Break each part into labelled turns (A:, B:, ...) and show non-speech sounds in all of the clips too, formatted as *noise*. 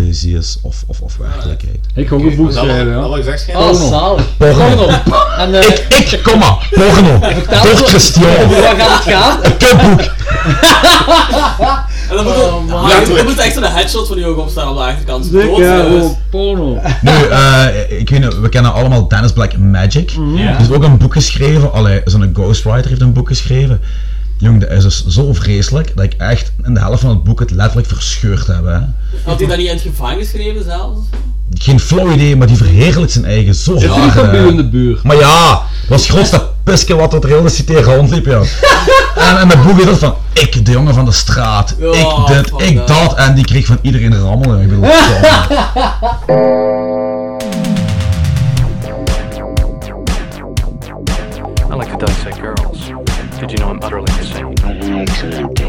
A: illusie is of, of, of werkelijkheid.
B: Ik ga ook een boek schrijven, ja.
C: Alex Exgen.
D: Oh,
B: Porno.
D: zalig.
A: Porno.
D: *laughs* En eh,
A: Ik, kom maar, porno.
D: ons
A: Door Christian.
D: over wat gaat het gaan?
A: Een kutboek.
E: En dan moet,
D: Oh, man.
E: er, dan moet er echt zo'n headshot van die ogen op staan op de achterkant. Dood, Dus
B: Dikke,
E: jongens.
B: oh, porno.
A: Nu, eh, ik weet niet, we kennen allemaal Dennis Black Magic.
E: Ja.
A: Die is ook een boek geschreven. Allee, zo'n ghostwriter heeft een boek geschreven. Jong, dat is dus zo vreselijk dat ik echt in de helft van het boek het letterlijk verscheurd heb. Hè.
E: Had hij dat niet in het gevangen geschreven zelfs?
A: Geen flauw idee, maar die verheerlijkt zijn eigen zo
B: Is er
A: hard.
B: niet van
A: hè.
B: bij u in de buurt?
A: Maar ja, dat was het grootste piske wat er heel de cité rondliep, ja. En, en dat boek is dat van, ik de jongen van de straat,
E: Ja,
A: ik dit, ik
E: vandaar.
A: dat, en die kreeg van iedereen rammel. Ik bedoel, ja.
F: I like to dissect girls. Did you know I'm utterly insane?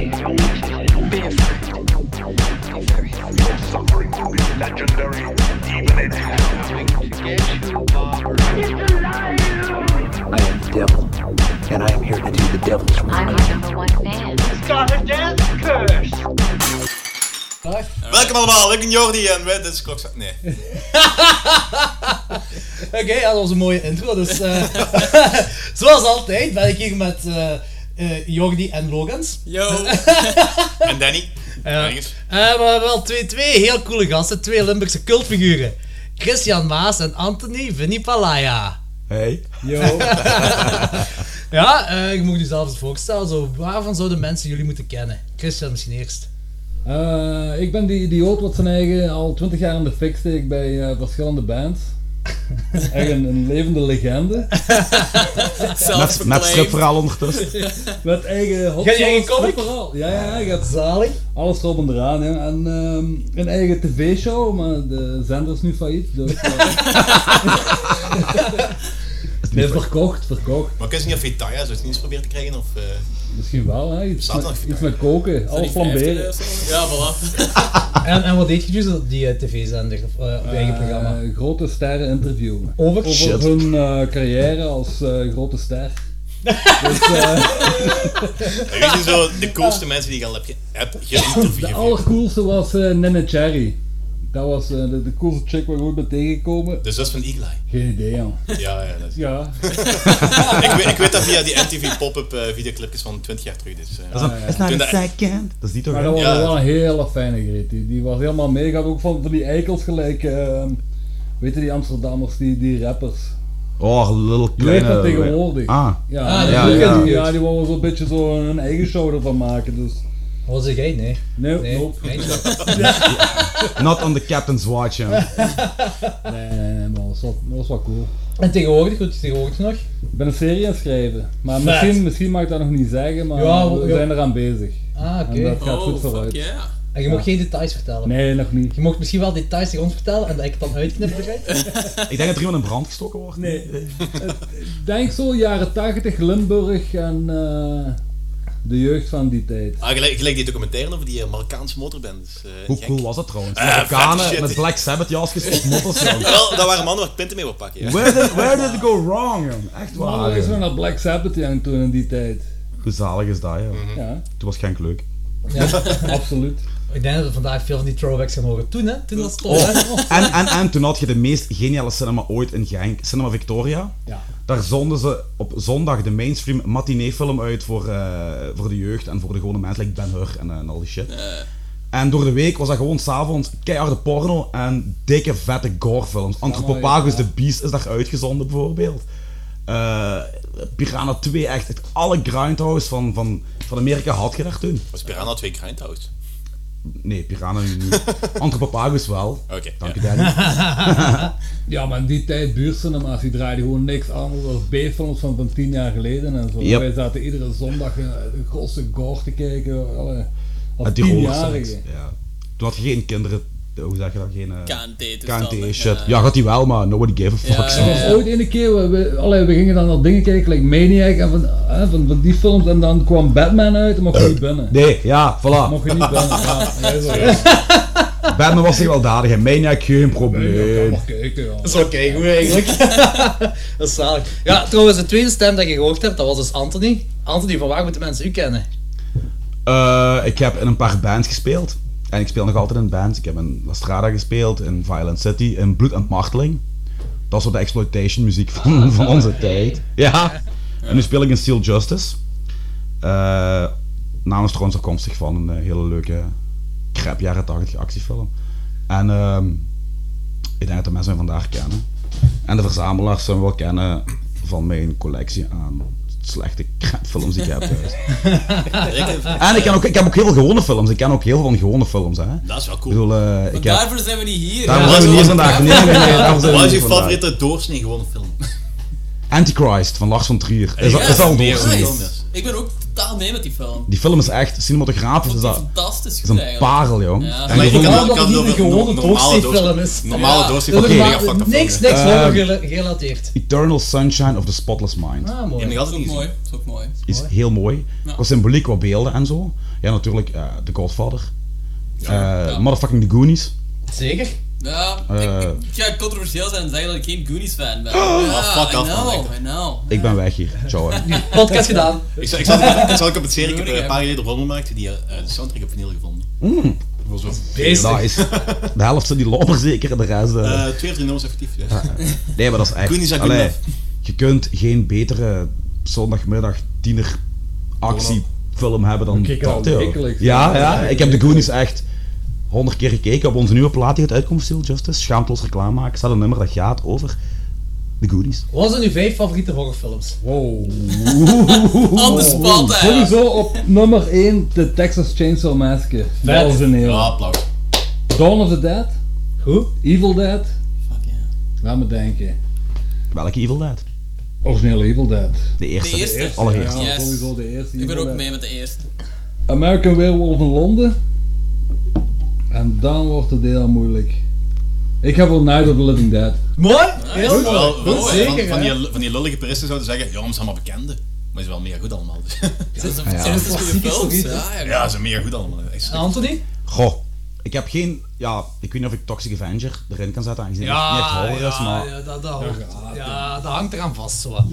G: I am the devil, and I am here to do the devil's work.
H: I'm your number one fan.
A: Oh.
C: Welkom allemaal, ik ben Jordi en wij, dit is Klokzak. Nee. *laughs*
D: Oké, ja, dat was een mooie intro. Dus, eh, zoals altijd ben ik hier met eh, eh, Jordi en Logans.
E: Yo.
C: En Danny.
D: Ja.
C: Ergens.
D: Eh, maar we hebben wel twee, twee heel coole gasten, twee Limburgse cultfiguren. Christian Maas en Anthony Vinnie Palaya.
A: Hey.
D: *laughs*
B: Yo.
D: Ja, eh, je mag jezelf eens voorstellen. Zo, waarvan zouden mensen jullie moeten kennen? Christian misschien eerst.
B: Eh, ik ben die idioot wat zijn eigen al 20 jaar in de fik steekt bij eh, verschillende
D: *laughs*
B: bands. Echt een, een levende legende.
E: Zelfs
A: ondertussen.
B: Met eigen hot
D: Ga je eigen
B: sauce,
D: comic?
B: overal. Ja, ja, ja. Gaat
D: Zalig.
B: alles erop en eraan. hè. En ehm, een eigen tv-show, maar de zender is nu failliet. Dus,
D: *laughs*
B: eh, nee, verkocht, verkocht.
C: Maar ik wist niet of je Taya zoiets nieuws probeert te krijgen of... eh, *laughs*
B: Misschien wel, hè? Iets,
C: Staat er
B: met,
C: nog
B: iets met koken, alles flamberen.
E: Ja, voilà.
D: En, en wat deed je dus op die eh, tv-zender, of eh, op je eigen programma?
B: Eh, grote sterren interviewen.
D: Over?
B: Over hun eh, carrière als eh, grote
C: *laughs*
B: ster. *laughs* dus, eh,
C: Wie zijn zo de coolste mensen die ik al heb ge- heb geïnterviewd?
B: de allercoolste was eh Nene Cherry. Dat was eh, de, de coolste chick waar ik ooit ben tegengekomen.
C: De zus van Eagle-Eye. *laughs*
B: Geen idee, man.
C: Ja, ja, dat is...
B: Ja.
C: *laughs* ik, weet, ik weet dat via die MTV pop-up eh, videoclipjes van 20 jaar terug, dus... eh, toen dat-
A: Dat is die toch,
B: Maar dat was
C: Ja.
B: wel een hele fijne greet. Die, die was helemaal mee. Ik had ook van, van die eikels gelijk. eh, weet je, die Amsterdammers, die, die rappers.
A: Oh, little
B: Die leeft dat tegenwoordig.
A: Ah.
B: Ja,
D: Ah,
B: die-
D: ja,
B: die,
A: ja.
B: die- ja, die wouden zo'n beetje zo een eigen show ervan maken. Dus.
D: Wat zeg jij? Nee.
B: Nee,
D: Nee.
B: nope.
D: nee.
A: Not on the captain's watch,
B: Nee, nee, nee, maar dat was wel, dat was wel cool.
D: En tegenwoordig, wat is tegenwoordig nog?
B: Ik ben een serie aan het schrijven. Maar
D: Vet.
B: misschien, misschien mag ik dat nog niet zeggen, maar
D: Ja,
B: we
D: ja.
B: zijn eraan bezig.
D: Ah, oké.
B: En dat gaat
E: Oh,
B: goed
E: fuck
B: vooruit.
E: yeah.
D: En je mag geen details vertellen.
B: Nee, nog niet.
D: Je mocht misschien wel details tegen ons vertellen en dat ik het dan uitknip eruit.
A: Ik denk dat er iemand in brand gestoken wordt.
B: Nee. Ik Denk zo, jaren 80, Limburg en eh, de jeugd van die tijd.
C: Ah, gelijk, gelijk die documentaire over die eh, Marokkaanse motorband. dus, eh,
A: Hoe
C: gek.
A: cool was dat trouwens?
C: Eh, vet shit.
A: Marokkanen met Black Sabbath jasjes op motters, jong.
C: Wel, dat waren mannen waar ik pinten mee wil pakken. Ja.
A: Where did, where did it go wrong, jong? Echt
E: Ah,
B: Maar
A: waar,
B: we zijn
A: jong.
B: naar Black Sabbath gegaan toen in die
E: *laughs*
B: tijd.
A: Hoe zalig is dat, joh.
B: Ja,
A: Toen was Genk leuk.
B: absoluut.
D: Ik denk dat we vandaag veel van die throwbacks gaan horen. Toen, hè? Toen was het top,
A: Oh,
D: hè?
A: *laughs* en, en, en toen had je de meest geniale cinema ooit in Genk, Cinema Victoria.
B: Ja.
A: Daar zonden ze op zondag de mainstream matineefilm uit voor, eh, voor de jeugd en voor de gewone mensen, like Ben Hur en, eh, en al die shit. En door de week was dat gewoon s'avonds keiharde porno en dikke vette gorefilms. Anthropophagus
B: ja.
A: the Beast is daar uitgezonden bijvoorbeeld. Eh, Piranha 2, echt het alle grindhouse van, van, van Amerika had je daar toen.
C: Was Piranha 2 Grindhouse?
A: Nee, Piranha
C: *laughs*
A: niet. Anthropophagus wel.
C: Oké.
A: Dank
C: ja.
A: je, Danny.
B: Ja, maar in die tijd buurtcinema's, die draaiden gewoon niks anders dan B-films van, van tien jaar geleden en zo.
A: Yep.
B: Wij zaten iedere zondag eh, een grote gore te kijken. alle- Als
A: Met die rollerskate.
B: tienjarige.
A: Ja. Toen had je geen kinderen, hoe zeg je dat? Geen eh,
E: KNT dus dan,
A: KNT shit.
E: eh.
A: Ja, had die wel, maar nobody gave a fuck.
E: Ja,
A: zo.
B: Er was ooit ene keer, we, we, allee, we gingen dan naar dingen kijken, like Maniac en van, hè, van, van die films, en dan kwam Batman uit en mocht je niet binnen.
A: Eh, Nee, ja, voilà.
B: Mocht je niet
A: *laughs*
B: binnen, ja. Ja, zo, ja.
A: Batman was gewelddadig en Maniac geen
B: Ja,
A: probleem.
B: mag kijken, ja.
D: *laughs* Dat is oké, goed eigenlijk. *laughs* dat is zalig. Ja, trouwens, de tweede stem dat je gehoord hebt, dat was dus Anthony. Anthony, van waar moeten mensen u kennen?
A: Eh, ik heb in een paar bands gespeeld. En ik speel nog altijd in bands. Ik heb in La Strada gespeeld, in Violent City, in Bloed en Marteling. Dat is zo de exploitation muziek van, van onze tijd. Ja. En nu speel ik in Steel Justice. Eh, namens trouwens afkomstig van een eh, hele leuke crap jaren 80 actiefilm. En ehm, ik denk dat de mensen mij vandaag kennen. En de verzamelaars zullen me wel kennen van mijn collectie aan slechte crapfilms die ik heb thuis.
C: eh, *laughs*
A: En ik, ken ook, ik heb ook heel veel gewone films. Ik ken ook heel veel van gewone films. Hè.
C: Dat is wel
A: Ik
C: cool.
A: bedoel, eh, ik heb...
E: Daarvoor zijn we niet hier.
A: Daarom
E: ja.
A: zijn we niet
C: was-
A: hier vandaag. Nee, nee, nee, daarom zijn we
C: Wat
A: niet
C: is je
A: hier vandaag.
C: favoriete doorsnee gewone film?
A: Antichrist van Lars von Trier. Is, dat
E: Ja,
A: is al
C: nee,
A: doorsnee.
C: nee.
E: Christ. Ik ben ook totaal mee met die film.
A: Die film is echt cinematografisch. Is
E: Dat is
A: dat
E: fantastisch
A: is
E: goed
A: een
E: eigenlijk.
A: parel, joh.
E: Ja.
A: En
D: Maar
A: ik
D: je
A: vond-
D: kan-
A: ik
D: dat niet
C: bedoel,
D: een gewone
C: no- normale
D: doorsneefilm
C: doorsnee-
D: is.
C: Normale
E: Ja.
C: doorsnee
D: Dat
C: van
D: is
C: mega
D: maar
C: fucked up
D: niks,
C: film.
D: niks
A: Eh,
D: horror gele- gerelateerd.
A: Eternal Sunshine of the Spotless Mind.
D: Ah,
C: Ik heb
D: mooi.
C: nog
E: Dat is
C: altijd
E: ook
C: niet
E: mooi.
C: gezien.
E: Dat is ook mooi.
A: Is heel mooi. Qua symboliek, qua beelden en zo. Ja, natuurlijk eh The Godfather. Eh,
E: ja.
A: Motherfucking The Goonies.
D: Zeker.
E: Ja,
A: Eh.
E: ik, ik ga controversieel zijn en zeggen dat ik geen Goonies
A: *gasps*
E: fan ben.
C: Ah,
E: ja,
C: fuck
E: I
C: off, man,
E: know,
C: echt.
E: I know.
A: Ik ben weg hier. Ciao. hè.
D: Podcast gedaan.
C: Ik zat, ik
D: *laughs*
C: zat, ik zat ook op het serie, ik heb eh,
E: Ruining,
C: een paar jaar geleden rondgemaakt die eh, de soundtrack op vinyl gevonden. Ik was zo,
D: Beestig.
A: Nice. De helft zijn die lopper *laughs* zeker, en de rest... eh,
C: eh, twee of drie nummers effectief. ja.
A: Nee, maar dat is echt...
C: Goonies are good
A: allee,
C: enough.
A: je kunt geen betere zondagmiddag tiener actiefilm hebben dan
B: We kijken al
A: dat, joh.
B: wekelijks.
A: Ja, ja. Ik heb de Goonies echt honderd keer gekeken op onze nieuwe plaat die gaat uitkomen, Steel Justice. Schaamteloos reclame maken. Er staat een nummer dat gaat over de Goonies.
D: Wat zijn uw vijf favoriete horrorfilms?
B: Wow.
E: On the spot, hè.
B: Sowieso op nummer 1 de Texas Chainsaw Massacre. Dat is een
C: Ja,
B: hele.
C: applaus.
B: Dawn of the Dead,
D: Goed.
B: Evil Dead.
E: Fuck yeah.
B: Laat me denken.
A: Welke Evil Dead?
B: Origineel Evil Dead.
A: De
E: De
A: eerste.
E: eerste.
A: Allereerste.
E: Yes.
B: sowieso de eerste.
E: Ik ben
B: Evil
E: ook
B: Dead.
E: mee met de eerste.
B: American Werewolf in Londen. En dan wordt het heel moeilijk. Ik heb wel Night of the Living Dead.
D: Mooi. Heel
C: Wel,
D: mooi.
C: wel,
D: Goed,
C: hè, van,
D: zeker.
C: van,
D: hè.
C: die, van die lullige puristen zouden zeggen, ja, maar ze zijn allemaal bekenden. Maar ze zijn wel mega goed allemaal. dus. *laughs*
E: Het is een fantastisch goede
D: Klassieke
E: film.
D: serie,
E: Ja, ja.
C: ja, ze zijn mega goed allemaal. Echt.
D: Anthony?
A: Goh. Ik heb geen... Ja, ik weet niet of ik Toxic Avenger erin kan zetten, aangezien het niet echt
D: Ja,
A: horror is, maar...
D: ja, ja, dat, dat, hoort- ja, dat hangt eraan vast. Zo. wat.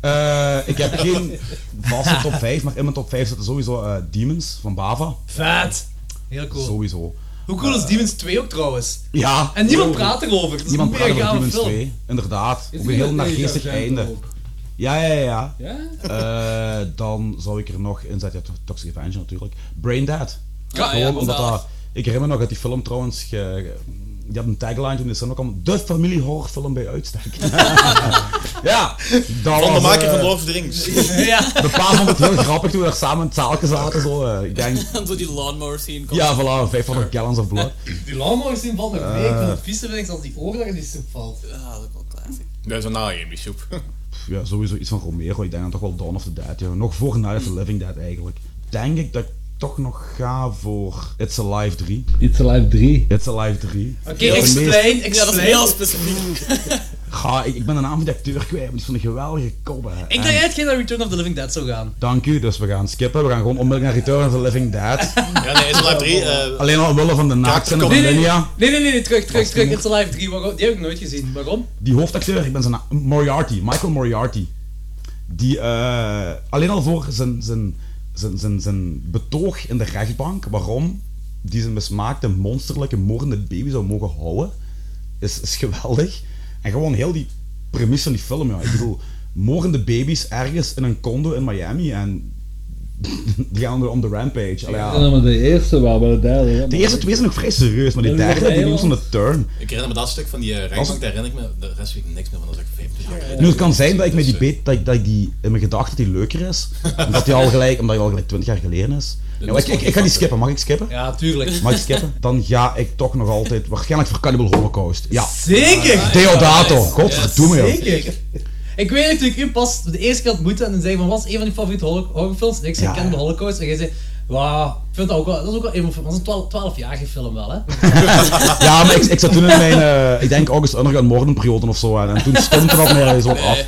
A: Eh, ik heb geen vaste top 5, maar in mijn top 5 zitten sowieso eh, Demons van Bava.
D: Vet. Heel cool.
A: Sowieso.
D: Hoe cool is Demons 2 ook trouwens?
A: Ja.
D: En niemand praat erover. Dat is
A: Niemand
D: een
A: praat
D: mega
A: over
D: gave
A: Demons
D: film.
A: 2. Inderdaad. Ook een heel naargeestig einde. Ja, ja, ja. ja.
B: Ja?
A: Eh, dan zou ik er nog in zetten. Ja, Toxic Avenger natuurlijk. Brain Dead.
D: Ah,
E: Ja,
A: Gewoon
E: ja,
A: omdat
E: mezelf.
A: dat... Ik herinner nog dat die film trouwens... ge- die had een tagline toen, is dan ook al de familiehorrorfilm bij uitstek. *laughs* ja, dat
C: Van de
A: was,
C: maker
A: eh,
C: van Lord of the
D: *laughs*
C: Rings.
A: De pa vond het heel grappig toen we daar samen in het zaaltje zaten. Zo, eh, ik denk,
E: En zo die lawnmower scene komt.
A: ja, voilà, 500 gallons of blood.
D: Die lawnmower zien valt nog mee. Ik
A: Ah.
D: vind het vieze vind ik als die oorlog in die soep valt.
E: Ja, Ah, dat is ook wel classic.
C: Ja, zo na die soep.
A: Ja, sowieso iets van Romero. Ik denk dan toch wel Dawn of the Dead. Ja. Nog voor Night of the Living Dead eigenlijk. Denk ik dat ik toch nog ga voor It's Alive 3.
B: It's Alive 3.
A: It's Alive 3.
D: Oké,
A: de meest-
D: explain,
E: Ja, dat is
D: explain.
E: heel specifiek.
A: Ga, ik, ik ben de naam van de acteur kwijt, maar die is van een geweldige kobbe. hè.
D: ik
A: En
D: dacht echt geen naar Return of the Living Dead zou gaan.
A: Dank u, dus we gaan skippen. We gaan gewoon onmiddellijk naar Return of the Living
D: *laughs*
A: Dead.
C: Ja, nee, Israël 3. eh
A: Alleen al willen van de naakt en van
D: Nee, nee, nee,
A: Linia.
D: nee, nee, nee, terug, terug, terug.
A: die
D: It's Alive 3, waarom? die heb ik nooit gezien. Waarom?
A: Die hoofdacteur, ik ben zijn naam, Moriarty, Michael Moriarty. Die eh, alleen al voor zijn, zijn, zijn, zijn, zijn betoog in de rechtbank, waarom die zijn mismaakte, monsterlijke, moordende baby zou mogen houden, is, is geweldig. En gewoon heel die premisse van die film, ja. Ik bedoel, moordende baby's ergens in een condo in Miami en *laughs* die gaan er on the rampage. Allee,
B: Ik
A: ja.
B: herinner me de eerste wel, maar de derde. ja.
A: De eerste twee zijn nog vrij serieus, maar die
B: Dat is
A: derde,
B: wel
A: die doen
B: heel-
A: zo'n turn.
C: ik herinner me dat stuk van die eh, rechtbank, daar herinner ik me. De rest weet ik niks meer van, dat is echt 25 jaar geleden.
A: Nu, het kan zijn dat ik met die
C: Dus, eh,
A: beet, dat ik, dat ik die in mijn gedachten die leuker is, omdat die al gelijk, omdat die al gelijk 20 jaar geleden is. Ja, maar ik, ik, ik ga die skippen, mag ik skippen?
D: Ja, tuurlijk.
A: Mag ik skippen? Dan ga ik toch nog altijd, waarschijnlijk voor Cannibal Holocaust. Ja, Ah,
D: Zeker!
A: Deodato, godverdomme joh.
D: Zeker! Ik weet natuurlijk, u pas de eerste keer had moeten en dan zei van, wat is een van je favoriete horror- horrorfilms? En ik zei,
A: Ja,
D: ik ken de
A: ja.
D: Holocaust. En jij zei, wauw, ik vind dat ook wel, dat is ook wel een van mijn- dat is een 12 12-jarige film wel, hè?
A: *laughs* Ja, maar ik, ik zat toen in mijn, eh, ik denk August Underground Morgenperiode of zo, en, en toen stond er dat meer zo af.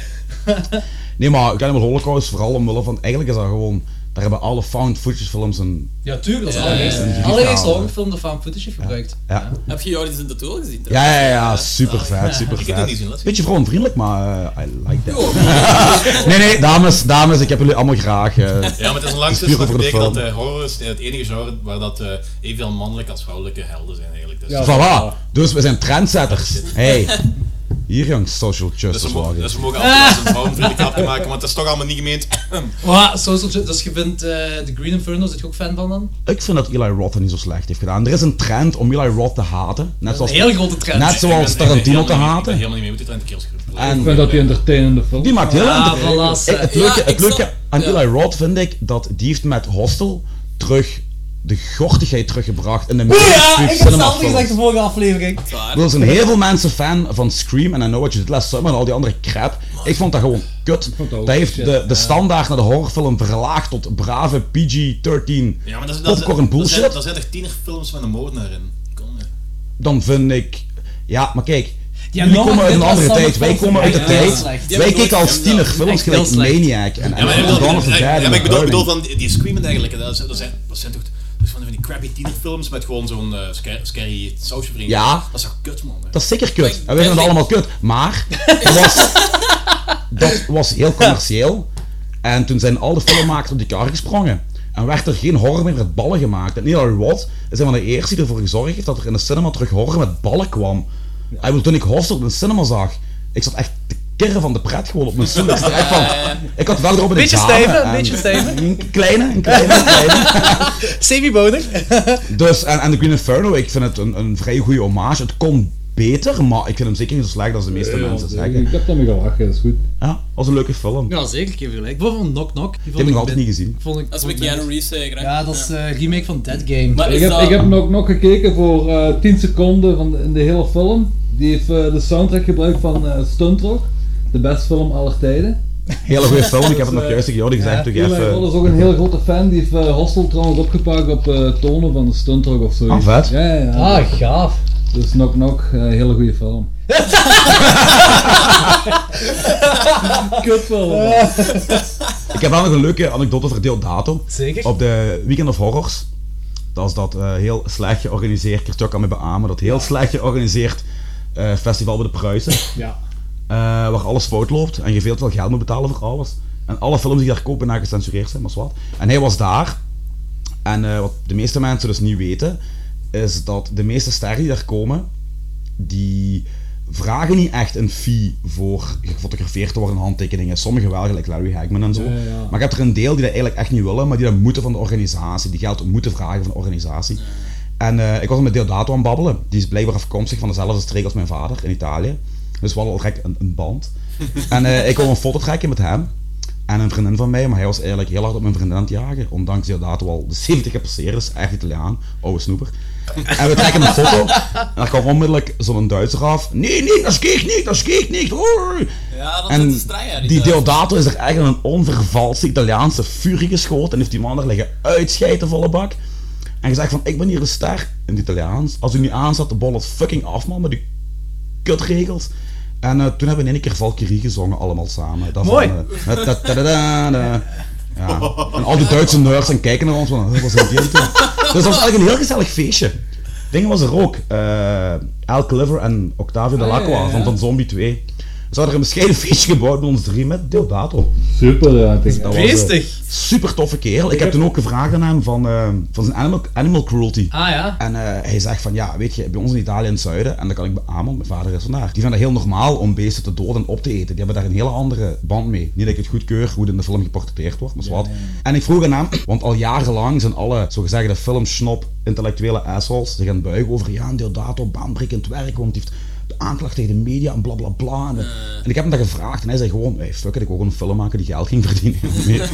A: Nee, maar Cannibal Holocaust, vooral omwille van, eigenlijk is dat gewoon Daar hebben alle found footage films een...
D: Ja, tuurlijk, dat is
E: Ja,
D: allereerst.
E: ja,
A: ja.
D: Allereerst
A: Ja.
D: horrorfilm de fan footage gebruikt.
A: Ja,
E: Heb je Jordi's in de tool gezien?
A: ja, ja, ja super vet, super
C: Ik heb het niet
A: vet.
C: zien, laat zien.
A: Beetje vrouwenvriendelijk, maar eh, I like that. *laughs* Nee, nee, dames, dames, ik heb jullie allemaal graag. eh.
C: Ja, maar het is een lang
A: Het is puur
C: sinds dat
A: over de
C: betekent dat
A: film.
C: eh, horror is het enige genre waar dat eh evenveel mannelijke als vrouwelijke helden zijn eigenlijk. Dus
B: Ja.
A: Voilà, dus we zijn trendsetters. Hey, hier jongens, social
C: Dus we,
A: justice
C: mogen,
A: warriors.
C: dus we mogen altijd een vrouwenvriendelijk grapje maken, want dat is toch allemaal niet gemeend. *clears throat*
D: Wow, social ju- dus je vindt eh, The Green Inferno, zit je ook fan van dan?
A: Ik vind dat Eli Roth het niet zo slecht heeft gedaan. Er is een trend om Eli Roth te haten. Net
D: Een
A: zoals,
D: heel grote trend.
A: net zoals Tarantino te
C: Ik ben
A: haten.
C: helemaal niet mee met die trend, kerelsgroep.
B: Ik
A: En
B: vind dat die entertainende film.
A: die maakt heel
D: Ah,
A: interessant.
D: voilà.
A: Ik- het
E: Ja,
A: leuke, het
E: ik
A: leuke
E: snap-
A: aan
E: ja.
A: Eli Roth vind ik dat die heeft met Hostel terug de gortigheid teruggebracht in de
D: *laughs* Ja, ik heb hetzelfde
A: films.
D: gezegd de vorige aflevering.
E: Waar?
A: Er zijn heel veel mensen fan van Scream en I Know What You Did Last Summer en al die andere crap. Ik vond dat gewoon kut.
B: vond dat ook
A: Dat heeft
B: shit,
A: de,
B: ja.
A: de standaard naar de horrorfilm verlaagd tot brave PG-13
C: Ja, maar dat is, dat is,
A: popcorn
C: dat zijn,
A: bullshit.
C: dat zijn toch tienerfilms met een moordenaar in? Kom, ja.
A: Dan vind ik... Ja, maar kijk.
D: Ja,
A: jullie
D: nou,
A: komen uit
D: dit
A: een
D: was
A: andere
D: dan
A: tijd.
D: de
A: Wij
D: film.
A: komen uit de
D: Ja, heel
A: tijd.
D: slecht.
E: Die
A: Wij
E: hebben
A: keken
E: nooit
A: al
E: gedaan.
A: tienerfilms
D: Echt
A: gelijk
D: heel slecht.
A: Maniac en
C: Ja, maar ik
A: en
C: bedoel,
A: Dawn of the
C: ik-
A: Dead.
C: ja,
A: en
C: maar ik bedoel, ik bedoel
A: Burning.
C: van die die screaming eigenlijk. Dat zijn, dat zijn, dat zijn toch dat zijn van die crappy tienerfilms met gewoon zo'n eh, scary, scary sausje vrienden.
A: Ja.
C: Dat is toch kut, man. hè?
A: Dat is zeker
E: Maar
A: kut.
E: ik-
A: En wij vinden
E: ik-
A: het allemaal kut.
D: *laughs*
A: Maar dat was, dat was heel commercieel. En toen zijn alle filmmakers op die kar gesprongen. En werd er geen horror meer met ballen gemaakt. En Neil Roth is een van de eerste die ervoor gezorgd heeft dat er in de cinema terug horror met ballen kwam. Ik bedoel, toen ik Hostel in de cinema zag, ik zat echt te kirren van de pret gewoon op mijn stoel. Ik, zat er echt van, ik had wel erop in de
D: Beetje
A: kamer
D: stijven,
A: en-
D: beetje stijven.
A: Een kleine, een kleine, een kleine.
D: Savvy Boner.
A: Dus, en, en The Green Inferno, ik vind het een, een vrij goede hommage. Het kon beter, maar ik vind hem zeker niet zo slecht als de meeste mensen
B: Ik,
A: zeggen.
B: heb daarmee gelachen, dat is goed.
A: Ja, was een leuke film.
D: Ja, zeker, ik heb gelijk. Bijvoorbeeld van Knock Knock. Die vond
A: ik nog
D: ik
A: altijd
D: min-
A: niet gezien.
D: Vond ik,
E: Dat is
D: vond
E: met
D: ik
E: Keanu
D: min.
E: Reeves zeker, hè?
D: Ja, dat is eh, remake van Dead Game.
E: Maar
B: Ik
E: is
B: heb,
E: dat...
B: ik heb nog, nog gekeken voor eh 10 seconden van de, in de hele film. Die heeft eh, de soundtrack gebruikt van eh Stunt Rock, de beste film aller tijden.
A: Hele goede film, ik heb het nog juist tegen Jordi gezegd. Toen ik
B: Eli Roth
A: even...
B: is ook een heel grote fan, die heeft eh, Hostel trouwens opgepakt op eh, tonen van de Stunt Rock of zoiets.
A: Ah, vet.
B: Ja, ja, ja.
D: Ah, gaaf.
B: Dus Knock Knock, eh, hele goede film. Kutfilm.
A: Ik heb wel nog een leuke anekdote over Deodato.
D: Zeker.
A: Op de Weekend of Horrors. Dat is dat eh, heel slecht georganiseerd, Kirtok kan me beamen, dat heel slecht georganiseerd eh, festival bij de Pruisen.
D: Ja.
A: Eh, waar alles fout loopt en je veel te veel geld moet betalen voor alles. En alle films die daar kopen na gecensureerd zijn, maar wat. En hij was daar. En eh, wat de meeste mensen dus niet weten, is dat de meeste sterren die daar komen, die vragen niet echt een fee voor gefotografeerd te worden en handtekeningen. Sommigen wel, gelijk Larry Hagman en zo.
B: Ja, ja.
A: Maar ik heb er een deel die dat eigenlijk echt niet willen, maar die dat moeten van de organisatie. Die geld moeten vragen van de organisatie. En eh, ik was met Deodato aan het babbelen. Die is blijkbaar afkomstig van dezelfde streek als mijn vader in Italië. Dus we hadden al direct een, een
B: *laughs*
A: band. en eh, ik wilde een foto trekken met hem en een vriendin van mij, maar hij was eigenlijk heel hard op mijn vriendin aan het jagen. Ondanks Deodato al de 70 gepasseerd is, echt Italiaan, oude snoeper. En we trekken een foto
E: *laughs*
A: en daar kwam onmiddellijk zo'n Duitser af. Nee, nee, dat schiet niet, dat schiet niet. hoor."
E: Ja, dat
A: En
E: is een
A: die Deodato is er eigenlijk een onvervalste Italiaanse furie geschoten en heeft die man er liggen uitscheiden volle bak. En gezegd van, ik ben hier een ster in het Italiaans. Als u niet aanzet, de bol het fucking af man, met die kutregels. En eh, toen hebben we in één keer Valkyrie gezongen, allemaal samen. Dat
D: Mooi.
A: Van, eh, da- da- da- da- da. ja. En al die Duitse nerds en kijken naar ons van, "Huh, wat zijn die aan het doen?" Dus dat was eigenlijk een heel gezellig feestje. Dingen was er ook. eh Al Cliver en Octavio Dell'Acqua
B: Ah, ja, ja, ja.
A: van, van Zombie 2. Ze hadden er een bescheiden feestje gebouwd met ons drie met Deodato.
B: Super, ja. ik denk-
A: Dat was, eh,
D: Feestig.
A: super toffe kerel. Ik heb toen ook gevraagd aan hem van, eh, van zijn animal, animal cruelty.
D: Ah ja.
A: En eh, hij zegt van, ja, weet je, bij ons in Italië in het zuiden, en dat kan ik beamen, want mijn vader is vandaar. Die vinden het heel normaal om beesten te doden en op te eten. Die hebben daar een hele andere band mee. Niet dat ik het goedkeur hoe het in de film geportretteerd wordt, maar wat. En ik vroeg aan hem, want al jarenlang zijn alle, zogezegde filmsnop, intellectuele assholes, zich gaan buigen over, ja, een deodato, baanbrekend werk, want die heeft de aanklacht tegen de media en blablabla. Bla, bla. en, en ik heb hem dat gevraagd en hij zei gewoon, hey, fuck it, ik wil gewoon een film maken die geld ging verdienen.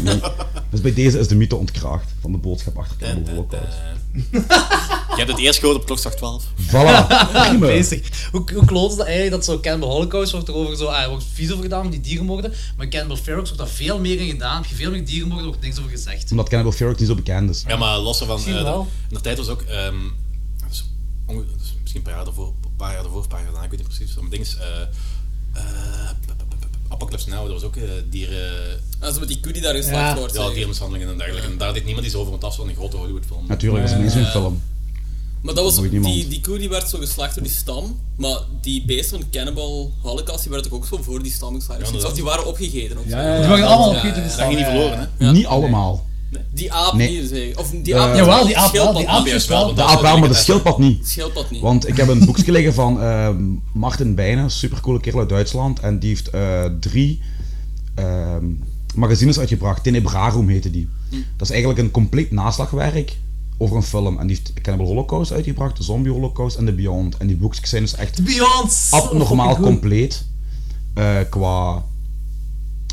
A: *laughs* dus bij deze is de mythe ontkracht van de boodschap achter Cannibal
C: eh.
A: Holocaust.
C: *laughs* Je hebt het eerst gehoord op klokslag 12.
A: Voilà, prima.
D: Feestig. Hoe, hoe kloot is dat eigenlijk dat zo Cannibal Holocaust wordt erover zo, ah, er wordt vies over gedaan om die dierenmoorden, maar Cannibal Ferox wordt daar veel meer in gedaan, heb je veel meer dierenmoorden, wordt niks over gezegd.
A: Omdat Cannibal Ferox niet zo bekend is.
C: Ja, maar los ervan.
D: Misschien
C: eh,
D: wel.
C: dat- in de tijd was ook. ehm, dat is onge- dat is misschien een paar jaar daarvoor, een paar jaar daarvoor, een paar jaar daarna, ik weet niet precies. Maar ding is. eh, eh, p- p- p- p- Apocalypse Now, dat was ook eh, dieren...
E: Als ze met die koe die daar geslacht
D: Ja.
E: wordt.
C: Ja,
E: zeg.
C: dierenmishandelingen en dergelijke. En daar deed niemand iets over, want dat was wel een grote Hollywoodfilm.
A: Natuurlijk, dat is een mainstream-film.
E: Maar dat was,
A: Nooit niemand.
E: die, die koe die werd zo geslacht door die stam. Maar die beesten van Cannibal Holocaust die werden toch ook zo voor die stam geslacht. Dus
C: Ja,
E: die waren opgegeten. Of zo.
B: Ja, ja,
D: Die
B: ja.
D: waren allemaal op
E: ja,
D: eten
E: ja.
C: Dat ging niet verloren, hè?
A: Niet allemaal.
E: Die aap
A: Nee.
E: niet, zeg. Of die aap.
D: Jawel, die aap wel,
E: schildpad
D: die aap
E: niet.
D: juist wel.
A: De aap wel, maar de schildpad niet.
E: Schildpad niet.
A: Want ik heb een boekje liggen van eh, Martin Bijnen, supercoole kerel uit Duitsland. En die heeft eh, drie ehm, magazines uitgebracht. Tenebrarum heette die. Dat is eigenlijk een compleet naslagwerk over een film. En die heeft Cannibal Holocaust uitgebracht, de Zombie Holocaust en de Beyond. En die boekjes zijn dus echt
D: Beyond!
A: abnormaal compleet eh, qua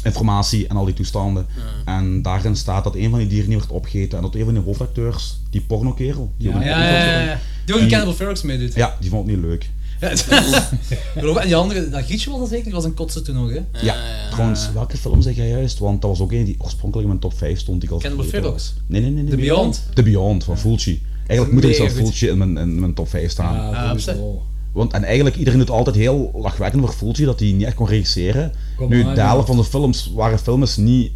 A: informatie en al die toestanden. En daarin staat dat een van die dieren niet wordt opgegeten. En dat een van de hoofdacteurs, die pornokerel, die op een
D: Ja, ja, ja, ja. Die ook in Cannibal Ferox meedoet.
A: Ja, die vond het niet leuk.
D: *laughs* Geloof me, En die andere, dat Grietje was dat zeker, die was een kotse toen nog, hè?
A: Ja, trouwens, welke film zeg jij juist? Want dat was ook een die oorspronkelijk in mijn top 5 stond. Die ik al
D: Cannibal
A: vergeten
D: Ferox?
A: was. Nee, nee, nee. nee,
D: The
A: nee.
D: Beyond?
A: The Beyond van Fulci. Eigenlijk moet er
D: Mega
A: zelf
D: goed.
A: Fulci in mijn, in mijn top 5 staan.
B: Ja,
D: Ah,
B: sowieso.
A: Want, en eigenlijk, iedereen doet altijd heel lachwekkend voor Fulci dat hij niet echt kon regisseren.
B: Kom
A: nu,
B: maar,
A: de helft
B: ja.
A: van de films waren films niet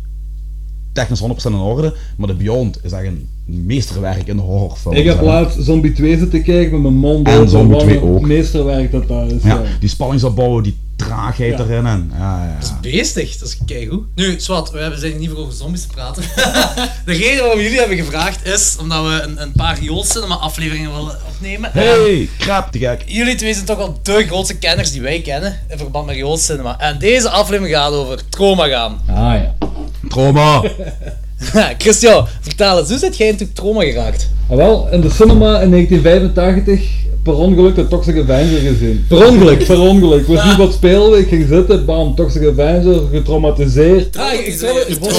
A: technisch 100% in orde, maar The Beyond is echt een meesterwerk in de horrorfilm.
B: Ik heb laatst Zombie 2 zitten kijken met mijn mond
A: En
B: open,
A: Zombie
B: wat
A: 2
B: een
A: ook.
B: meesterwerk dat daar is.
A: Ja,
B: ja.
A: die spanningsopbouw, die traagheid
B: Ja.
A: erin. En, ja, ja, ja.
D: Beestig, dat is keigoed. Nu, Swat, we hebben- zijn hier niet voor over zombies te *laughs* praten. de reden waarom we jullie hebben gevraagd is omdat we een, een paar Joodcinema afleveringen willen opnemen.
A: Hey, crap, te gek.
D: Jullie twee zijn toch wel de grootste kenners die wij kennen in verband met Joodcinema. En deze aflevering gaat over trauma gaan.
B: Ah ja. *laughs*
A: Trauma.
D: *laughs* Christian, vertel eens, hoe zit jij natuurlijk trauma geraakt?
B: Ah, wel, in de cinema in 1985 per ongeluk de Toxic Avenger gezien. Per ongeluk? Per ongeluk. Ik wist niet wat speelde, ik ging zitten, bam, Toxic Avenger, getraumatiseerd.
E: Ah, ik- ik wil- ik wil-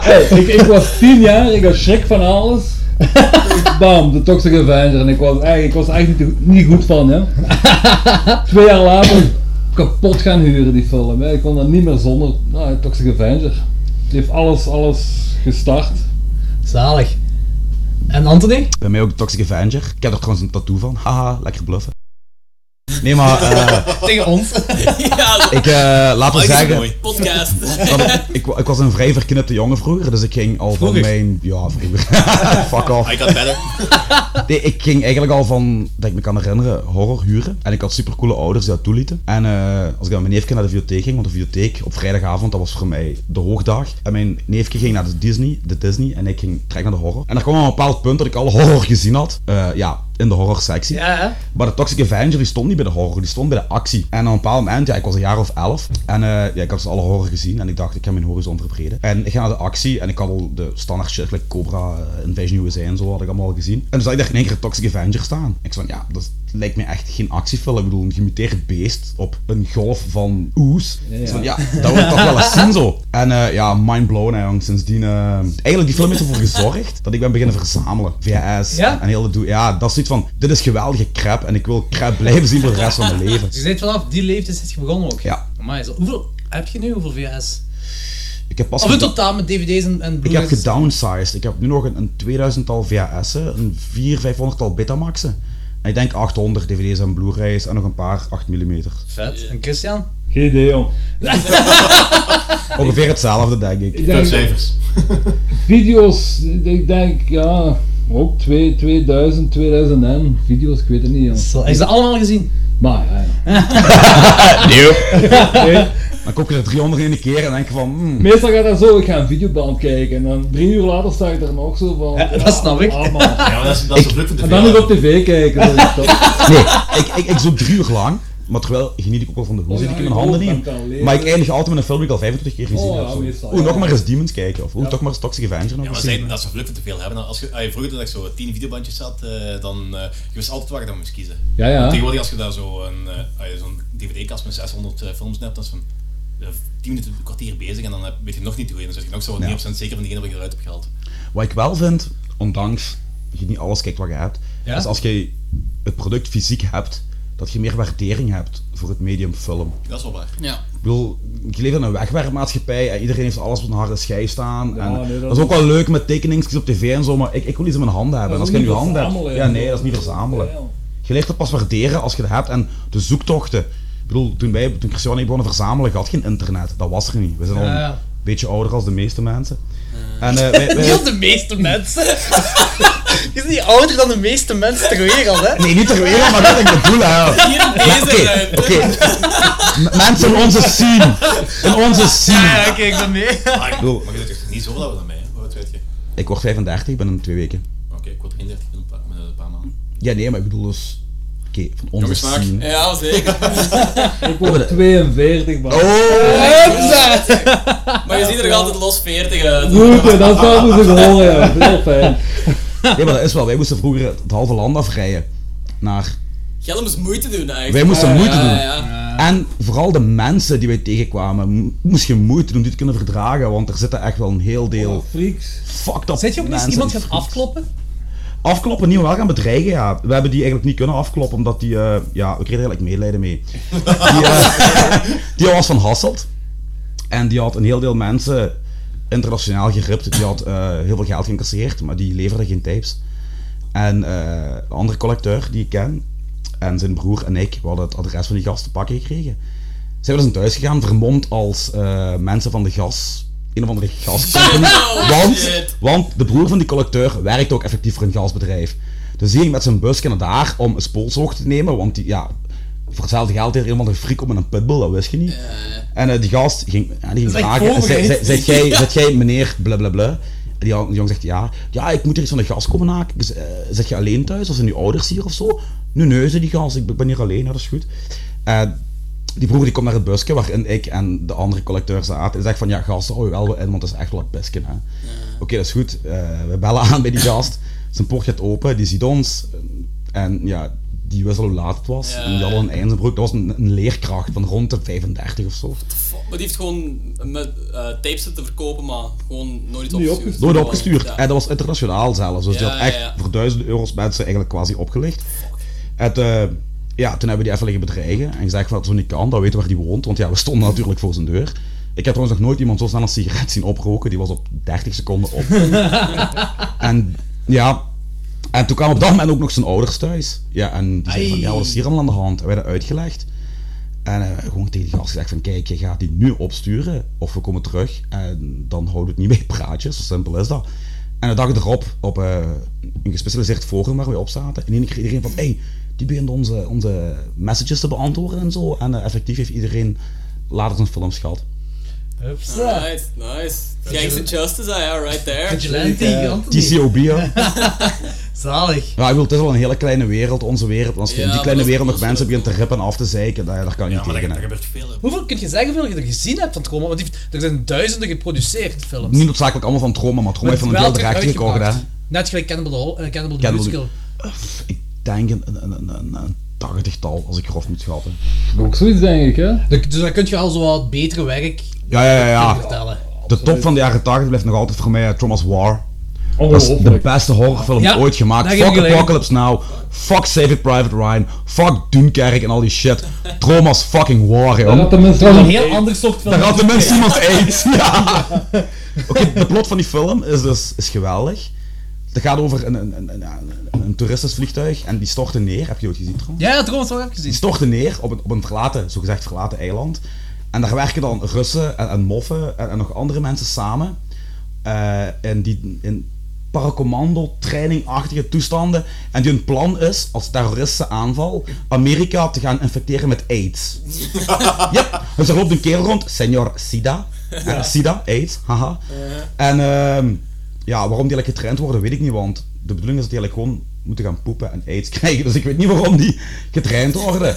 B: Hey, ik, ik was 10 jaar, ik had schrik van alles. Bam, de Toxic Avenger. En ik was, eigenlijk- ik was echt niet, niet goed van hem. Twee jaar later kapot gaan huren die film. Hè. Ik kon dat niet meer zonder nou, Toxic Avenger. Die heeft alles, alles gestart.
D: Zalig. En Anthony?
A: Bij mij ook de Toxic Avenger. Ik heb er trouwens een tattoo van. Haha, lekker bluffen. Nee, maar eh,
D: Tegen ons.
E: *laughs* Ja, dat
A: ik, eh laten we
E: is
A: zeggen,
E: mooi. Podcast.
A: dat ik, ik was een vrij verknipte jongen vroeger, dus ik ging al
D: Vroeger?
A: van mijn... Ja, vroeger. *laughs* Fuck off.
C: I got *laughs* better.
A: Nee, ik ging eigenlijk al van, dat ik me kan herinneren, horror huren. En ik had supercoole ouders die dat toelieten. En eh, als ik met mijn neefje naar de bibliotheek ging, want de bibliotheek op vrijdagavond, dat was voor mij de hoogdag. En mijn neefje ging naar de Disney, de Disney, en ik ging trek naar de horror. En er kwam een bepaald punt dat ik al horror gezien had. Eh, ja, in de horrorsectie.
D: Ja, hè?
A: Maar de Toxic Avenger die stond niet bij de horror, die stond bij de actie. En op een bepaald moment, ja, ik was een jaar of elf. En eh, ja, ik had dus alle horror gezien en ik dacht, ik ga mijn horizon verbreden. En ik ga naar de actie en ik had al de standaard shit, like Cobra, eh, Invasion USA en zo, had ik allemaal al gezien. En dus zag ik daar in één keer Toxic Avenger staan. Ik zei, van, ja, dat lijkt me echt geen actiefilm. Ik bedoel, een gemuteerd beest op een golf van oes. Ja, ja. ja dat wil ik toch wel eens zien zo. En eh, ja, mind blown, hè, jong. Sindsdien, eh, eigenlijk die film heeft ervoor gezorgd dat ik ben beginnen verzamelen. VHS
D: Ja?
A: en heel de doe. Ja, dat is iets van, dit is geweldige crap en ik wil crap blijven zien voor de rest van mijn leven.
D: Dus je bent vanaf die leeftijd zit je begonnen ook.
A: Ja.
D: Amai, zo, hoeveel heb je nu? Hoeveel VS?
A: Ik heb pas...
D: Of in
A: geda-
D: totaal met dvd's en, en
A: Ik heb
D: blu-rays?
A: gedownsized. Ik heb nu nog een, een 2000-tal VHS'en, een 4 500-tal Betamax'en. En ik denk 800 dvd's en blu-rays en nog een paar 8 mm.
D: Vet. En Christian?
B: Geen idee, jong.
A: Ongeveer hetzelfde, denk ik.
B: Ik
C: Veel
B: denk,
C: cijfers.
B: video's, ik denk, ja, ook twee- 2000, 2000 en video's, ik weet het niet, jong.
D: Is dat allemaal gezien?
B: Maar ja, ja.
A: Dan koop je er 300 in een keer en denk je van... hmm,
B: Meestal gaat dat zo, ik ga een videoband kijken en dan drie uur later sta ik er nog zo van.
D: Ja, dat snap ik.
B: ah, man.
C: Ja, maar dat is, dat is de vlucht van de
B: En dan nog
C: veel.
B: op tv kijken. zo is dat.
A: Nee, ik, ik, ik zoek drie uur lang. Maar terwijl geniet ik ook wel van de hoe zit ik in mijn handen neem. Maar ik eindig altijd met een film die ik al 25 keer gezien
B: Oh,
A: heb.
B: ja,
A: zo.
B: meestal,
A: Oeh,
B: ja.
A: nog maar eens Demons kijken. Of oeh, toch maar eens Toxic Avenger nog
C: Ja, maar
A: eens
C: zij,
A: zien.
C: dat is de vlucht van te veel hebben. Als je, als je vroeger dat ik zo tien videobandjes had, eh, dan eh je wist altijd waar je dan moest kiezen.
B: Ja, ja.
C: Tegenwoordig als je daar zo een, eh, als je zo'n dvd-kast met 600 eh, films hebt, dan is van eh, 10 minuten een kwartier bezig en dan eh, weet je nog niet hoe je dan zit je nog zo 9% zeker van diegene wat je eruit hebt gehaald.
A: Wat ik wel vind, ondanks dat je niet alles kijkt wat je hebt,
D: Ja?
A: is als je het product fysiek hebt, dat je meer waardering hebt voor het medium film.
C: Dat is wel waar.
E: Ja.
A: Ik bedoel, je leeft in een wegwerpmaatschappij en iedereen heeft alles op een harde schijf staan. en
B: nee,
A: dat,
B: dat
A: is ook wel leuk met tekeningsjes op tv en zo, maar ik, ik wil iets in mijn handen hebben. En
B: Dat
A: als
B: is
A: je in
B: niet
A: je handen hebt...
B: verzamelen,
A: Ja, nee,
B: hè.
A: dat is niet verzamelen.
B: Ja, ja.
A: Je leert het pas waarderen als je het hebt. En de zoektochten. Ik bedoel, toen, wij, toen Christian en ik begonnen verzamelen, had geen internet. Dat was er niet. We zijn al
D: Ja.
A: een beetje ouder als de meeste mensen. En, eh, wij-
B: *laughs*
A: wij-
D: Heel *laughs* de meeste mensen. *laughs* Je bent niet ouder dan de meeste mensen ter wereld, hè?
A: nee, niet ter wereld, maar dat ik bedoel. Hè.
E: *laughs* Hier in deze ruimte.
A: Oké. M- Mensen in onze scene. In onze scene.
D: Ja, kijk dan mee.
C: Ah, ik-
A: bedoel-
C: maar je bent toch niet zo oud dan mij, hè? Hoe oud werd je?
A: Ik word 35, ik ben in twee weken.
C: Oké, ik word 33 binnen een paar, binnen een paar maanden.
A: Ja, nee, maar ik bedoel dus... Oké, van onze
C: Jonge smaak.
A: scene.
E: Ja, zeker.
B: Ik word 42, man.
A: Oh!
E: Maar je ziet er nog altijd los 40 uit.
B: Goed, hè, dat zou moeten horen, ja. Dat is Heel fijn.
A: Nee, maar dat is wel. Wij moesten vroeger het halve land afrijden. Naar...
E: Gelm moest moeite doen eigenlijk.
A: Wij moesten moeite
E: ja,
A: doen.
E: Ja,
A: En vooral de mensen die wij tegenkwamen, m- moest je moeite doen die het kunnen verdragen, want er zitten echt wel een heel
E: Oh,
A: deel
B: Freaks.
A: fucked up
D: Zet je ook niet
A: mensen
D: eens iemand
A: die
D: gaan afkloppen?
A: Afkloppen, niet maar wel gaan bedreigen, ja. We hebben die eigenlijk niet kunnen afkloppen, omdat die... eh, ja, we kregen er eigenlijk medelijden
E: *laughs*
A: mee. Die, eh, die was van Hasselt. En die had een heel deel mensen internationaal geript. Die had eh, heel veel geld geïncasseerd, maar die leverde geen tapes. En eh, een andere collecteur die ik ken, en zijn broer en ik, we hadden het adres van die gast te pakken gekregen. Zijn we dus naar thuis gegaan, vermomd als eh, mensen van de gas... Een of andere
D: *laughs*
A: gascompany.
D: Oh,
A: want,
E: shit.
A: want de broer van die collecteur werkte ook effectief voor een gasbedrijf. Dus die ging met zijn busje naar daar om een spoelzoog te nemen, want die, ja... Voor hetzelfde geld deed er iemand een friek om met een pitbull, dat wist je niet. En eh, die gast ging, ja, die ging
D: is echt
A: vragen, eh, zei- zei-
D: voorbereid.
A: zet
D: *laughs*
A: jij, zet jij meneer blablabla? En die jong die jong zegt ja, ja, ik moet er iets van de gas komen haken. Dus, eh, zit je alleen thuis of zijn je ouders hier of zo? Nu neuzen die gas, ik ben hier alleen, ja, dat is goed. Eh, En die broer die komt naar het busje waarin ik en de andere collecteur zaten en zegt van ja, gast, hou je wel wat in, want dat is echt wel een pisken. hè. Oké, dat is goed. Eh, we bellen aan bij die gast. Zijn poort gaat open, die ziet ons. En ja, die wist al hoe laat het was.
E: Ja.
A: En die had al een eindbroek. Dat was een, een leerkracht van rond de 35 of zo.
E: Maar die heeft gewoon met eh, tapes zitten verkopen, maar gewoon nooit iets
B: Niet
E: opgestuurd.
B: opgestuurd.
A: Nooit opgestuurd.
E: Ja.
A: En dat was internationaal zelfs. Dus die
E: Ja,
A: had echt
E: ja, ja.
A: voor duizenden euro's mensen eigenlijk quasi opgelicht. Het, eh, ja, toen hebben we die even liggen bedreigen. En gezegd van dat zo niet kan, dat weten waar die woont. Want ja, we stonden natuurlijk voor zijn deur. Ik heb trouwens nog nooit iemand zo snel een sigaret zien oproken. Die was op 30 seconden
E: *laughs*
A: op. en ja, en toen kwamen op dat moment ook nog zijn ouders thuis. Ja, en die zeiden van,
D: Ai.
A: ja, wat is hier allemaal aan de hand? En wij dat uitgelegd. En eh, gewoon tegen die gast gezegd van, kijk, je gaat die nu opsturen, of we komen terug. En dan houden we het niet bij praatjes, zo simpel is dat. En de dag erop, op eh, een gespecialiseerd forum waar we op zaten, en iedereen van, hey, die begint onze, onze messages te beantwoorden en zo. En eh, effectief heeft iedereen later zijn films gehad.
E: Nice, nice. Gangs and Justice, ah ja, right there.
D: Vigilante, Anthony.
A: TCOB, hè?
D: Zalig.
A: Ja, ik bedoel, het is wel een hele kleine wereld, onze wereld. Als je
E: Ja,
A: in die
E: maar
A: kleine
E: dat is
A: wereld nog
E: niet
A: mensen
E: zo.
A: begint te rippen en af te zeiken, daar, daar kan je
C: Ja,
A: niet
C: maar
A: tegen.
C: dat
A: hè.
C: gebeurt veel. hè.
D: Hoeveel kun je zeggen hoeveel je er gezien hebt van Trauma? Want die heeft- er zijn duizenden geproduceerd films.
A: Niet noodzakelijk allemaal van trauma, maar trauma heeft van een deel
D: Welke
A: direct
D: uitgepakt?
A: gekocht, hè.
D: Net gelijk Cannibal, the Hol- eh, Cannibal the
A: Cannibal the-
D: Musical.
A: Pff, Ik denk een, een, een, een, een tachtigtal, als ik grof moet schatten.
B: Ook zoiets, denk ik, hè?
D: Dan- Dus dan kun je al zo wat betere werk
A: Ja, ja, ja, ja.
D: vertellen.
A: De top van de jaren 80 blijft nog altijd voor mij eh, Trauma's War. Dat is de
B: Ongelooflijk.
A: beste horrorfilm
D: Ja,
A: ooit gemaakt.
D: daar geef ik
A: Fuck
D: gelijk.
A: Apocalypse Now. Fuck Save It Private Ryan. Fuck Dunkerque en al die shit. Trauma's fucking war,
B: Dat
A: joh.
B: had tenminste
D: Een
B: wel een...
D: heel ander soort film.
A: Daar had de mensen *laughs* iemand aids. Ja. Oké, de plot van die film is dus is geweldig. Het gaat over een, een, een, een, een, een toeristisch vliegtuig en die stortte neer. Heb je dat gezien trouwens?
D: Ja, ja, trouwens, dat heb ik
A: Die
D: gezien.
A: stortte neer op een, op een verlaten, zogezegd verlaten eiland. En daar werken dan Russen en, en moffen en, en nog andere mensen samen. eh, in die in paracommando trainingachtige toestanden. En die hun plan is, als terroristische aanval, Amerika te gaan infecteren met AIDS. *laughs* Ja, dus er loopt een kerel rond, Senor Sida. Eh, Sida, AIDS, haha. En ehm, ja, waarom die eigenlijk getraind worden, weet ik niet, want de bedoeling is dat die eigenlijk gewoon moeten gaan poepen en AIDS *laughs* krijgen, dus ik weet niet waarom die getraind worden.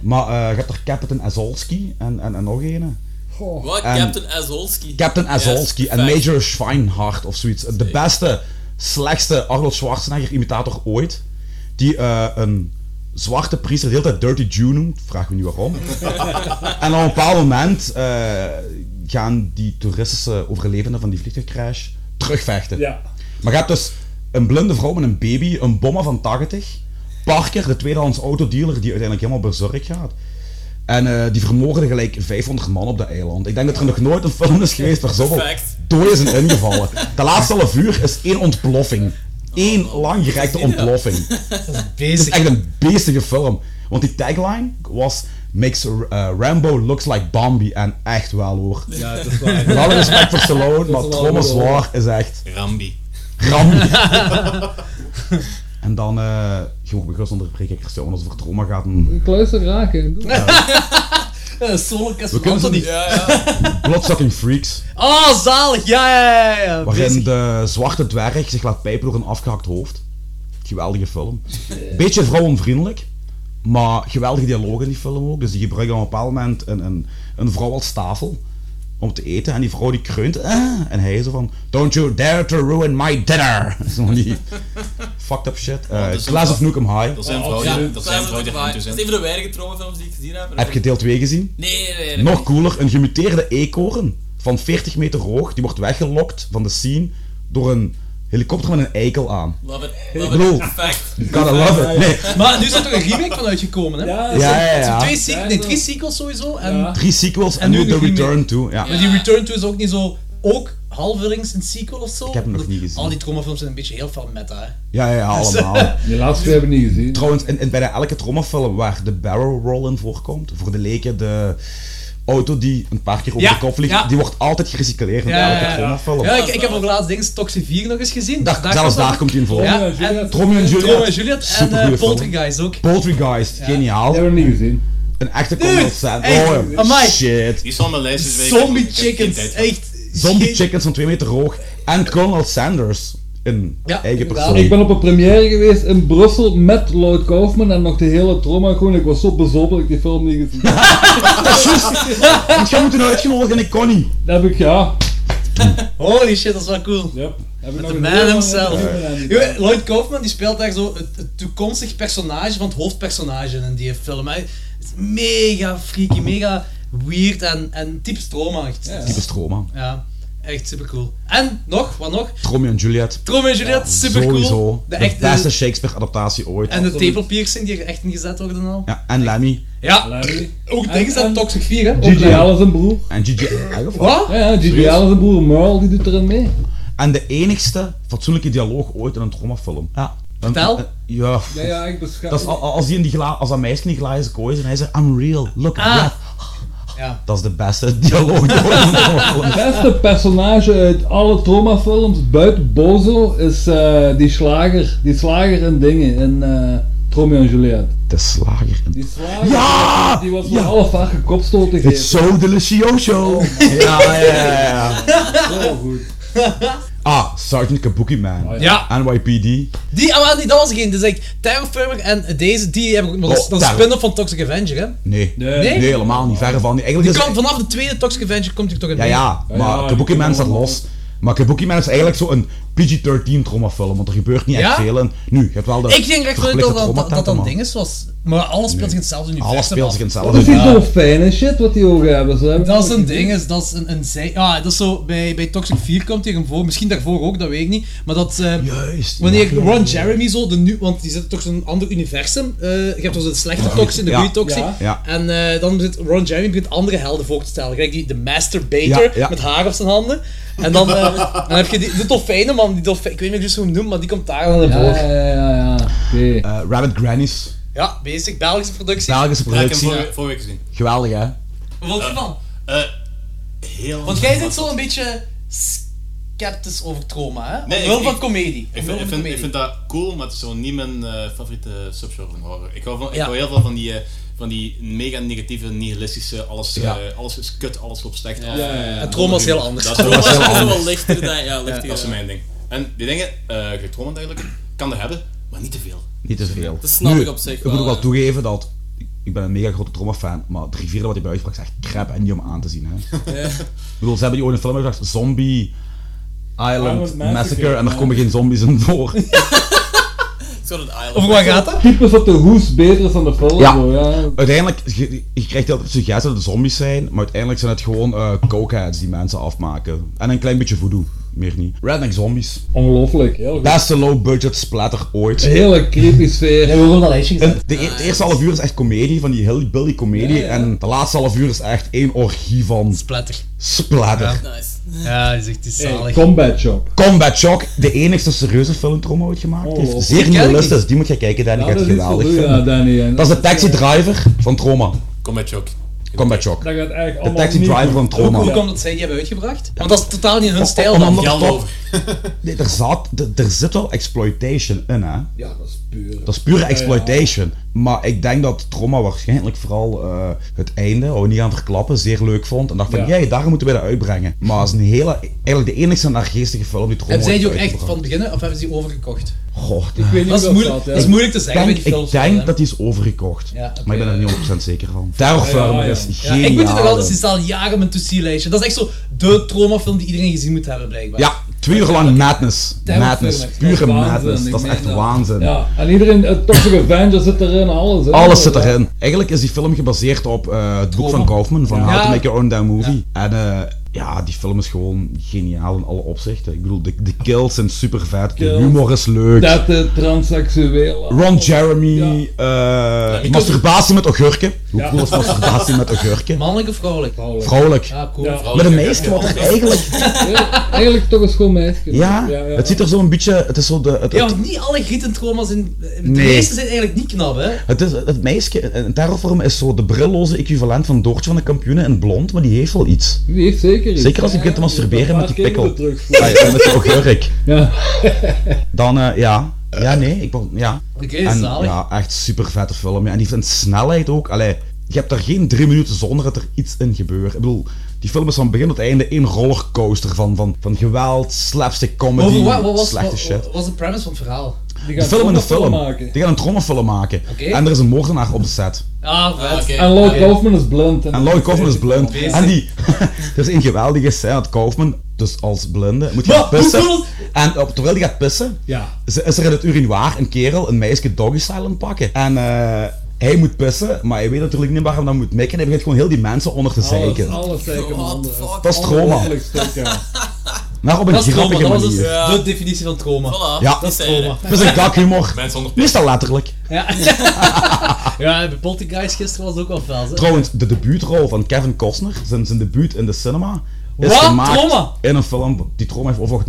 A: Maar eh, je hebt er Captain Azolski en, en, en nog een.
E: Wat?
A: En-
E: Captain Azolski.
A: Captain Azolski
E: Yes,
A: en
E: fact.
A: Major Schweinhardt of zoiets. De beste, slechtste Arnold Schwarzenegger-imitator ooit. Die eh, een zwarte priester de hele tijd Dirty Jew noemt. Vraag me niet waarom. en op een bepaald moment eh, gaan die toeristische overlevenden van die vliegtuigcrash terugvechten.
B: Ja.
A: Maar je hebt dus een blinde vrouw met een baby, een bomma van 80, Parker, de tweedehands autodealer, die uiteindelijk helemaal berserk gaat. En eh, die vermoorden gelijk 500 man op dat eiland. Ik denk dat er nog nooit een
B: *laughs*
A: film is geweest waar zoveel
E: Perfect.
B: Oh,
A: doden zijn ingevallen. De laatste half uur is één ontploffing. één langgerekte ontploffing. Het is
D: Basic.
A: echt een beestige film. Want die tagline was... Makes eh, Rambo looks like Bambi. En echt wel hoor.
B: Ja, dat is waar.
A: Met alle respect voor Stallone, maar
B: wel
A: Trommel
B: wel.
A: Zwaar is echt
C: Rambi.
A: Rambi. en dan... eh, je mag me gerust onderbreken, Christian, want als het over trauma gaat... dan-
B: Ik luister graag. hè.
D: Een eh, solo
A: We kunnen ze niet.
E: Ja, ja.
A: Bloodsucking Freaks.
D: Oh, zalig! Ja, ja, ja, ja.
A: Waarin
D: Basic.
A: de zwarte dwerg zich laat pijpen door een afgehakt hoofd. Geweldige film. Beetje vrouwenvriendelijk, maar geweldige dialogen in die film ook. Dus die gebruiken op een bepaald moment een, een, een vrouw als tafel om te eten. En die vrouw die kreunt. "Ah," en hij is zo van, don't you dare to ruin my dinner. *laughs* Zo van die fucked up shit. Eh,
C: dat is
A: Class
C: een-
A: of Nukem High.
C: Dat zijn
E: Oh, Ja,
C: vrouwen, dat
E: dat
C: zijn
E: is
C: vrouwen die er
E: waar.
C: goed
E: Dat
C: zijn.
E: is een van de weinige traumafilms die ik gezien heb.
A: Heb je deel 2 gezien?
E: Nee, nee, nee.
A: Nog cooler, een gemuteerde eekhoorn van 40 meter hoog. Die wordt weggelokt van de scene door een helikopter met een eikel aan.
E: Love it.
A: Ik
E: Love
A: bedoel-
E: it. Perfect.
A: Gotta love it. Nee,
D: Maar nu is er toch een remake van uitgekomen, hè?
B: Ja,
A: Ja, ja,
D: Er zijn
A: ja.
D: Twee se-
B: Ja,
D: nee,
B: zo.
D: drie sequels sowieso. En
B: Ja.
A: Drie sequels en,
D: En
A: nu
D: nu
A: de
D: nog niet
A: Return to. Ja.
D: Maar die Return to is ook niet zo. Ook halverlings een sequel of zo. Ik
A: heb hem nog niet gezien.
D: Al die traumafilms zijn een beetje heel veel meta. hè.
A: ja, ja, ja,
D: *laughs*
A: allemaal.
B: De laatste twee hebben we niet gezien.
A: Trouwens, in, in bijna elke trommelfilm waar de barrel roll in voorkomt, voor de leken de auto die een paar keer over
D: Ja,
A: de kop vliegt,
D: ja.
A: die wordt altijd gerecycleerd in
D: Ja,
A: elke
D: ja, ja.
A: trommelfilm.
D: Ja, ik, ik heb ook laatst dingen Toxic 4 nog eens gezien. Dus
A: Daar- zelfs daar komt hij in voor.
D: Ja,
B: Romeo en
D: en-
B: Juliet.
A: Romeo en Juliet.
D: Rome en Juliet en
A: Supergoeie film.
D: eh, Poltergeist ook.
A: Poltergeist, geniaal.
B: Die hebben we niet gezien.
A: Een echte
D: Dude,
A: comedy set.
D: echt,
A: Oh,
D: amai.
A: shit.
C: Die staan op mijn lijst dus weet ik- ik
D: Zombie
C: heb geen
D: chickens,
C: tijd voor.
D: echt.
A: Zombie
D: geen-
A: chickens van 2 meter hoog. En Colonel Sanders in
D: Ja,
A: eigen
D: inderdaad.
A: persoon.
B: Ik ben op een première geweest in Brussel met Lloyd Kaufman en nog de hele trauma gewoon. Ik was zo bezopen dat ik die film niet gezien heb.
A: Want jij moet een uitgenodigd en ik kon niet.
B: Dat heb ik, ja.
D: Holy shit, dat is wel cool.
B: Yep. Heb ik nog
D: The
B: een
D: man
B: heel-
D: himself.
B: Ja.
D: Jongen, Lloyd Kaufman die speelt daar zo het, het toekomstig personage van het hoofdpersonage in die film. Hij is mega freaky, mega weird en, en typisch traumaachtig. Ja.
A: Typisch trauma.
D: echt super cool. En nog, wat nog?
A: Romeo en Juliet.
D: Troma en Juliet, super cool.
A: Sowieso.
D: De,
A: De,
D: echte,
A: beste Shakespeare-adaptatie ooit.
D: en de tepelpiercing die er echt in gezet worden al.
A: ja, en Lemmy.
D: Ja,
B: Larry.
D: ook
B: En-
D: dingen
B: en-
D: dat Toxic 4 hè? Ook
B: G.G.
D: daar.
B: Allen zijn broer.
A: En Gigi.
D: *laughs*
A: eigenlijk wel.
D: Wat?
B: Ja, ja, G.G. Allen zijn broer Merle, die doet erin mee.
A: En de enigste fatsoenlijke dialoog ooit in een traumafilm. Ja.
D: Vertel.
A: Een- een- ja.
B: Ja, ja, ik beschouw...
A: Dat is al- al- als, die in die gla- als dat meisje in die glazen kooi is en hij zegt, I'm real, look at
D: Ah.
A: that.
D: Ja.
A: Dat is de beste *laughs* dialoog die ooit in een traumafilm is.
B: beste personage uit alle traumafilms, buiten Bozo, is eh, die slager. Die slager in dingen, in eh Romeo en Juliet.
A: *laughs* De slager. in-
B: Die slager,
A: Ja!
B: die was
A: Ja.
B: maar half haar gekopstoten
A: It's
B: gegeven.
A: so delicioso.
D: Oh,
A: ja, ja, ja, ja.
B: Zo goed.
A: Ah, Sergeant Kabuki Man.
D: Ja,
A: NYPD.
D: die, ah, wel, die, dat was geen. Dus ik, Terror Firmer en deze, die heb ik ook nog.
A: Oh,
D: dat is een
A: Terror.
D: spin-off van Toxic Avenger, hè?
A: Nee.
B: Nee.
A: Nee, helemaal niet. Verre van. Eigenlijk is-
D: Die komt vanaf de tweede Toxic Avenger komt hij toch in
A: Dus- Ja,
D: mee.
A: ja,
B: ja,
A: maar
B: die
A: Kabuki Man
B: kunnen
A: staat
B: allemaal
A: los. Maar Kabuki Man is eigenlijk zo'n PG-13 traumafilm, want er gebeurt niet echt
D: Ja?
A: veel. En nu, je hebt wel de
D: Ik denk echt wel
A: verplichte
D: dat dat, dat, dat dan
A: traumatent,
D: ding is, was. Maar alles speelt zich in hetzelfde
A: maar
D: universum
A: Alles speelt zich in
D: af.
B: Dat is
A: hetzelfde. Ja.
B: die
D: *laughs*
B: dolfijnen shit wat die ogen hebben. Ze hebben
D: Dat is een ding, is, dat is een, een zij... Ja, dat is zo, bij, bij Toxic 4 komt hij hem voor, misschien daarvoor ook, dat weet ik niet. Maar dat... eh,
A: Juist,
D: Wanneer
A: ja, ja,
D: Ron
A: ja.
D: Jeremy zo, de nu, want die zit toch zo'n ander universum. Eh, je hebt dus de slechte Toxic en de
A: Ja.
D: goede Toxic.
B: Ja.
A: Ja.
D: En eh, dan zit Ron Jeremy begint andere helden voor te stellen. Kijk, die, de masturbator
A: Ja, ja.
D: met haar op zijn handen. En dan, eh, dan heb je die, de dolfijnen man, die dolfijn, ik weet niet precies hoe hem noemt, maar die komt daar dan naar
B: Ja,
D: voren.
B: ja, ja, ja, ja. Oké.
A: Eh, Rabbit Grannies,
D: Ja, basic, Belgische productie.
A: Belgische
C: Ja, ik heb
A: productie.
C: hem vorige- vorige week gezien.
A: Geweldig, hè?
D: Wat vond je ervan?
C: Eh, heel...
D: Want jij bent zo een beetje sceptisch over trauma, hè?
C: Nee,
D: Omwille
C: ik-
D: van
C: ik-
D: comedie.
C: Ik
D: Omwille
C: vind, ik,
D: van
C: vind,
D: comedie.
C: ik vind dat cool, maar het is zo niet mijn eh, favoriete subgenre van horror. Ik hou, van, ik
D: Ja.
C: hou heel veel van die, eh, van die mega negatieve, nihilistische, alles, eh,
A: Ja.
C: alles is kut, alles loopt slecht af.
D: En trauma is heel anders.
C: Dat is,
E: Dat
C: wel-
E: was
C: *laughs*
E: wel lichter dan... Ja, lichter.
C: dat is
E: ja.
C: mijn ding. En die dingen, eh getrommeld eigenlijk, kan er hebben, maar niet te veel.
A: Niet te veel.
E: Dat snap
A: Nu,
E: ik op zich
A: Ik moet
E: wel,
A: ook wel
E: hè.
A: toegeven dat... Ik ben een mega grote trauma-fan, maar de rivieren wat hij buitenbracht is echt crap en niet om aan te zien, hè?
D: *laughs*
A: Ik bedoel, ze hebben die ooit een film uitgebracht, Zombie... Island Massacre,
B: Massacre,
A: en er
B: ja.
A: komen geen zombies in
D: *laughs*
A: voor.
E: Zo dat island.
D: Over wat gaat dat?
B: Typisch dat de hoes beter is dan de film.
A: Ja.
B: zo, ja.
A: Uiteindelijk, je, je krijgt altijd suggestie dat het zombies zijn, maar uiteindelijk zijn het gewoon eh cokeheads die mensen afmaken. En een klein beetje voodoo, meer niet. Redneck Zombies.
B: Ongelooflijk. Heel goed.
A: Beste low-budget splatter ooit.
B: Hele creepy sfeer.
D: we hebben dat lijstje
A: En de, e- het eerste half uur is echt comedie, van die hillbilly comedie,
B: Ja, ja.
A: en de laatste half uur is echt één orgie van
D: Splatter.
A: splatter.
E: Nice.
D: Ja, die zegt die zalig.
B: Combat Shop.
A: Combat Shock, de enigste serieuze filmtrom ooit gemaakt
B: Oh,
A: heeft.
B: lol.
A: Zeer
D: die.
A: nihilistisch, die moet je kijken, Danny.
B: Ja,
A: gaat
B: dat
A: het
B: is iets voor
A: geweldig
B: u,
A: vinden.
B: ja, Danny. En
A: Dat is de Taxi Driver van Troma.
C: Kom met Jock.
A: Combat Shock.
B: Dat gaat eigenlijk
A: De
B: allemaal
A: Taxi
B: niet
A: Driver
B: goed.
A: van
D: Hoe, hoe
A: Troma.
D: komt dat zij die hebben uitgebracht? Want dat is totaal niet hun stijl
A: om-
D: dan.
A: om-
C: Geld
A: Top.
C: over.
A: Nee, er, zat, er, er zit wel exploitation in, hè.
B: Ja, dat is puur.
A: Dat is pure exploitation. Maar ik denk dat Troma waarschijnlijk vooral eh, het einde, waar we niet gaan verklappen, zeer leuk vond. En dacht van,
B: Ja.
A: jij, daar moeten we dat uitbrengen. Maar het is een hele, eigenlijk de enigste naargeestige film die Troma
D: Hebben zij die ook
A: heeft
D: echt van
A: uitgebracht.
D: het begin of hebben ze die overgekocht?
A: Goh, ik
B: Ik weet niet
D: Dat is,
B: hoe
D: moeilijk,
B: hè.
D: dat is moeilijk te zeggen
A: denk,
D: bij die films.
A: ik denk
D: hè.
A: dat die is overgekocht.
D: Ja, oké.
A: maar ik ben er niet 100% zeker van. Terrorfilm
B: Ja, ja, ja.
A: is
D: Ja,
A: geniaal.
D: ik moet het nog altijd, die staat al jaren op mijn to-see-lijstje. Dat is echt zo de traumafilm die iedereen gezien moet hebben, blijkbaar.
A: Ja, twee uur lang madness. Madness. Pure
B: Waanzin,
A: madness.
B: ik
A: Dat is
B: meen
A: echt waanzin.
B: Ja, en iedereen, het Toxic Avenger zit erin, alles. hè.
A: Alles zit erin. Eigenlijk is die film gebaseerd op eh, het boek van Kaufman, van How to
D: Ja.
A: Make Your Own Damn Movie. En eh, ja, die film is gewoon geniaal in alle opzichten. Ik bedoel, de, de kills zijn super vet, de
B: Kills.
A: humor is leuk.
B: Dat de transseksueel.
A: Ron Jeremy, eh, masturbatie met augurken. Hoe
B: Ja.
A: cool is masturbatie met augurken?
D: Mannelijk of vrouwelijk?
A: Vrouwelijk.
D: Ja, cool.
B: Ja.
A: Maar de meeste wordt er eigenlijk...
B: Eigenlijk toch een schoon meisje.
A: Ja, het ziet er zo een beetje... Het is zo de... Het,
D: Ja,
A: het-
D: want niet alle griet en trauma's in... De
A: Nee.
D: meeste zijn eigenlijk niet knap, hè?
A: Het, is, het meisje in Terrorvorm is zo de brilloze equivalent van Doortje van de Kampioenen in blond, maar die heeft wel iets.
B: Die heeft zeker iets.
A: Zeker als je begint te masturberen met die pikkel. Ja,
B: Ja.
A: ja, met die augurk.
B: Ja.
A: Dan, eh, ja. Ja, nee, ik wil, ja.
D: Oké,
A: En,
D: zalig.
A: ja, echt super vette film. Ja. En die vindt snelheid ook. Allee, je hebt daar geen drie minuten zonder dat er iets in gebeurt. Ik bedoel, die film is van begin tot einde één rollercoaster van, van, van geweld, slapstick comedy,
D: Over wat, wat was,
A: slechte
D: wat-
A: shit.
D: wat was de premise van het verhaal?
B: Die
A: Een
B: gaat
A: film in een
B: gewoon
A: film.
B: maken.
A: Die gaan een trommelfilm maken.
D: Oké.
A: En er is een moordenaar op de set.
D: Ah, vet.
C: oké.
B: En Lloyd Kaufman is blind.
A: En Lloyd Kaufman is blind.
D: Bezig.
A: En die... *laughs* er is een geweldige scène dat Kaufman, dus als blinde, moet gaan
D: Wat? Hoe
A: pissen.
D: cool
A: En op, terwijl hij gaat pissen,
B: Ja.
A: Ze- is er in het urinoir een kerel een meisje doggy style aan het pakken. En eh, hij moet pissen, maar hij weet natuurlijk niet waar hij dan moet mikken. En hij begint gewoon heel die mensen onder te
B: Alles,
A: zeiken.
B: alles zeker, man.
A: Dat is trauma.
B: Ongelooflijk stuk,
A: *laughs*
B: ja.
A: Maar op een
D: Dat is trauma,
A: grappige
D: dat was
A: manier.
D: dus
E: Ja.
D: de definitie van trauma.
E: Voilà,
A: Ja.
E: die zei je.
A: Het is een gakhumor.
C: Mensen onder pik.
A: Meestal letterlijk.
D: Ja, ja bij Polty Guys gisteren was het ook wel fel, hè?
A: Trouwens, de debuutrol van Kevin Costner, zijn, zijn debuut in de cinema, is
D: Wat?
A: gemaakt
D: Trauma?
A: in een film die trauma heeft overwacht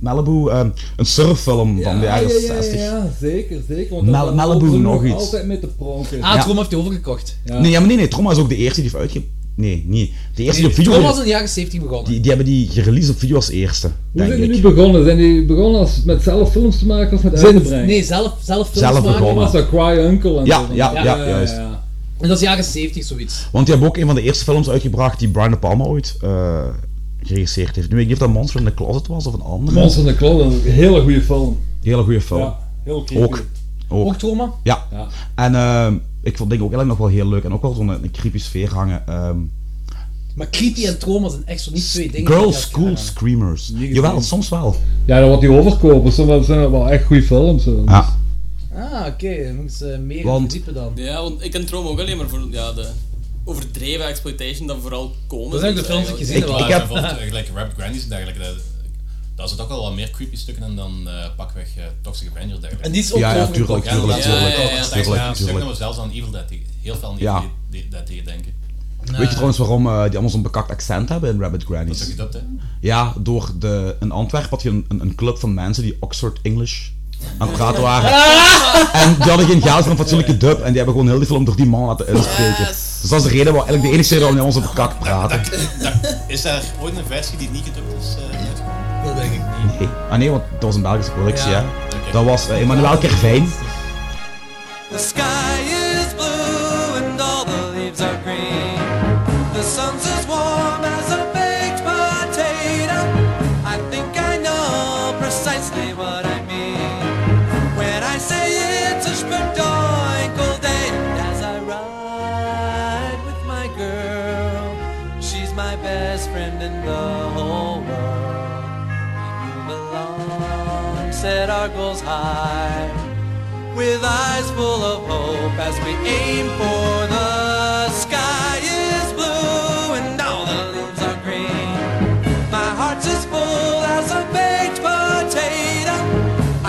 A: Malibu, ehm, een surffilm van de jaren 60.
B: Ja, ja, zeker, zeker. Want
A: Mal-
B: dat was
A: Malibu
B: ook
A: nog iets.
B: Altijd met de pronken.
D: Ah,
A: Ja.
D: trauma heeft hij overgekocht.
B: Ja.
A: Nee, ja, maar nee, nee, trauma is ook de eerste die heeft uitge... Nee, niet. De eerste die op video...
D: Trauma was in de jaren 70 begonnen.
A: Die, die hebben die gereleased op video als eerste,
B: Hoe
A: denk
B: zijn die
A: ik.
B: nu begonnen? Zijn die begonnen als, met zelf films te maken of met uit te brengen?
D: Nee, zelf, zelf films
A: Zelf
D: maken.
A: begonnen.
B: was dat Cry Uncle en
A: Ja,
B: zo.
A: ja, ja, juist.
B: ja.
D: En dat is jaren 70 zoiets.
A: Want die hebben ook een van de eerste films uitgebracht die Brian De Palma ooit eh, geregisseerd heeft. Nu weet ik niet of dat Monster in the Closet was of een andere.
B: Monster in the Closet, een hele goede film.
A: Hele goede film.
B: Ja, heel creepy.
A: ook. Ook.
D: Ook trauma?
A: Ja.
B: Ja.
A: En ehm, ik vond dingen ook eigenlijk nog wel heel leuk en ook wel zo'n een creepy sfeer hangen. ehm,
D: Maar creepy en trauma zijn echt zo niet twee dingen. die
A: Girl
D: elkaar
A: School
D: gaan.
A: Screamers.
B: gezien.
A: Jawel, soms wel.
B: Ja, dan wordt die overkopen. Soms zijn dat wel echt goede films. hoor.
A: Ja.
D: Ah, oké. Dan moet ik ze meer
A: Want-
D: verdiepen dan.
E: Ja, want ik ken Troma ook alleen maar voor ja, de overdreven exploitation dat vooral komen.
D: Dat zijn ook de films die ik gezien
A: Ik-
D: heb.
A: ik
C: Maar
A: heb-
C: bijvoorbeeld, eh, gelijk Rap Grandies en dergelijke, dat- daar zit ook wel wat meer creepy stukken in dan eh, pakweg eh, Toxic Avenger en dergelijke.
D: En die is ook
A: Ja, ja,
D: overgekocht.
A: tuurlijk, tuurlijk,
C: dat
E: Ja, ja, ja,
A: tuurlijk.
E: ja.
C: is
A: tuurlijk,
C: echt
A: tuurlijk.
C: stukken dat we nou zelfs aan Evil Dead tegen- heel veel aan Evil
A: Ja.
C: Dead- Dead Dead tegen denken.
A: Weet je trouwens waarom eh, die allemaal zo'n bekakt accent hebben in Rabbit
C: Dat is ook
A: Grannies?
C: gedubt, hè?
A: Ja, door de, in Antwerpen had je een, een, een club van mensen die Oxford English aan het praten
D: *laughs*
A: waren. En die hadden geen geld voor een fatsoenlijke dub en die hebben gewoon heel die film door die man laten inspreken.
E: Yes.
A: Dus dat is de reden waar eigenlijk de enige reden waarom we onze bekak praten.
C: Is daar ooit een versie die niet gedubt is eh, uitgekomen?
D: Dat denk ik niet.
A: Nee. Ah nee, want dat was een Belgische productie,
D: Ja.
A: hè. Dat was eh, Emmanuel Kervijn.
H: The sky is blue and all the leaves are green. The sun's as warm as a baked potato. I think I know precisely what I mean. When I say it's a spredoinkle day, and as I ride with my girl, she's my best friend in the whole world. We move along, set our goals high with eyes full of hope as we aim for the sky is blue and all the leaves are green. My heart's as full as a baked potato.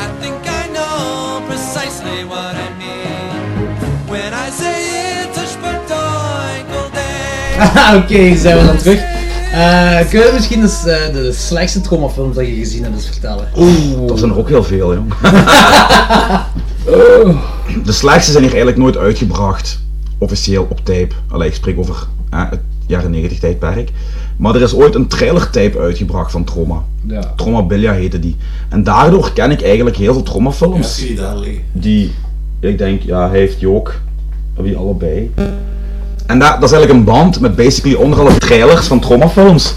H: I think I know precisely what I mean when I say it's a sparkle day.
D: *laughs* Oké, zijn we dan terug. Eh, kun je misschien eens, eh, de slechtste traumafilms dat je gezien hebt eens vertellen?
A: Dat zijn er ook heel veel, jong. *laughs* De slechtste zijn hier eigenlijk nooit uitgebracht, officieel op tape. Allee, ik spreek over eh, het jaren 90 tijdperk. Maar er is ooit een trailer-tape uitgebracht van Trauma.
B: Ja.
A: Trauma Bilia heette die. En daardoor ken ik eigenlijk heel veel Trauma-films.
I: zie je daar liggen.
A: die, ik denk, ja, hij heeft Jook, wie allebei. En dat, dat is eigenlijk een band met basically onder alle trailers van traumafilms.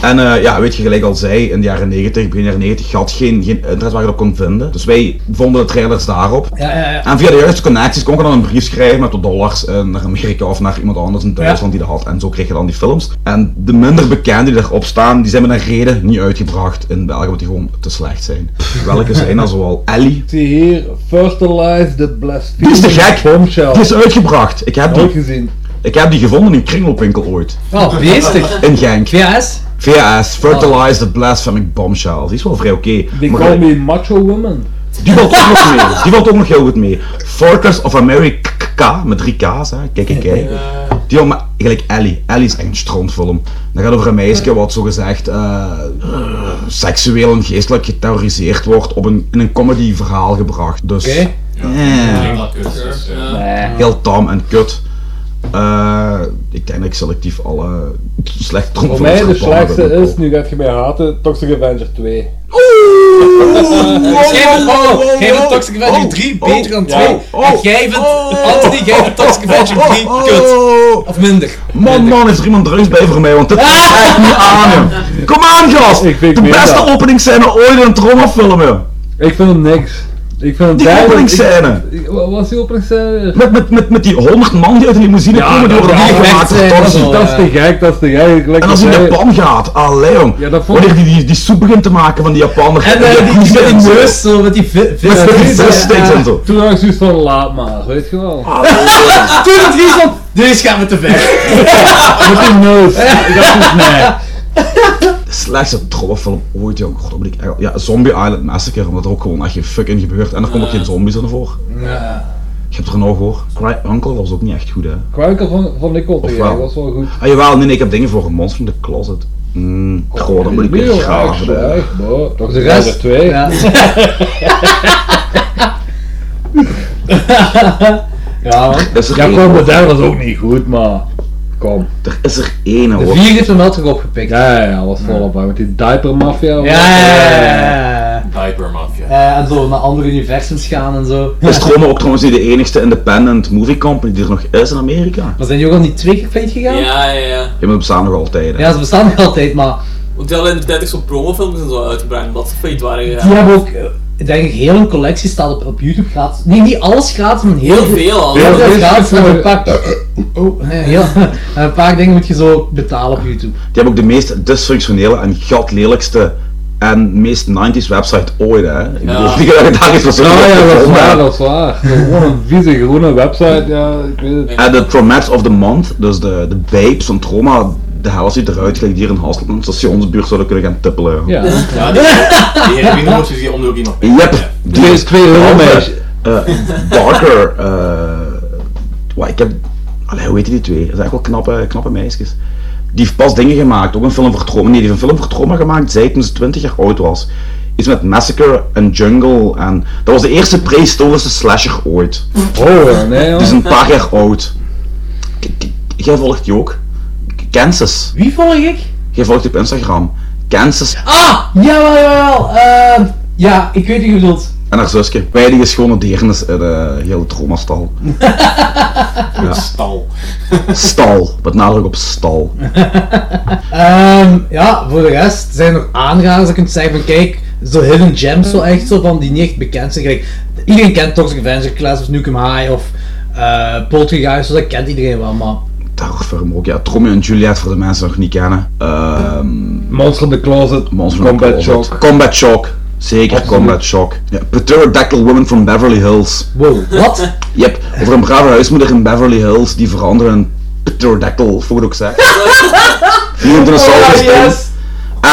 A: En eh, ja, weet je, gelijk al zei, in de jaren 90, begin jaren 90, je had geen, geen internet waar je dat kon vinden. Dus wij vonden de trailers daarop.
D: Ja, ja, ja.
A: En via de juiste connecties kon je dan een brief schrijven met de dollars eh, naar Amerika of naar iemand anders in Duitsland die dat had. En zo kreeg je dan die films. En de minder bekende die daarop staan, die zijn met een reden niet uitgebracht in België, omdat die gewoon te slecht zijn. Pff, welke zijn dat zoal? Ellie,
B: Ik zie hier Fertilize
A: die is
B: the
A: te
B: Blasphemous
A: gek!
B: Bombshell.
A: Die is uitgebracht. Ik heb,
B: Nooit
A: die,
B: gezien.
A: ik heb die gevonden in een kringloopwinkel ooit.
D: Oh, beestig.
A: In Genk.
D: VHS?
A: VS, Fertilize the Blasphemic Bombshell. Die is wel vrij oké.
B: They
A: maar
B: call me Macho Woman.
A: Die valt ook *laughs* nog mee. Die valt ook nog heel goed mee. Fortress of America, met drie K's, hè. Kijk, kijk, kijk. Die jongen, maar gelijk Ellie. Ellie is echt een strontfilm. Dat gaat over een meisje wat zogezegd eh seksueel en geestelijk geterroriseerd wordt op een, in een comedy verhaal gebracht. Dus...
D: Oké.
A: eh.
C: dat kut, dus, eh,
A: heel tam en kut. Eh, ik denk dat ik selectief alle slechte trompen
B: Voor mij de slechtste is, nu gaat je mij haten, Toxic Avenger 2.
D: Jij vindt- jij vindt Toxic Avenger 3 beter dan 2. En jij vindt, Anthony, jij vindt Toxic Avenger 3 kut. Of minder.
A: Man, man, is er iemand drugs bij voor mij, want dit is echt niet aan hem. Kom aan, gast!
B: Ik vind
A: de
B: meer
A: beste
B: dat.
A: openingsscène ooit in een traumafilm, joh.
B: Ik vind hem niks. Ik vind hem
A: Die
B: duidelijk-
A: openingsscène.
B: ik- ik- Wat was die openingsscène?
A: Met, met, met, met die honderd man die uit de limousine komen, die worden
B: dat-
A: niet
B: dat-
A: gemaakt
D: dat-
A: door
B: Dat is,
A: torsen.
B: dat is te gek, dat is te gek. Lekker
A: En als hij
B: zei-
A: naar Japan gaat, allee jong.
B: Ja, dat vond ik-
A: Wanneer die, die, die soep begint te maken van die Japaner.
D: En eh, die, die met die neus, zo, met die vi- vis.
A: Met die zessteeks en zo.
B: Toen had ik zoiets van, laat maar, weet je wel.
A: Ah, *laughs*
D: Toen het hier stond, deze gaan we te ver.
B: Met die neus. Ik dacht zoiets, nee.
A: slechtste trommelfilm ooit, jong. God, dat moet ik echt... Ja, Zombie Island Massacre, omdat er ook gewoon echt geen fuck in gebeurt. En er komen ook geen zombies in voor. Ik heb er nog hoor. Cry Uncle was ook niet echt goed, hè.
B: Kruiker vond, vond ik ook te
A: Of
B: gek,
A: wel?
B: dat was wel goed.
A: Ah, jawel, nee, nee, ik heb dingen voor. Monster in the Closet. Mm, goh, dan moet ik weer
B: Heel erg
A: graven. hè.
B: slecht, maar Toch de
D: rest?
B: rest? twee.
D: Ja.
B: *laughs* Ja,
A: Is er
B: ja
A: één?
B: kom, de derde was ook niet goed, maar... Kom.
A: Er is er één,
D: De
A: hoor.
D: vier heeft hem wel terug opgepikt.
B: Ja, ja, ja, was volop aan. Met die diaper mafia. was-
D: *laughs* Ja, ja, ja, ja.
I: Diaper Mafia.
D: Eh, en zo naar andere universums gaan en zo.
A: Is Troma ook trouwens niet de enigste independent movie company die er nog is in Amerika?
D: Maar zijn die ook al niet twee keer failliet gegaan? Ja.
E: Ja, ja, ja.
A: Ja, maar dat bestaan nog altijd, hè.
D: ze bestaan nog altijd, maar
E: Want die hadden in de tijd ook zo'n promofilms en zo uitgebracht, omdat ze failliet waren gegaan.
D: die hebben ook, eh, ik denk ik, heel hun collectie staat op, op YouTube gratis. Nee, niet alles gratis, maar heel
E: Heel
D: veel.
E: veel al.
D: Heel
B: Ja,
D: veel
B: dat is
D: gratis.
B: goed
D: En
B: voor-
D: een paar, oh, nee, *laughs* heel, een paar dingen moet je zo betalen op YouTube.
A: Die hebben ook de meest dysfunctionele en gatlelijkste en meest 90s website ooit, hè. Ik bedoel, *laughs* die dat je daar is
B: Ja, ja, dat is waar, dat is waar. Gewoon een vieze groene website, ja, ik weet het.
A: En eh, de Traumats of the Month, dus de, de babes van trauma, de helft ziet eruit gelijk die hier in Hasselt in de stationsbuurt zouden kunnen gaan tippelen.
B: Ja.
I: Ja, die
C: *laughs*
I: Herwin
C: dus
I: moet je die om de hoek in op.
A: Yep, die is
B: twee euro, meisje.
A: Eh, Barker, eh wat, ik heb, allee, hoe heet die twee? Dat zijn echt wel knappe, knappe meisjes. Die heeft pas dingen gemaakt, ook een film voor trauma. Nee, die heeft een film voor trauma gemaakt, zij toen ze 20 jaar oud was. Iets met Massacre en Jungle en... Dat was de eerste prehistorische slasher ooit.
B: Oh, ja, nee,
A: Die is
B: joh.
A: een paar jaar oud. K- k- Jij volgt die ook? K- Kansas.
D: Wie volg ik?
A: Jij volgt die op Instagram. Kansas
D: Ah! Jawel, jawel! eh, ja, ik weet wie je bedoelt.
A: en haar zusje. Beide geschone deren is in de hele traumastal.
I: Stal.
A: Stal, met nadruk op stal.
D: Ehm, ja, voor de rest zijn er aanraders. Je kunt zeggen van kijk, zo hidden gems, zo echt zo van die niet echt bekend zijn. Kijk, iedereen kent Toxic Avenger, Class of Nukem High of eh Poltergeist, dus dat kent iedereen wel, maar...
A: terrorfilm ook. Ja, Tromeo en Juliet voor de mensen die nog niet kennen. Ehm
B: Monster in the Closet,
A: Monster in the
B: Combat
A: Closet.
B: Shock.
A: Combat Shock. Zeker Combat Shock. Ja, Pterodactyl Woman from Beverly Hills.
D: Wow, wat?
A: Yep, over een brave huismoeder in Beverly Hills die veranderen in Pterodactyl, voor het ook zegt. Die noemt een assault
D: yes.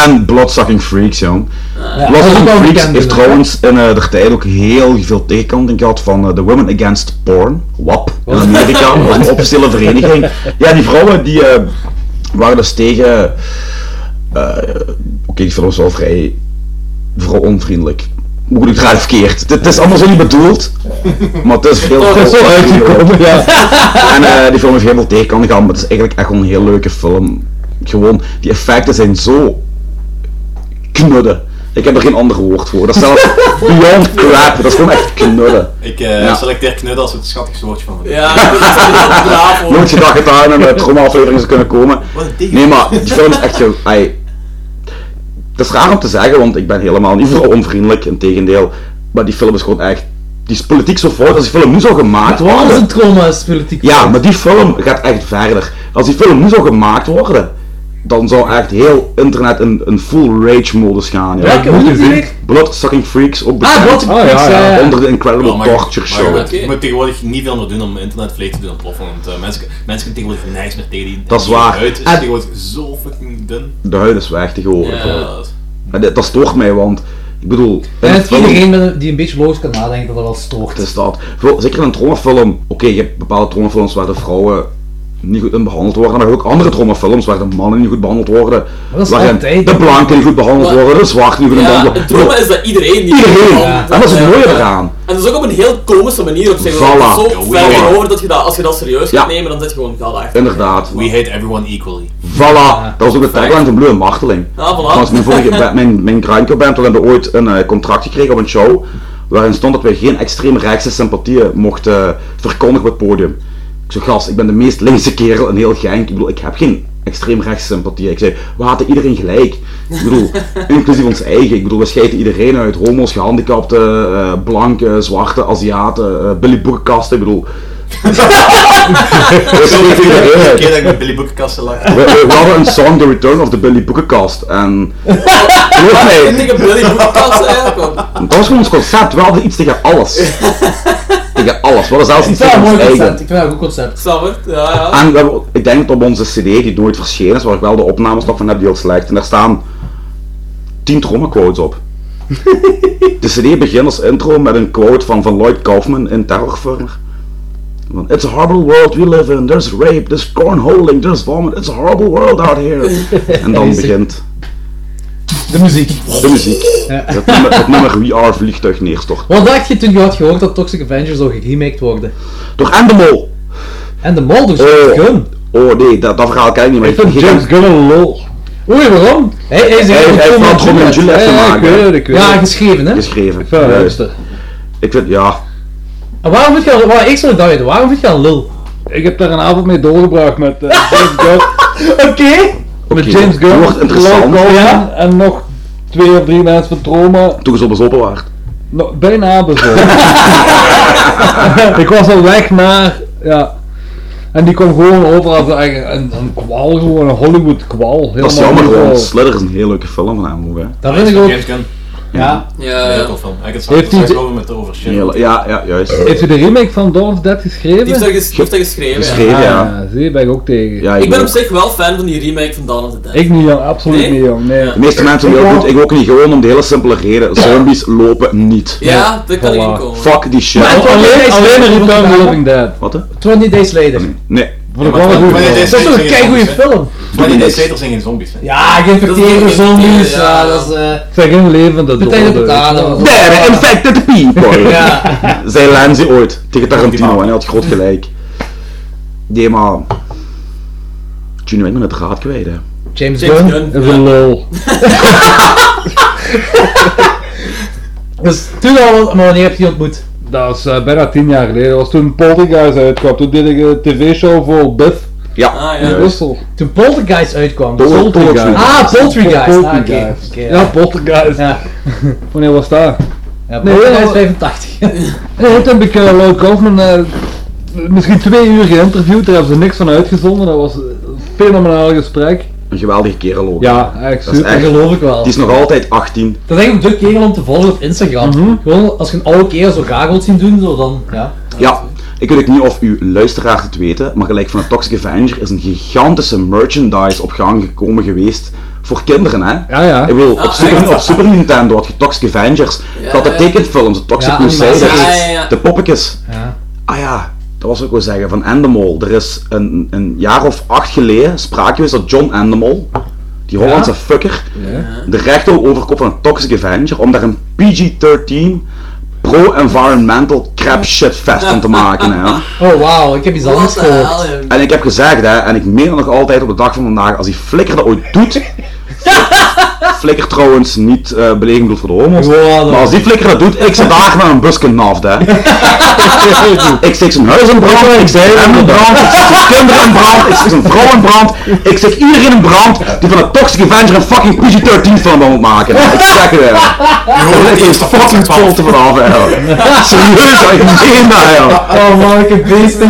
A: En Bloodsucking Freaks, jong.
D: dat is
A: Bloodsucking
D: wel
A: Freaks
D: bekend,
A: heeft
D: inderdaad.
A: trouwens in eh de tijd ook heel veel tegenkanting gehad van eh, The Women
D: *laughs*
A: Against Porn, WAP, in Amerika, dat was een officiële vereniging. Ja, die vrouwen die eh, waren dus tegen. eh, Oké, die film is wel vrij. vooral onvriendelijk. Hoe ik het raad verkeerd. Het- Het is allemaal zo niet bedoeld, maar het is veel.
J: Oh, dat is wel uitgekomen, ja.
A: En eh, die film heeft heel veel tegen kan gaan, maar het is eigenlijk echt wel een heel leuke film. Gewoon, die effecten zijn zo knudden. Ik heb er geen ander woord voor. Dat
J: *laughs*
A: is zelfs beyond crap. Dat is gewoon echt knudden.
C: Ik eh,
A: Ja.
C: selecteer knuddel als het schattigste woordje van de
E: Ja,
A: Nooit gedacht dat daar een eh,
D: *laughs*
A: trauma-aflevering zou kunnen komen.
C: Wat een ding.
A: Nee, maar die film is echt zo... ai. Het is raar om te zeggen, want ik ben helemaal niet vooral onvriendelijk, integendeel. Maar die film is gewoon echt... Die is politiek zo fout. Als die film nu zou gemaakt worden...
D: Alles een trauma is politiek.
A: Ja, maar die film gaat echt verder. Als die film nu zou gemaakt worden, dan zou echt heel internet in een full rage modus gaan. Ja.
D: Welke? Hoe heet die weer?
A: Bloodsucking Freaks, ook
D: Ah,
A: bekend
D: Bloodsucking Freaks, Ah, ja, ja, ja.
A: onder de Incredible
C: Oh, maar,
A: Torture
C: maar je
A: Show.
C: moet- je moet tegenwoordig niet veel meer doen om internet vlees te doen ontploffen, want eh, mensen, mensen kunnen tegenwoordig niks meer tegen die
A: Dat is
C: die
A: waar.
C: huid is
A: En-
C: tegenwoordig zo fucking dun. Eh,
A: De huid is weg tegenwoordig.
C: Ja.
A: hoor. Maar dit- dat stoort mij, want ik bedoel... in
D: En
A: een
D: het
A: film-
D: iedereen met- die een beetje logisch kan nadenken dat dat wel stoort.
A: Het is dat. Voor- Zeker in een traumafilm. Oké, je hebt bepaalde traumafilms waar de vrouwen niet goed in behandeld worden. Maar je hebt ook andere traumafilms waar de mannen niet goed behandeld worden.
D: Maar dat is
A: waarin
D: altijd-
A: de blanken niet goed behandeld
E: Maar-
A: worden, de zwarten niet goed
E: Ja,
A: behandeld
E: het trauma is dat iedereen die
A: Iedereen.
E: Ja.
A: En dat is het mooie eraan.
E: En dat is ook op een heel komische manier op zich.
A: Voilà.
E: want het is
A: Ja,
E: Zo ver
A: voilà.
E: van over dat je dat, als je dat serieus
A: Ja.
E: gaat nemen, dan zit je gewoon gal achter.
A: Inderdaad.
C: We hate everyone equally.
A: Voilà, dat was ook de tagline van Blue Marteling.
E: Ja, voilà.
A: Als mijn, vorige, bij- mijn, mijn grindclub-band, toen hebben we ooit een eh, contract gekregen op een show, waarin stond dat wij geen extreem rechtse sympathieën mochten eh, verkondigen op het podium. Ik zei, gast, ik ben de meest linkse kerel in heel Genk. Ik bedoel, ik heb geen extreem rechtse sympathieën. Ik zei, we haten iedereen gelijk. Ik
E: *laughs*
A: bedoel, inclusief ons eigen. Ik bedoel, we scheiden iedereen uit. Homo's, gehandicapten, eh, blanken, zwarte, Aziaten, eh Billy Boekenkasten. Ik
E: *laughs*
A: bedoel... *laughs* we scheiden iedereen
C: Elke
A: uit.
C: keer dat ik met Billy Boekenkasten lag.
A: We, we-
D: *laughs*
A: we hadden een song, The Return of the Billy Boekenkast. En.
E: *laughs*
A: Geloof
E: Ik
A: mij,
E: denk dat Billy Boekenkast eigenlijk want
A: dat was gewoon ons concept. We hadden iets tegen
E: *laughs*
A: alles. tegen alles. We hadden zelfs
D: Ik
A: iets
D: vind dat
A: tegen ons
D: een mooi concept.
A: eigen.
D: Ik vind dat een goed concept.
E: Sabbert, ja, ja.
A: En we hebben, ik denk dat op onze CD, die nooit verschenen is, waar ik wel de opnames nog van heb, die heel slecht. En daar staan 10 trommelquotes op. de CD begint als intro met een quote van, van Lloyd Kaufman in Terrorfurner. Van, It's a horrible world we live in. There's rape, there's cornholing, there's vomit. It's a horrible world out here. en dan begint.
D: De muziek.
A: De muziek. Het, nummer, het nummer We Are Vliegtuig neerstort.
D: Wat dacht je toen je had gehoord dat Toxic Avenger zou geremaked worden?
A: Door Endemol.
D: En de mol dus
A: Oh.
D: Gun.
A: Oh nee, dat, dat verhaal ken ik niet meer.
B: Ik vind James Gunn een lol.
D: Oei, waarom? Hij hij is
A: Hij-
D: heel
A: hij heeft wel Romeo en Juliet
B: Ja, ja, ik
A: gemaakt.
B: weet
A: hè.
B: het, ik weet
D: Ja,
B: het.
D: geschreven hè?
A: Geschreven.
B: Ik vind het
A: Juist.
B: leukste.
A: Ik vind, ja.
D: En waarom vind je al, waar, ik zou het dat weten, waarom vind je al lul?
B: Ik heb daar een avond mee doorgebracht met
D: *laughs*
B: eh, James Gunn.
D: Oké.
B: Met
A: Oké,
B: James
A: dat
B: Gunn,
A: wordt interessant.
B: Lloyd Kaufman
D: Ja.
B: en nog twee of drie mensen van Troma.
A: Toen is op bezopen waard.
B: Nou, bijna
D: *laughs*
B: bezorgd. ik was al weg naar, ja. En die kwam gewoon over als een, een, een kwal, gewoon een Hollywood kwal.
A: Dat is jammer
B: Helemaal niet zo-
A: gewoon. Slither is een heel leuke film van hem ook, hè.
D: Dat vind ik ook.
C: James Gunn.
D: Ja.
E: Ja,
C: Heel
E: ja.
C: cool film. Ik had het
B: Heeft hij
C: straks
B: de-
C: over met over
A: Een
C: shit.
A: hele- ja, ja, juist.
B: Heeft hij de remake van Dawn of Dead geschreven?
E: Die heeft dat, ges- die heeft dat geschreven. ja.
A: Geschreven,
B: ah,
A: ja.
B: zie je, ben ik ook tegen.
A: ja ik
E: Ik ben op
A: ook.
E: zich wel fan van die remake van Dawn of the Dead.
B: Ik niet jong, absoluut
E: Nee?
B: niet jong, nee.
E: Ja.
A: De meeste mensen
B: Ik
A: willen
B: wel.
A: goed, ik ook niet. Gewoon om de hele simpele reden. Zombies lopen niet.
E: ja, daar kan ik in
B: Voilà.
E: komen.
A: Fuck die shit.
D: Maar-
B: Alleen, alleen een Return of the Living Dead.
A: Wat hè?
D: 20 Days Later.
A: Nee.
B: Voor de
C: maar
B: kwal
C: het-
B: goed.
C: maar het is-
D: Dat is toch een
C: Geen
D: keigoeie
C: zombies, hè?
D: film?
C: Maar die
A: niks.
C: Dead zijn geen zombies. hè.
D: Ja, geïnfecteerde
E: Dat is-
D: zombies.
E: ja.
D: Ja, dat is... eh,
B: Het zijn geen levende
D: De tijd op de
B: doden.
D: adem.
A: There, infected
B: *laughs*
A: people!
D: Ja.
A: Zei Lanzi ooit tegen Tarantino en hij had groot gelijk. Nee, maar. Junior, ik ben het raad kwijt, hè.
D: James
E: James
D: Gunn.
E: Gunn.
B: Dat is een
E: ja.
B: lol.
D: Dus toen al, maar wanneer heb je die ontmoet?
B: Dat is eh, bijna tien jaar geleden. Dat was toen Poltergeist uitkwam. Toen deed ik een tv-show voor Biff
A: Ja.
E: Ah,
B: in
E: ja.
B: Brussel.
D: Toen Poltergeist uitkwam.
A: Pol- Poltergeist.
D: Ah, Poltergeist. Ah, oké.
B: Poltergeist.
D: oké,
B: Ja,
D: ja.
B: Poltergeist.
D: Ja,
B: Wanneer was dat?
D: ja
B: Nee,
D: Poltergeist
B: maar-
D: *laughs* 85.
B: Hey, toen heb ik eh, Lloyd Kaufman eh, misschien twee uur geïnterviewd. Daar hebben ze niks van uitgezonden. Dat was een fenomenaal gesprek.
A: Een geweldige kerel ook.
B: Ja, echt
A: Dat is
B: super.
D: Dat
A: echt-
D: geloof ik wel.
A: Die is nog altijd 18.
D: Dat is echt een de kerel om te volgen op Instagram.
A: Mhm.
D: Gewoon als je een oude kerel zo graag wilt zien doen, zo dan. Ja.
A: Ja. Ik weet ook niet of uw luisteraars het weten, maar gelijk van de Toxic Avenger is een gigantische merchandise op gang gekomen geweest voor kinderen, hè?
B: Ja, ja.
A: Ik bedoel, op,
E: Ah,
A: Super,
E: echt?
A: op Super Nintendo had je Toxic Avengers, je had de
E: ja.
A: tekenfilms, de Toxic
D: Ja,
A: Crusaders,
E: animaties. Ja, ja, ja.
A: de poppetjes.
D: Ja.
A: Ah ja, dat was ook wel zeggen, van Endemol. Er is een, een jaar of acht geleden sprake geweest dat John Endemol, die Hollandse fucker, de rechter overkop van een Toxic Avenger om daar een PG-13 pro-environmental crap shit fest van te maken.
E: *laughs*
A: Hè.
D: Oh wauw, ik heb iets anders gehoord.
A: En ik heb gezegd, hè, en ik meen het nog altijd op de dag van vandaag, als die flikker dat ooit *laughs* doet. flikker trouwens niet eh belegen bedoeld voor de homo's. maar als die flikker dat doet, ik zit daar met een bus naft, *laughs* hè. ik steek zijn huis in brand, ik steek hem in brand, ik steek zijn kinderen in brand, ik steek zijn vrouw in brand, ik steek iedereen in brand die van een Toxic Avenger een fucking PG-13 film wil maken. hè. Ik zeg het, *laughs* hè.
C: Joh,
A: Ik
C: die
A: is
C: is
A: de
C: toch
A: fucking kolte vanaf, *laughs* hè. Serieus, hè, ik meen dat, hè.
D: Oh man, ik heb beesten.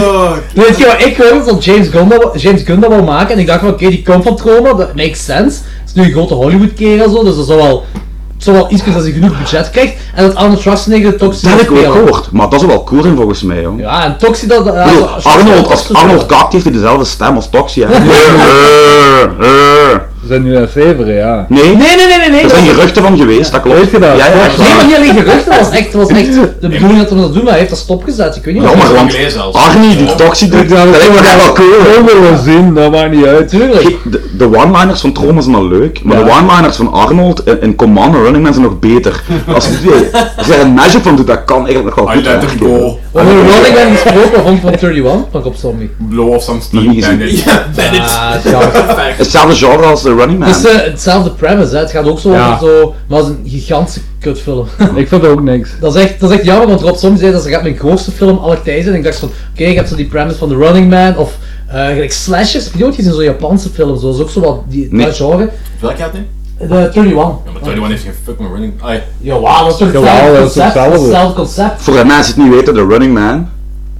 D: Weet je wat, ik hoorde dat James Gunn dat, James Gunn dat wil maken en ik dacht van oké, die komt van trauma, dat makes sense. Het is nu een grote Hollywood kerel zo, dus dat zal wel, het zal wel iets kunnen dat hij genoeg budget krijgt. En dat Arnold Schwarzenegger de Toxie
A: Dat heb
D: wil
A: ik ook
D: spelen.
A: gehoord, maar dat is wel cool zijn volgens mij, joh.
D: Ja, en Toxie dat...
A: Ik bedoel, Arnold, als Arnold kakt, heeft hij dezelfde stem als Toxie. hè. Eh, eh.
B: Ze zijn nu aan het zeveren, ja.
A: Nee,
D: Nee, nee, nee, nee, nee.
A: Er zijn geruchten van geweest, dat klopt.
B: Weet je dat?
A: Ja, ja, echt
D: Nee, maar
A: waar.
D: niet alleen geruchten, dat was echt, dat was echt de
A: *laughs*
D: bedoeling dat hij dat doen, maar hij heeft dat stopgezet, ik weet niet
A: Jammer,
C: Dat heb ik
A: want
C: gelezen zelfs.
A: Arnie die Toxie doet, dat lijkt me echt wel cool.
B: Dat willen we zien, dat maakt niet uit.
A: Ge- De, de one-liners van Troma zijn al leuk, maar
B: Ja.
A: de one-liners van Arnold in, in Command en Running Man zijn nog beter. Als je
D: *laughs*
A: als je er een mashup van doet, dat kan eigenlijk nog wel
C: I
A: goed.
C: let her
A: hè.
C: go.
D: Over Rolling Man gesproken, vond ik van 31, van Rob Zombie.
C: Blow off some steam.
A: Niet gezien.
C: bandit.
D: Ah, het gaat-
A: Hetzelfde genre als de Running Man.
D: Het is eh, hetzelfde premise, hè. het gaat ook zo
B: Ja.
D: over zo, maar het is een gigantische kutfilm.
B: Ik vind ook niks.
D: dat, is echt, dat is echt jammer, want Rob Zombie zei dat ze gaat mijn grootste film aller tijden zijn. En ik dacht van, oké, ik heb zo die premise van The Running Man, of eh, gelijk slashers, heb je ooit gezien zo'n Japanse film, zo, is ook zo wat, die,
A: Nee.
D: dat genre. Eh,
C: Welke had hij?
D: De 31.
C: Ja, maar 21 heeft geen fuck meer running. Ah, ja.
D: Ja, wauw, dat is toch
B: Jawel,
D: hetzelfde
B: dat is
D: concept, dat is
B: hetzelfde.
D: hetzelfde concept.
A: Voor de mensen die het niet weten, The Running Man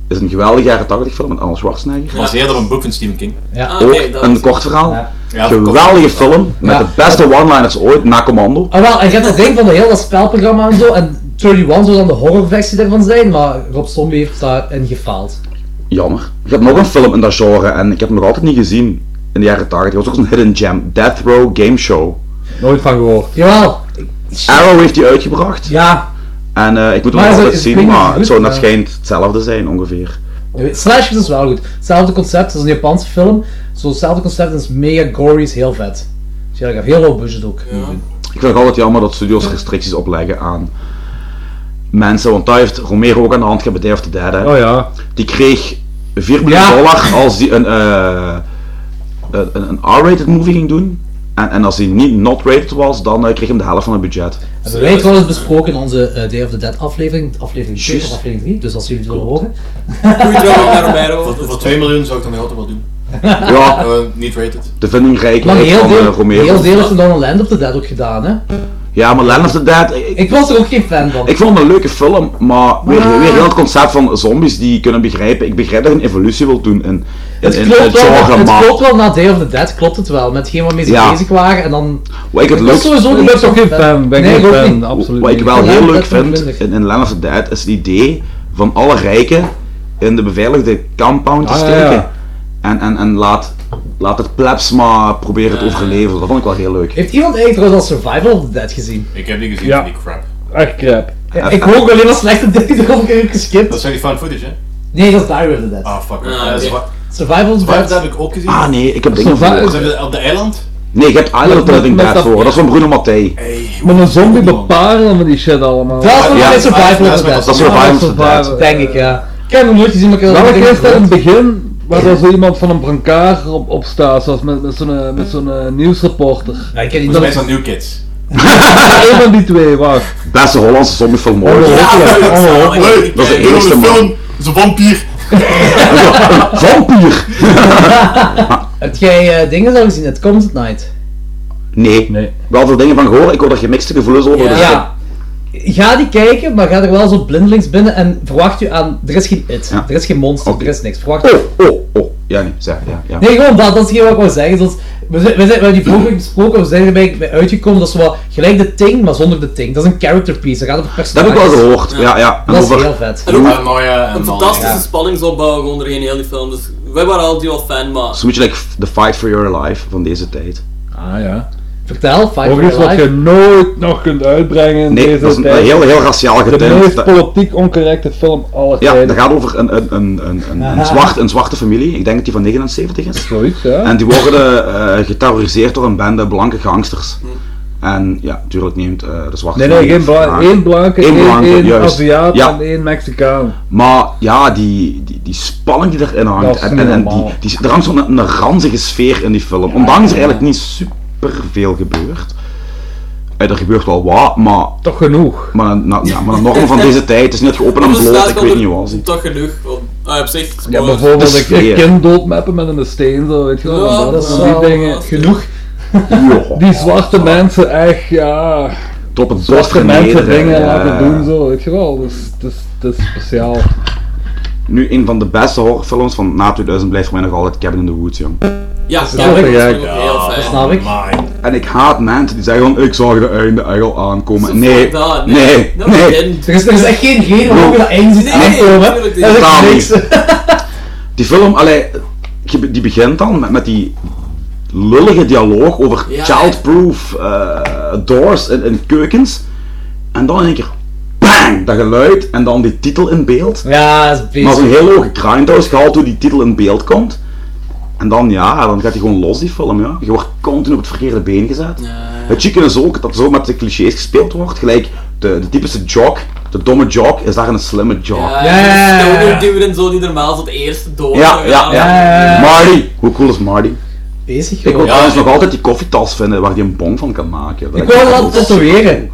A: is een geweldige jaren 80 film met Arnold Schwarzenegger.
C: Gebaseerd op een boek van Stephen King.
D: Ja.
E: Ah,
A: Ook
E: nee, dat
A: een
E: is-
A: kort verhaal.
D: Ja.
C: Ja,
A: Geweldige film, met
D: Ja.
A: de beste one-liners ooit, na Commando.
D: Ah, wel, en je hebt dat ding van de heel dat spelprogramma en zo, en 31 zou dan de horrorversie daarvan zijn, maar Rob Zombie heeft daarin gefaald.
A: Jammer. Ik heb nog een film in dat genre en ik heb hem nog altijd niet gezien in de jaren 80. Dat was ook een hidden gem, Death Row Game Show.
B: Nooit van gehoord.
D: Jawel,
A: Arrow heeft die uitgebracht
D: ja.
A: en eh, ik moet hem
D: Maar
A: nog
D: is-
A: altijd
D: is-
A: zien,
D: klinkt
A: maar
D: niet
A: het
D: goed,
A: zou naar
D: ja.
A: schijnt hetzelfde zijn ongeveer.
D: Slashers is wel goed. Hetzelfde concept als een Japanse film. Zo hetzelfde concept is mega gory, is heel vet. Dus ja, ik heb heel low budget ook.
A: Ik vind het altijd jammer dat studios restricties opleggen aan mensen, want daar heeft Romero ook aan de hand gehad bij Day of the Dead. Hè.
B: Oh ja.
A: Die kreeg 4 miljoen
D: Ja.
A: dollar als die een, eh, een, een- een R-rated movie ging doen. En, en als die niet not rated was, dan eh, kreeg hem de helft van het
D: *laughs*
A: budget.
D: En we weten wel eens besproken in onze eh, Day of the Dead aflevering, aflevering 2 of aflevering 3. Dus als jullie het willen horen.
E: Goeie trouw naar Romero.
C: Voor, voor 2 miljoen zou ik dan nog altijd wel doen.
A: Ja,
C: Eh, niet rated.
A: de vindingrijk
D: Maar een heel
A: van eh,
D: deel, een
A: Romero.
D: heel deel is van Donald Land of the Dead ook gedaan, hè.
A: Ja, maar Land of the Dead, ik,
D: Ik Ah. was er ook geen fan van.
A: ik vond het een leuke film, maar weer, weer heel het concept van zombies die kunnen begrijpen. Ik begrijp dat je een evolutie wilt doen in, in,
D: het
A: in het
D: klopt, wel,
A: genre,
D: het
A: maar
D: klopt wel na Day of the Dead, klopt het wel. Met hetgeen waarmee ze
A: Ja.
D: bezig waren en dan...
A: wat ik het
D: Dat is
A: leuk
D: sowieso
B: Ik
D: niet
B: ben
D: zo'n
B: toch geen fan, ben
D: Nee,
B: geen
D: ik ook
B: fan,
D: niet.
B: absoluut
A: Wat ik
B: niet.
A: wel
D: Ja,
A: heel
D: dat
A: leuk
D: vind ik
A: vind
D: minder.
A: in, in Land of the Dead is het idee van alle rijken in de beveiligde compound te
B: Ah, ja,
A: steken.
B: ja.
A: En, en, en laat, laat het plebs maar proberen te overleven. Dat vond ik wel heel leuk.
D: Heeft iemand eigenlijk trouwens al Survival of the Dead gezien?
C: Ik heb die gezien,
B: Ja.
C: die crap.
B: Echt crap.
D: Ja, ik hoor ook alleen maar slechte *laughs* dingen, daarom heb ik
C: Dat
D: geskipt.
C: zijn die found footage, hè?
D: Nee, dat is Die of the Dead.
C: Ah, fuck.
E: Ah,
C: Eh,
E: oké.
C: Survi-
D: Survival of the
C: Survivor
D: Dead.
C: heb ik ook gezien.
A: Ah nee, ik heb dingen
B: Zo vaak-
A: voor.
C: Zijn we op de eiland?
A: Nee, ik heb Island of the
B: Met-
A: Living
B: met
A: Dead
B: dat-
A: voor. Dat is van Bruno Mattei.
B: Met een zombie bepalen van die shit allemaal.
D: Dat is nog
A: Ja,
D: steeds Survival of
C: dat
D: the
C: is
D: Dead.
A: Dat is Survival of the Dead.
B: Survivor.
D: Denk ik, ja. Ik heb hem nooit gezien, maar ik heb wel
B: Welke
D: dingen
B: is dat in het
D: gehoord.
B: begin waar er zo iemand van een brancard op, op staat, zoals met, met zo'n eh, met zo'n eh, nieuwsreporter?
D: Ja, ik heb die
C: Volgens mij
D: nooit
C: is dat New Kids.
B: Eén van die twee, wacht.
A: Beste Hollandse zombiefilm ooit.
B: Ongelooflijk,
A: *laughs*
C: Oh,
B: ongelooflijk.
A: Oh, Dat is de eerste man.
C: Dat is een vampier.
A: Een Vampier!
D: Heb jij eh, dingen zo gezien? Het Comes at Night.
A: *laughs* Nee.
B: Nee.
A: Wel veel dingen van gehoord. Ik hoor er gemixte gevoelens over.
E: Ja.
A: dus ik-
D: Ja. Ga die kijken, maar ga er wel zo blindelings binnen en verwacht u aan... Er is geen it,
A: Ja.
D: er is geen monster,
A: Oké.
D: er is niks. Verwacht
A: Oh, oh, oh. Ja, nee. Zeg, ja, ja.
D: Nee, gewoon dat, dat is geen wat ik wil zeggen. Zoals, we, zijn, we, zijn, we hebben die vorige week besproken, we zijn erbij bij uitgekomen, dat is wel gelijk de Ting, maar zonder de Ting. Dat is een character piece, dat gaat over
A: Dat
D: personages.
A: heb ik wel gehoord. Ja, ja. En
D: Dat is
A: over-
D: heel vet.
E: En ook
C: Paranoia en
E: een
C: al-
E: fantastische
C: ja.
E: spanningsopbouw gewoon doorheen heel die film. Dus
A: Dus
E: wij waren altijd wel fan, maar...
A: Zo'n beetje like The Fight for Your Life van deze tijd.
B: Ah ja.
D: Vertel, Five
B: Ook iets
D: for
B: wat
D: Your
B: je
D: Life.
B: nooit nog kunt uitbrengen in
A: Nee,
B: deze
A: dat is een
B: tijd.
A: heel- heel raciaal
B: De
A: getint.
B: meest
A: Dat-
B: politiek oncorrecte film aller
A: Ja,
B: tijden.
A: dat gaat over een, een, een, een, een, een zwart, een zwarte familie. Ik denk dat die van 79 is.
B: Zoiets, ja.
A: En die worden eh, geterroriseerd door een bende blanke gangsters. En ja, natuurlijk neemt eh, de zwarte
B: Nee, nee,
A: familie
B: geen bla-
A: wraak.
B: één blanke,
A: Eén
B: één,
A: blanke,
B: één
A: juist.
B: Aziat
A: Ja.
B: en één Mexicaan.
A: Maar ja, die, die, die spanning die erin
B: Dat
A: hangt.
B: is
A: En,
B: niet
A: en, en die,
B: normaal.
A: die, er hangt zo'n een ranzige sfeer in die film. Ondanks er eigenlijk niet super veel gebeurt. Eh, er gebeurt wel wat, maar.
B: Toch genoeg.
A: Maar, na, ja, maar de normen van
E: *laughs*
A: deze tijd het is net geopend en
E: Dat is
A: bloot,
E: laatst
A: ik
E: wel
A: weet
E: door-
A: niet wat.
E: Toch genoeg. want- Ah, op zich.
B: Ja,
E: maar-
B: bijvoorbeeld
A: de
B: ik, ik
A: sfeer.
B: kind doodmappen met een steen, zo, weet je wel.
E: Ja,
B: van dat
E: dat
B: van
E: is
B: die
E: wel-
B: dingen.
E: genoeg. *laughs*
B: Die zwarte mensen echt, ja...
A: Tot het bot
B: Zwarte mensen
A: vernederen.
B: dingen
A: ja.
B: laten doen, zo, weet je wel. Dus dat is, dat is speciaal.
A: Nu, een van de beste horrorfilms van na 2000 blijft voor mij nog altijd Cabin in the Woods, jong.
E: Ja,
B: Dat is
E: ja,
B: wel
E: dat
B: te
E: is
B: gek.
E: ook heel fijn.
D: Snap ik?
A: En ik haat mensen die zeggen van, ik zag de einde echt al aankomen. Nee,
E: dat, nee.
A: nee,
E: Dat
A: nee.
E: begint.
D: Er is, er is echt geen reden waarom je dat eng ziet
E: Nee,
D: aankomen.
E: natuurlijk niet.
D: Dat is echt
A: Totaal
D: niks.
A: Die film, allee, je be- die begint dan met, met die lullige dialoog over
E: Ja,
A: childproof eh, doors in, in keukens. En dan in één keer, bang, dat geluid en dan die titel in beeld.
D: Ja, dat is
A: Maar
D: beest.
A: zo'n heel hoge grindhouse gehaald hoe die titel in beeld komt. En dan ja, dan gaat hij gewoon los die film, ja. Je wordt continu op het verkeerde been gezet. Het chicken is ook dat zo met de clichés gespeeld wordt. Gelijk de, de typische jock, de domme jock, is daar een slimme jock.
E: Ja,
D: Ja, ja, ja, ja.
E: ja. duwen en zo die normaal tot eerst door.
A: Ja, ja, ja.
D: ja.
A: Marty, hoe cool is Marty?
D: Bezig
A: Ik
D: gewoon.
A: wil
D: Ik
A: trouwens nog altijd die koffietas vinden waar die een bong van kan maken. Dat
D: wil dat
A: altijd zo-
D: tatoeëren.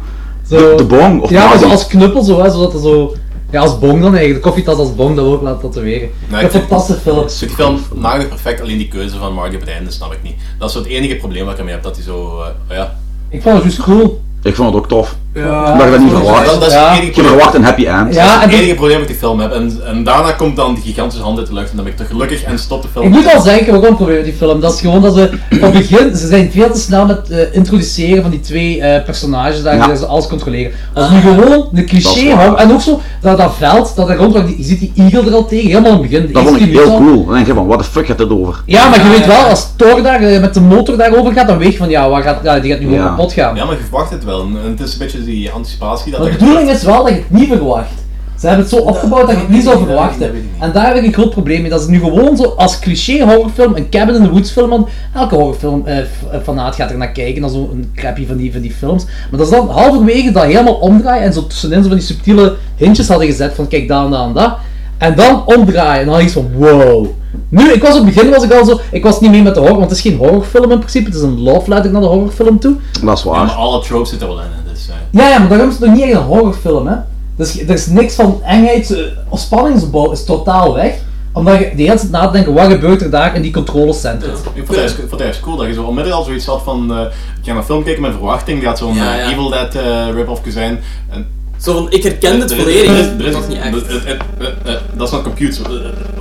D: Zo.
A: De, de bong, of
D: Ja, maar
A: Marty.
D: zo als knuppel zo, hè, zodat er zo... Ja, als bong dan eigenlijk. De koffietas als bong, dat wil ik laten tatoeëren.
C: Nee,
D: een
C: ik-
D: fantastische film.
C: Die film maakte perfect, alleen die keuze van Marty op het einde snap ik niet. Dat is zo het enige probleem wat ik ermee heb, dat hij zo... eh, ja.
D: Ik vond het juist cool.
A: Ik vond het ook tof.
D: Ja.
A: Omdat je dat niet
E: Oh,
C: Dat, dat
A: verwacht.
C: is
D: Ja.
C: het enige
A: Je verwacht een happy end.
D: Ja, en
C: Het
D: die-
C: enige probleem dat ik die film heb. En, en daarna komt dan die gigantische hand uit de lucht en dan ben ik toch gelukkig en stop de film.
D: Ik moet al denken, waarom proberen die film? Dat is gewoon dat ze op het begin, ze zijn veel te snel met eh, introduceren van die twee eh, personages daar,
A: Ja.
D: die ze alles controleren. Als nu gewoon een
A: Dat
D: cliché
A: is waar.
D: hangt, en ook zo, dat dat veld, dat er rondloopt, die- je ziet die eagle er al tegen, helemaal in het begin. de
A: Dat vond
D: eerste
A: ik
D: minuut
A: heel
D: al.
A: cool. Dan denk je van, what the fuck gaat dit over?
D: Ja, maar je weet wel, als Thor daar eh, met de motor daarover gaat, dan weet je van, ja, waar gaat, ja die gaat nu gewoon
A: Ja.
D: kapot gaan.
C: Ja, maar je verwacht het wel. En het is een beetje die anticipatie dat
D: Maar de
C: er-
D: bedoeling is wel dat je het niet verwacht. Ze hebben het zo opgebouwd dat je het niet zou
C: dat weet ik niet,
D: verwachten.
C: dat weet ik niet.
D: En daar heb ik een groot probleem mee. Dat ze nu gewoon zo als cliché horrorfilm, een Cabin in the Woods film, want elke horrorfilm eh, f- eh, fanaat gaat er naar kijken, dan zo'n crappy van die, van die films. Maar dat ze dan halverwege dat helemaal omdraaien en zo tussenin zo van die subtiele hintjes hadden gezet van kijk daar en daar en daar. En dan omdraaien en dan iets van wow. Nu, ik was op het begin was ik al zo, ik was niet mee met de horror, want het is geen horrorfilm in principe, het is een love letter naar de horrorfilm toe.
A: Dat is
C: Ja,
A: waar.
C: maar alle tropes zitten er wel in. hè, Dus, eh.
D: Ja, ja, maar daarom is het nog niet echt een horrorfilm, hè. Dus er is niks van engheid eh, of spanningsbouw is totaal weg. Omdat je de hele tijd na te denken, wat gebeurt er daar in die controlecentrum?
C: Ik vond het juist- ik vond het juist cool dat je zo onmiddellijk al zoiets had van, eh ik ga naar een film kijken met verwachting, dat gaat zo'n
E: Ja,
C: eh,
E: ja.
C: Evil Dead eh, rip-off zijn. En
E: Zo van, ik herken het
C: Er is-
E: volledig,
C: er is- er
E: dat
C: is-
E: is niet
C: er-
E: echt.
C: er- er- er- Dat is een computer. Eh,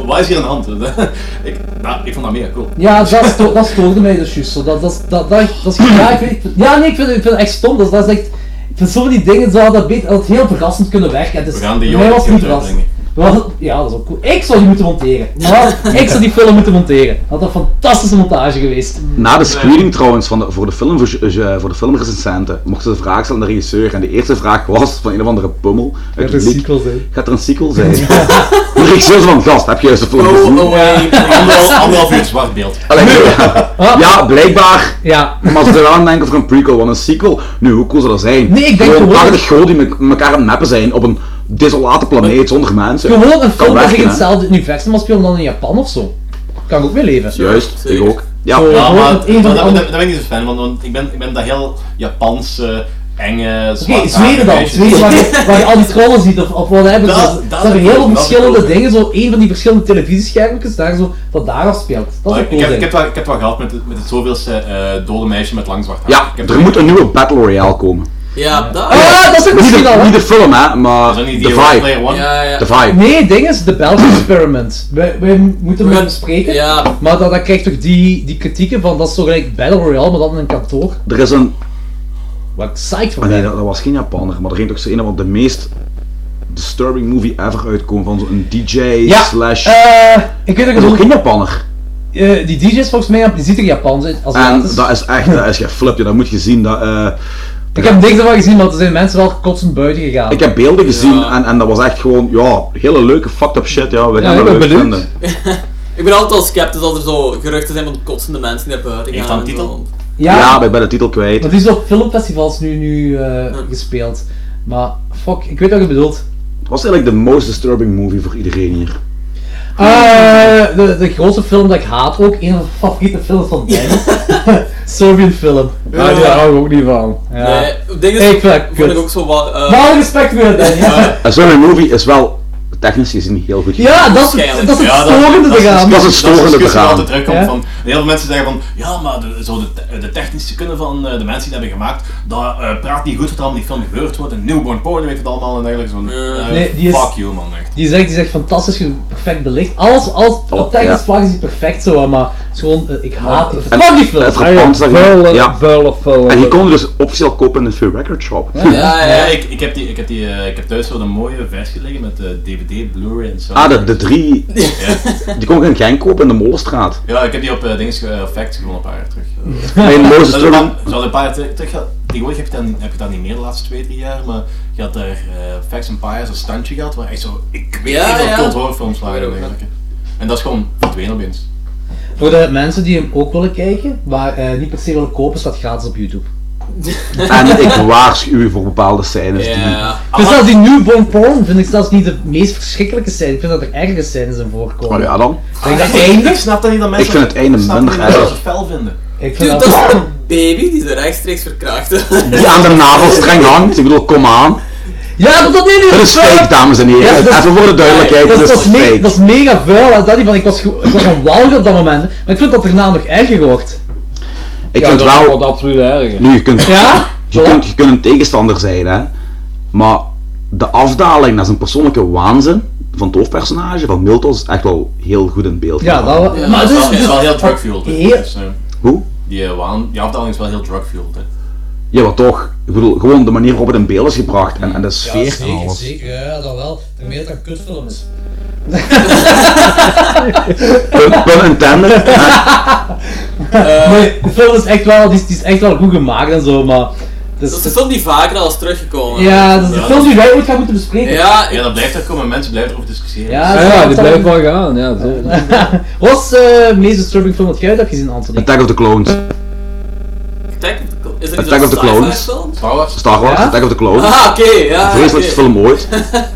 C: eh, Wat is hier aan de hand? *laughs* ik, nou, ik vond dat mega cool.
D: Ja, dat, sto *laughs* dat stoorde mij dus juist. zo. Dat, dat, dat, dat, dat is ja, ik vind, ik vind- ja, nee, ik vind, ik vind het echt stom. Dat, is- dat is echt... Ik vind zo van die dingen, zou dat, beter, dat heel verrassend kunnen werken. Het is,
C: We gaan die
D: voor mij
C: jongen
D: was het niet
C: kunnen
D: verrassend. Wel, Ja, dat is ook cool. Ik zou die moeten monteren. Wel, ik zou die film moeten monteren. Dat had een fantastische montage geweest.
A: Na de screening trouwens van de, voor de film voor, voor de filmrecensenten mochten ze de vraag stellen aan de regisseur en de eerste vraag was van een of andere pummel uit het publiek,
D: zijn.
A: gaat er een sequel zijn?
D: *laughs*
A: de regisseur zei van gast, heb je juist de film gezien?
E: Oh, away.
D: *laughs*
C: Anderhalf, anderhalf uur zwart beeld.
A: Allee, ja. ja, blijkbaar.
D: Ah. Ja,
A: Maar ze zijn wel aan het denken over een prequel, want een sequel, nu hoe cool zou dat zijn?
D: Nee, ik denk
A: gewoon
D: gewoon-
A: 80 goden die me- elkaar aan het mappen zijn op een desolate planeet zonder mensen.
D: Gewoon een film dat zich in
A: werken, hè?
D: hetzelfde universum afspeelt dan in Japan of zo. Kan ik ook mee leven.
A: Juist, ik
E: Zeker.
A: ook. Ja,
D: Zo.
C: Ja,
D: hoort
C: maar
D: het
C: dat,
D: een van de
C: dat, dat,
D: andere-
C: dat ben ik niet zo fan van, want ik ben, ik ben dat heel Japanse, enge,
D: Oké,
C: zwartharige
D: Zweden dan.
C: meisje.
D: Zweden waar je, waar je al die trollen ziet of, of wat hebben.
C: Dat-
D: ze
C: dat
D: ze
C: is
D: hebben
C: cool,
D: heel veel
C: dat is
D: verschillende
C: cool.
D: dingen zo. Een van die verschillende televisieschermpjes daar zo, dat daar afspeelt. Dat is een
C: Ik,
D: cool
C: ik, heb, ik, heb
D: ding.
C: wel, ik heb wel gehad met het, met het zoveelste eh dode meisje met lang zwart haar.
A: ja
C: ik heb
A: er moet een nieuwe Battle Royale komen.
E: Ja, dat.
D: Ah, dat is ook
A: Niet
D: misschien
A: de,
D: al. hè?
A: niet de film, hè, maar
C: Dat is
A: de
C: niet die Ready
A: vibe.
C: Player One.
E: Ja, ja.
A: De vibe.
D: Nee, ding is, de Belgian Experiment. Wij, wij
E: We
D: moeten hem
E: gaan-
D: bespreken.
E: Ja,
D: Maar dat, dat krijgt toch die, die kritieken van dat is zo gelijk Battle Royale, maar dan in een kantoor.
A: Er is een.
D: Wat ik psyched van
A: Ah, nee,
D: ben.
A: dat, dat was geen Japaner, maar er ging toch zo een van de meest disturbing movie ever uitkomen van zo'n DJ
D: Ja,
A: slash.
D: eh, ik weet
A: dat
D: dat ik het
A: is ook
D: ook
A: geen Japaner.
D: eh, die DJ is volgens mij, die ziet er Japans uit. Als
A: En
D: gratis.
A: dat is echt, dat is geen flipje, dat moet je zien. Dat, eh,
D: Ik heb niks ervan gezien, want er zijn mensen wel kotsend buiten gegaan.
A: ik heb beelden gezien en, en dat was echt gewoon, ja, hele leuke fucked up shit. Ja, we
D: Ja,
A: gaan
D: ik
A: dat
D: ben
A: leuk
D: benieuwd.
A: vinden.
E: Ik ben altijd al sceptisch als er zo geruchten zijn van kotsende mensen die naar buiten gaan.
C: Heeft dat een
E: en
C: titel?
E: zo.
D: Ja.
A: Ja, maar ik ben de titel kwijt.
D: Dat is op filmfestivals nu, nu eh, gespeeld. Maar fuck, ik weet wat je bedoelt.
A: Het was eigenlijk de most disturbing movie voor iedereen hier.
D: Eh, de, de grootste film dat ik haat ook, een van de favoriete films van Dennis.
A: *laughs*
D: Serbian film.
B: Ja, daar hou ik ook niet van.
D: Ja.
E: Nee, Eh, het ding is,
D: Ik vind dat
E: vond
D: kut.
E: ik ook zo wat... eh,
D: Maar alle respect weer, Dennis. Ja,
A: En zo'n movie is wel technisch gezien heel goed.
D: dat is, het- dat is het
C: Ja, dat-
D: storende
C: dat is-
D: eraan.
A: Dat is het
C: Dat is
A: storende
C: de discussie die
A: eraan.
C: altijd terugkomt
D: Ja.
C: van, en heel veel mensen zeggen van, ja, maar de, zo de, te- de technische kunnen van eh, de mensen die dat hebben gemaakt, dat eh, praat niet goed wat er allemaal in die film gebeurd wordt, en newborn porn, weet het allemaal, en eigenlijk zo'n, eh,
D: Nee, die is-
C: fuck you man, echt.
D: Die zegt, die zegt fantastisch, ge- perfect belicht. Alles, alles, op technisch
A: ja.
D: vlak is die perfect zo, maar het is gewoon, eh, ik haat, ik
A: En
D: vervang die film.
A: het frappant is dat je- ja.
B: vuile film.
A: En die kon je dus officieel kopen in de Fear Record Shop.
E: ja, ja,
C: Ja,
E: ja.
C: ik, ik, heb die, ik, heb die, eh, ik heb thuis zo'n mooie versie liggen met eh, DVD, Blu-ray en zo.
A: Ah, de, de drie,
C: Ja.
A: die kon ik in Genk kopen in de Molenstraat.
C: ja, ik heb die op eh, dingen, ge- eh, Facts gewoon een paar jaar terug. eh,
A: Mijn most
C: Dat is
A: disturbing...
C: wel- Zo een paar jaar terug- terug gehad. Tegenwoordig heb je, dat, niet- heb je dat niet meer de laatste twee, drie jaar, maar je had daar eh Facts and Pies een standje gehad waar echt zo, ik weet
E: Ja,
C: niet wat
E: ja.
C: cult horrorfilms waren en dergelijke. En dat is gewoon verdwenen opeens.
D: Voor de mensen die hem ook willen kijken, maar eh, niet per se willen kopen, staat gratis op YouTube.
A: En ik waarschuw u voor bepaalde scènes die...
E: Ja.
D: Ik vind zelfs die newborn porn vind ik zelfs niet de meest verschrikkelijke scène. Ik vind dat er ergere scènes in voorkomen.
A: Maar ja dan,
D: Ik denk dat eindelijk...
C: Ik snap dat niet dat mensen
A: Ik vind het einde
C: ik snap dat
A: minder
C: niet dat
A: erg.
C: ze fel vinden.
D: Ik
E: Dude,
D: vind
E: dat is
D: dat...
E: een baby die ze rechtstreeks verkrachten. *laughs*
A: die aan de navelstreng hangt. Ik bedoel, kom aan.
D: Ja, dat dat niet
A: Het is fake, dames en
D: Ja,
A: heren.
D: dat is-
A: Even voor de duidelijkheid,
D: Dat,
A: het
D: is-
A: is
D: dat, is me- dat
A: fake.
D: is mega vuil. hè. Dat die van, ik, was ge- ik was een walger op dat moment. Maar ik vind dat daarna nog erger wordt.
A: Ik
B: Ja,
A: vind
B: dat is
A: wel...
B: wat absoluut erger.
A: Nu, je kunt,
D: Ja?
A: je, kunt, je kunt een tegenstander zijn, hè. Maar de afdaling naar zijn persoonlijke waanzin van het hoofdpersonage van Milton is echt wel heel goed in beeld.
D: Ja, dat wel. maar
C: Maar
D: het
C: dat
D: is...
C: is wel heel
D: dus-
C: drug-fueled. hè.
D: Heel-
C: Dus, eh,
A: Hoe?
C: die, eh, waan- die afdaling is wel heel drug-fueled. hè.
A: Ja, maar toch. Ik bedoel, gewoon de manier waarop het in beeld is gebracht en, en de sfeer en alles.
D: Ja, dat wel. Ten meer dat een kutfilm is.
A: Pun, pun intended.
D: *laughs* Nee, de film is echt wel, die is, die is echt wel goed gemaakt en zo, maar... het is-
E: Dat is een film die vaker al is teruggekomen.
D: ja, dat is de
C: Ja,
D: film die wij ooit gaan moeten bespreken.
E: Ja,
C: Ja, dat blijft er komen, mensen blijven erover discussiëren.
D: Ja,
B: Ja,
D: dat-
B: ja, die
D: dat-
B: blijft wel gaan. Ja, zo.
D: *laughs* Wat is eh, de meest disturbing film dat jij uit hebt gezien, Anthony?
A: Attack of the Clones.
E: Attack of the Clo- Is er
A: Attack of the Clones.
E: film?
C: Star Wars.
A: Star Wars,
D: Ja?
A: Attack of the Clones.
E: Ah, oké, ja. oké.
A: Vreselijkste film ooit.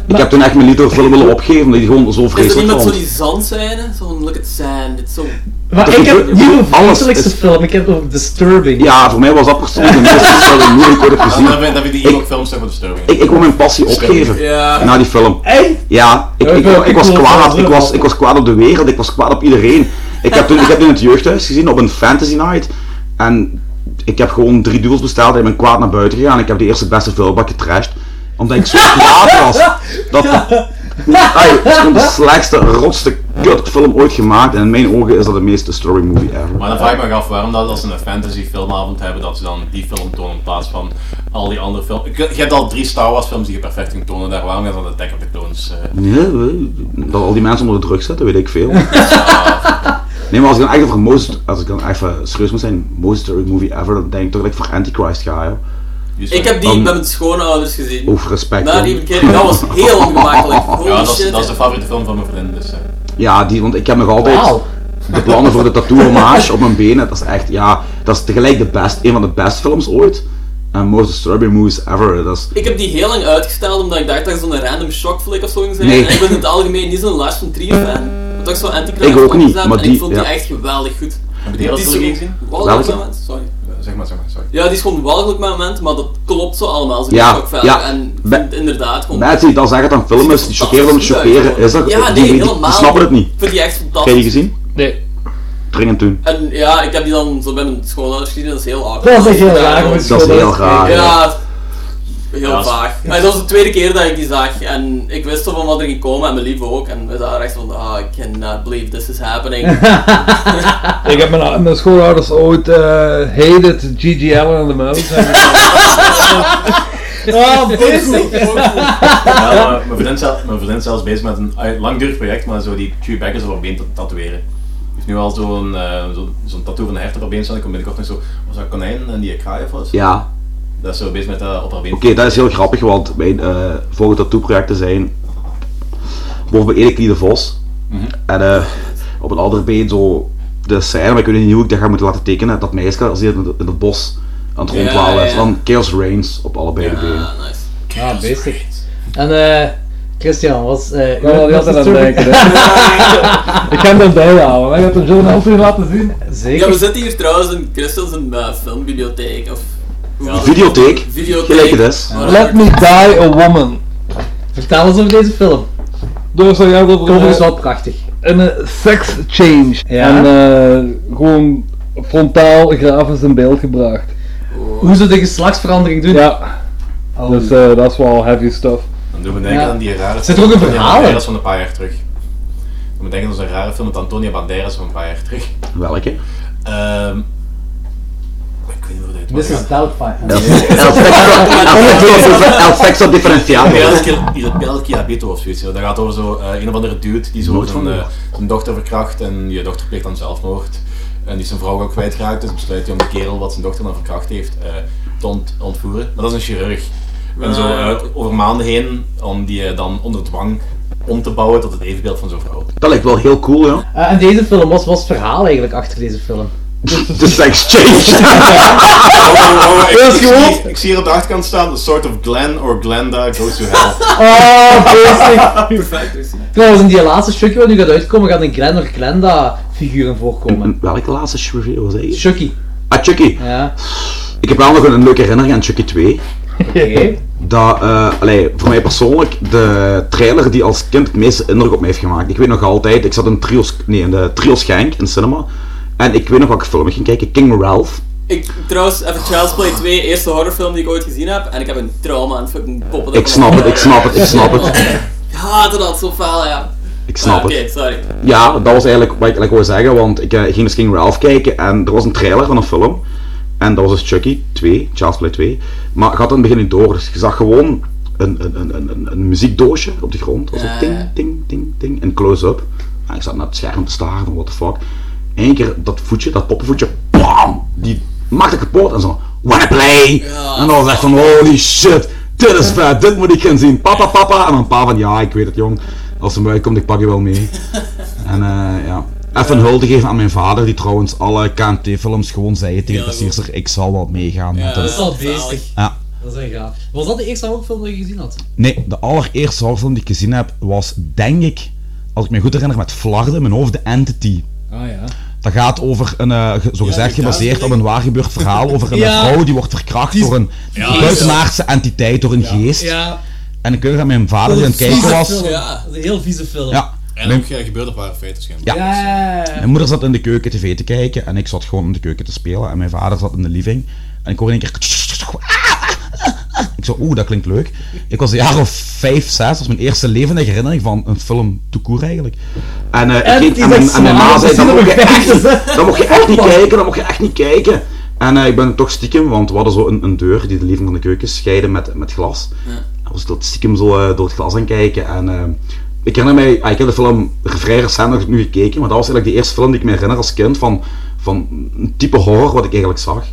A: Ik heb toen echt mijn lied film willen opgeven, omdat die gewoon zo
E: Is er niet
A: vreselijk
E: met zo
A: vond.
E: die zand zijn? Zo'n look at sand, it's so...
D: Maar
A: dat
D: ik heb
A: gebeurt-
D: niet over
A: alles
D: vreselijkste
A: is-
D: film, ik heb het over disturbing.
A: Ja, voor mij was dat persoonlijk de meest
D: *laughs*
A: disturbing movie die ik ooit heb
C: Dan heb
A: gezien.
C: je- dan heb je die emo films toch wat disturbing.
A: Ik, ik wou mijn passie opgeven
E: Ja.
A: na die film.
D: Echt?
A: Ja, ik, ik, ik, was kwaad. Ik was, ik was kwaad op de wereld, ik was kwaad op iedereen. Ik heb toen, ik heb toen in het jeugdhuis gezien op een fantasy night. En ik heb gewoon drie duels besteld en ik ben kwaad naar buiten gegaan. Ik heb de eerste beste vuilbak getrashed. Omdat ik *laughs* zo kwaad was. Dat ai, het is gewoon de slechtste, rotste kutfilm ooit gemaakt. En in mijn ogen is dat de meest disturbing movie ever.
C: Maar dan vraag ik me af waarom dat als ze een fantasy filmavond hebben, dat ze dan die film tonen in plaats van al die andere films. Ik- Je hebt al drie Star Wars films die je perfect kunt tonen, daar waarom gaat dan Attack of the Clones? eh,
A: Ja, we- dat al die mensen onder de druk zitten, weet ik veel. Nee, maar als ik dan echt over most, als ik dan even serieus moet zijn, most disturbing movie ever, dan denk ik toch dat ik voor Antichrist ga, joh.
C: die
E: Ik heb die
A: Dan-
E: met mijn schoonouders gezien.
A: Over respect.
E: Na
A: hoor.
E: Nou, die verkeering, dat was heel
A: *laughs*
E: ongemakkelijk. Holy
C: Ja, dat is,
E: shit.
C: dat is de favoriete film van mijn vriendin, dus... eh.
A: Ja, die, want ik heb nog altijd
D: Wauw.
A: de plannen voor de tattoo hommage op mijn benen. Dat is echt, ja, dat is tegelijk de best, een van de best films ooit. En most disturbing movies ever. Dat is,
E: Ik heb die heel lang uitgesteld omdat ik dacht dat ik zo'n random shockflick of zo ging zijn.
A: Nee.
E: En ik ben in het algemeen niet zo'n Lars van Trier fan. Maar toch zo anti-Christ
A: Ik ook niet,
E: opgezet
A: maar
E: en
A: die-
E: ik vond die
A: ja.
E: echt geweldig goed.
C: Heb je die hele
E: is
C: trilogie
E: zo-
C: gezien?
E: walgelijk
A: Welke?
E: moment, sorry.
C: Eh, Zeg maar, zeg maar, sorry.
E: Ja, die is gewoon walgelijk moment, maar dat klopt zo allemaal. Ze
A: Ja,
E: ja, ook verder.
A: ja.
E: En
A: Be-
E: vindt inderdaad gewoon...
A: mensen die dan zeggen dat het een film is, die chockeren om het chockeren, is dat,
E: Ja, nee,
A: die, die, die
E: helemaal.
A: snappen het niet.
E: Ik vind die echt
A: Heb je die
E: fantastisch.
A: gezien?
B: Nee.
A: Dringend toen.
E: En ja, ik heb die dan zo bij mijn schoonouders gezien, dat is heel awkward.
D: Dat is echt heel
E: Ja,
D: raar.
E: gewoon-
D: want-
A: Dat is heel raar. ja.
E: Ja, heel
C: Ja, dat is-
E: vaag. Maar dat was de tweede keer dat ik die zag en ik wist zo van wat er ging komen en mijn lief ook. En we zaten echt van, ah, I cannot believe this is
D: *laughs*
E: happening.
B: Ik heb mijn, mijn schoolouders ooit eh hated Gigi Allen en de *laughs* Muis.
D: *laughs* Ah, basic.
C: Ja, maar eh, mijn vriendin, zelf, mijn vriendin is zelfs bezig met een uit- langdurig project, maar zo die Chewbacca zo op been te tatoeëren. heeft nu al zo'n eh, zo'n zo'n tattoo van een hert op haar been staan. Ik kom binnenkort nog zo, was dat een konijn en die een kraai of wat?
A: Ja.
C: Dat is zo bezig met dat op haar been.
A: Oké, dat is heel grappig, want mijn eh volgende tattoo-projecten zijn boven bij ene knie de vos
D: Mhm.
A: en eh, op een ander been zo de scène, maar ik weet niet hoe ik dat ga moeten laten tekenen, dat meisje als die in het- in het bos aan het
D: Ja,
A: rondwalen is,
D: ja.
A: dan Chaos Reigns op allebei de benen.
D: Ah, basic. En eh, Christian, wat eh, is...
B: kan wel altijd aan denken. hè. *laughs*
D: *laughs*
B: Ik kan dat bijhouden. Wij gaan het een journaal terug laten zien.
E: Ja, we zitten hier trouwens in Christel's een, eh, filmbibliotheek. Of, ja.
A: Videotheek?
E: Videotheek.
A: Gelijk het is.
E: Whatever.
B: Let me die a woman.
D: Vertel eens over deze film.
B: Door zo jou over
D: Cover is
B: eh,
D: wel prachtig.
B: een eh, sex change.
D: Ja.
B: En eh, gewoon frontaal grafisch in beeld gebracht.
D: Hoe ze de geslachtsverandering doen. Oh.
B: Ja. Dus eh, dat is wel heavy stuff.
C: Dan doen we denken
B: Ja.
C: aan die rare
B: Zit er ook een
C: van
B: verhaal in?
C: Banderas van een paar jaar terug. Dan moet denken aan zo'n rare film met Antonia Banderas van een paar jaar terug.
A: Welke?
C: Ehm ik weet niet hoe dat heet.
D: This is Doubtfire.
C: El
D: *laughs*
A: El sexo diferenciado.
C: Pelkia Bito of zoiets. ja. Dat gaat over zo, eh, een of andere dude die zo
A: Nooit van
C: zijn, eh,
A: gehoord.
C: zijn dochter verkracht en je dochter pleegt dan zelfmoord. En die is zijn vrouw ook kwijtgeraakt, dus besluit hij om de kerel wat zijn dochter dan verkracht heeft eh, te ont- ontvoeren. Maar dat is een chirurg. En zo
A: Ah.
C: eh, over maanden heen om die eh, dan onder dwang om te bouwen tot het evenbeeld van zo'n vrouw.
A: Dat lijkt wel heel cool, ja. *laughs*
D: Eh, en deze film, wat was het verhaal eigenlijk achter deze film?
A: De sex
D: *laughs*
A: change.
C: ik, ik zie, ik zie hier op de achterkant staan, The Sort of Glenn or Glenda Goes to Hell.
D: Oh, basic. *laughs*
E: Perfect.
D: Trouwens, in die laatste stukje wat nu gaat uitkomen, gaat een Glenn of Glenda figuren voorkomen.
A: Welke laatste review was dat?
D: Chucky.
A: Ah, Chucky.
D: Ja.
A: Ik heb wel nog een leuke herinnering aan Chucky 2. Dat, eh, allee, voor mij persoonlijk, de trailer die als kind het meeste indruk op mij heeft gemaakt. Ik weet nog altijd, ik zat in, trios, nee, in de Trios Genk, in cinema. En ik weet nog welke film ik ging kijken, King Ralph.
E: Ik, trouwens, even Child's Play 2, eerste horrorfilm die ik ooit gezien heb. En ik heb een trauma aan het fucking poppen.
A: Ik snap het, ik snap het, ik snap het.
E: *laughs* Ik haatte dat zo fel, ja.
A: Ik snap
E: Ah, Oké,
A: het.
E: sorry.
A: Ja, dat was eigenlijk wat ik, wat ik wou zeggen, want ik eh, ging dus King Ralph kijken en er was een trailer van een film. En dat was dus Chucky 2, Charles Play 2. Maar ik had het in het begin niet door, dus je zag gewoon een, een, een, een- een, een muziekdoosje op de grond. Dat was zo ting, ting, ting, ting, en close-up. En ik zat naar het scherm te staren van what the fuck. Eén keer dat voetje, dat poppenvoetje, bam! Die maakte kapot en zo, wanna play! En dan was ik echt van, holy shit, dit is vet, dit moet ik gaan zien, papa, papa! En dan een paar van, ja, ik weet het jong, als hem uitkomt, ik pak je wel mee. En eh, ja. Even een hulde geven aan mijn vader, die trouwens alle KNT-films gewoon zei tegen de passierster, ik zal wel meegaan. want dat-
D: dat is al bezig.
A: Ja.
D: Dat is een gaaf. Was dat de eerste horrorfilm die je gezien had?
K: Nee, de allereerste horrorfilm die ik gezien heb was, denk ik, als ik me goed herinner, met Flarden, in mijn hoofd, The Entity.
B: Ah ja.
K: Dat gaat over een, eh, ge- zogezegd, gebaseerd op een waargebeurd verhaal over een
B: Ja.
K: vrouw die wordt verkracht door een
E: Ja,
K: buitenaardse entiteit, door een geest.
D: Ja.
K: En ik weet nog dat mijn vader die aan het kijken was.
D: Ja. Dat is een heel vieze film.
K: Ja.
C: *laughs* En ook eh, gebeurt op haar feiten schijnbaar.
K: Ja.
D: Eh,
K: Mijn moeder zat in de keuken tv te kijken en ik zat gewoon in de keuken te spelen. En mijn vader zat in de living. En ik hoorde in één keer... Ik zo, oeh, dat klinkt leuk. Ik was een jaar of vijf, zes. Dat was mijn eerste levendige herinnering van een film to court eigenlijk.
A: En, eh, ik
D: En
A: ging-
D: die
A: en mijn,
D: zegt,
A: en mijn ma
D: "Smaal,
A: zei,
D: we
A: dat
D: zien
A: mocht je
D: er nog
A: echt
D: bij."
A: niet, dat mocht je echt niet kijken, dat mocht je echt niet kijken. En eh, ik ben toch stiekem, want we hadden zo een, een deur die de living van de keuken scheidde met, met glas. En was ik dat stiekem zo eh, door het glas aan kijken. En eh, ik herinner mij, ah, ik heb de film vrij recent nog nu gekeken, maar dat was eigenlijk de eerste film die ik me herinner als kind van, van een type horror wat ik eigenlijk zag.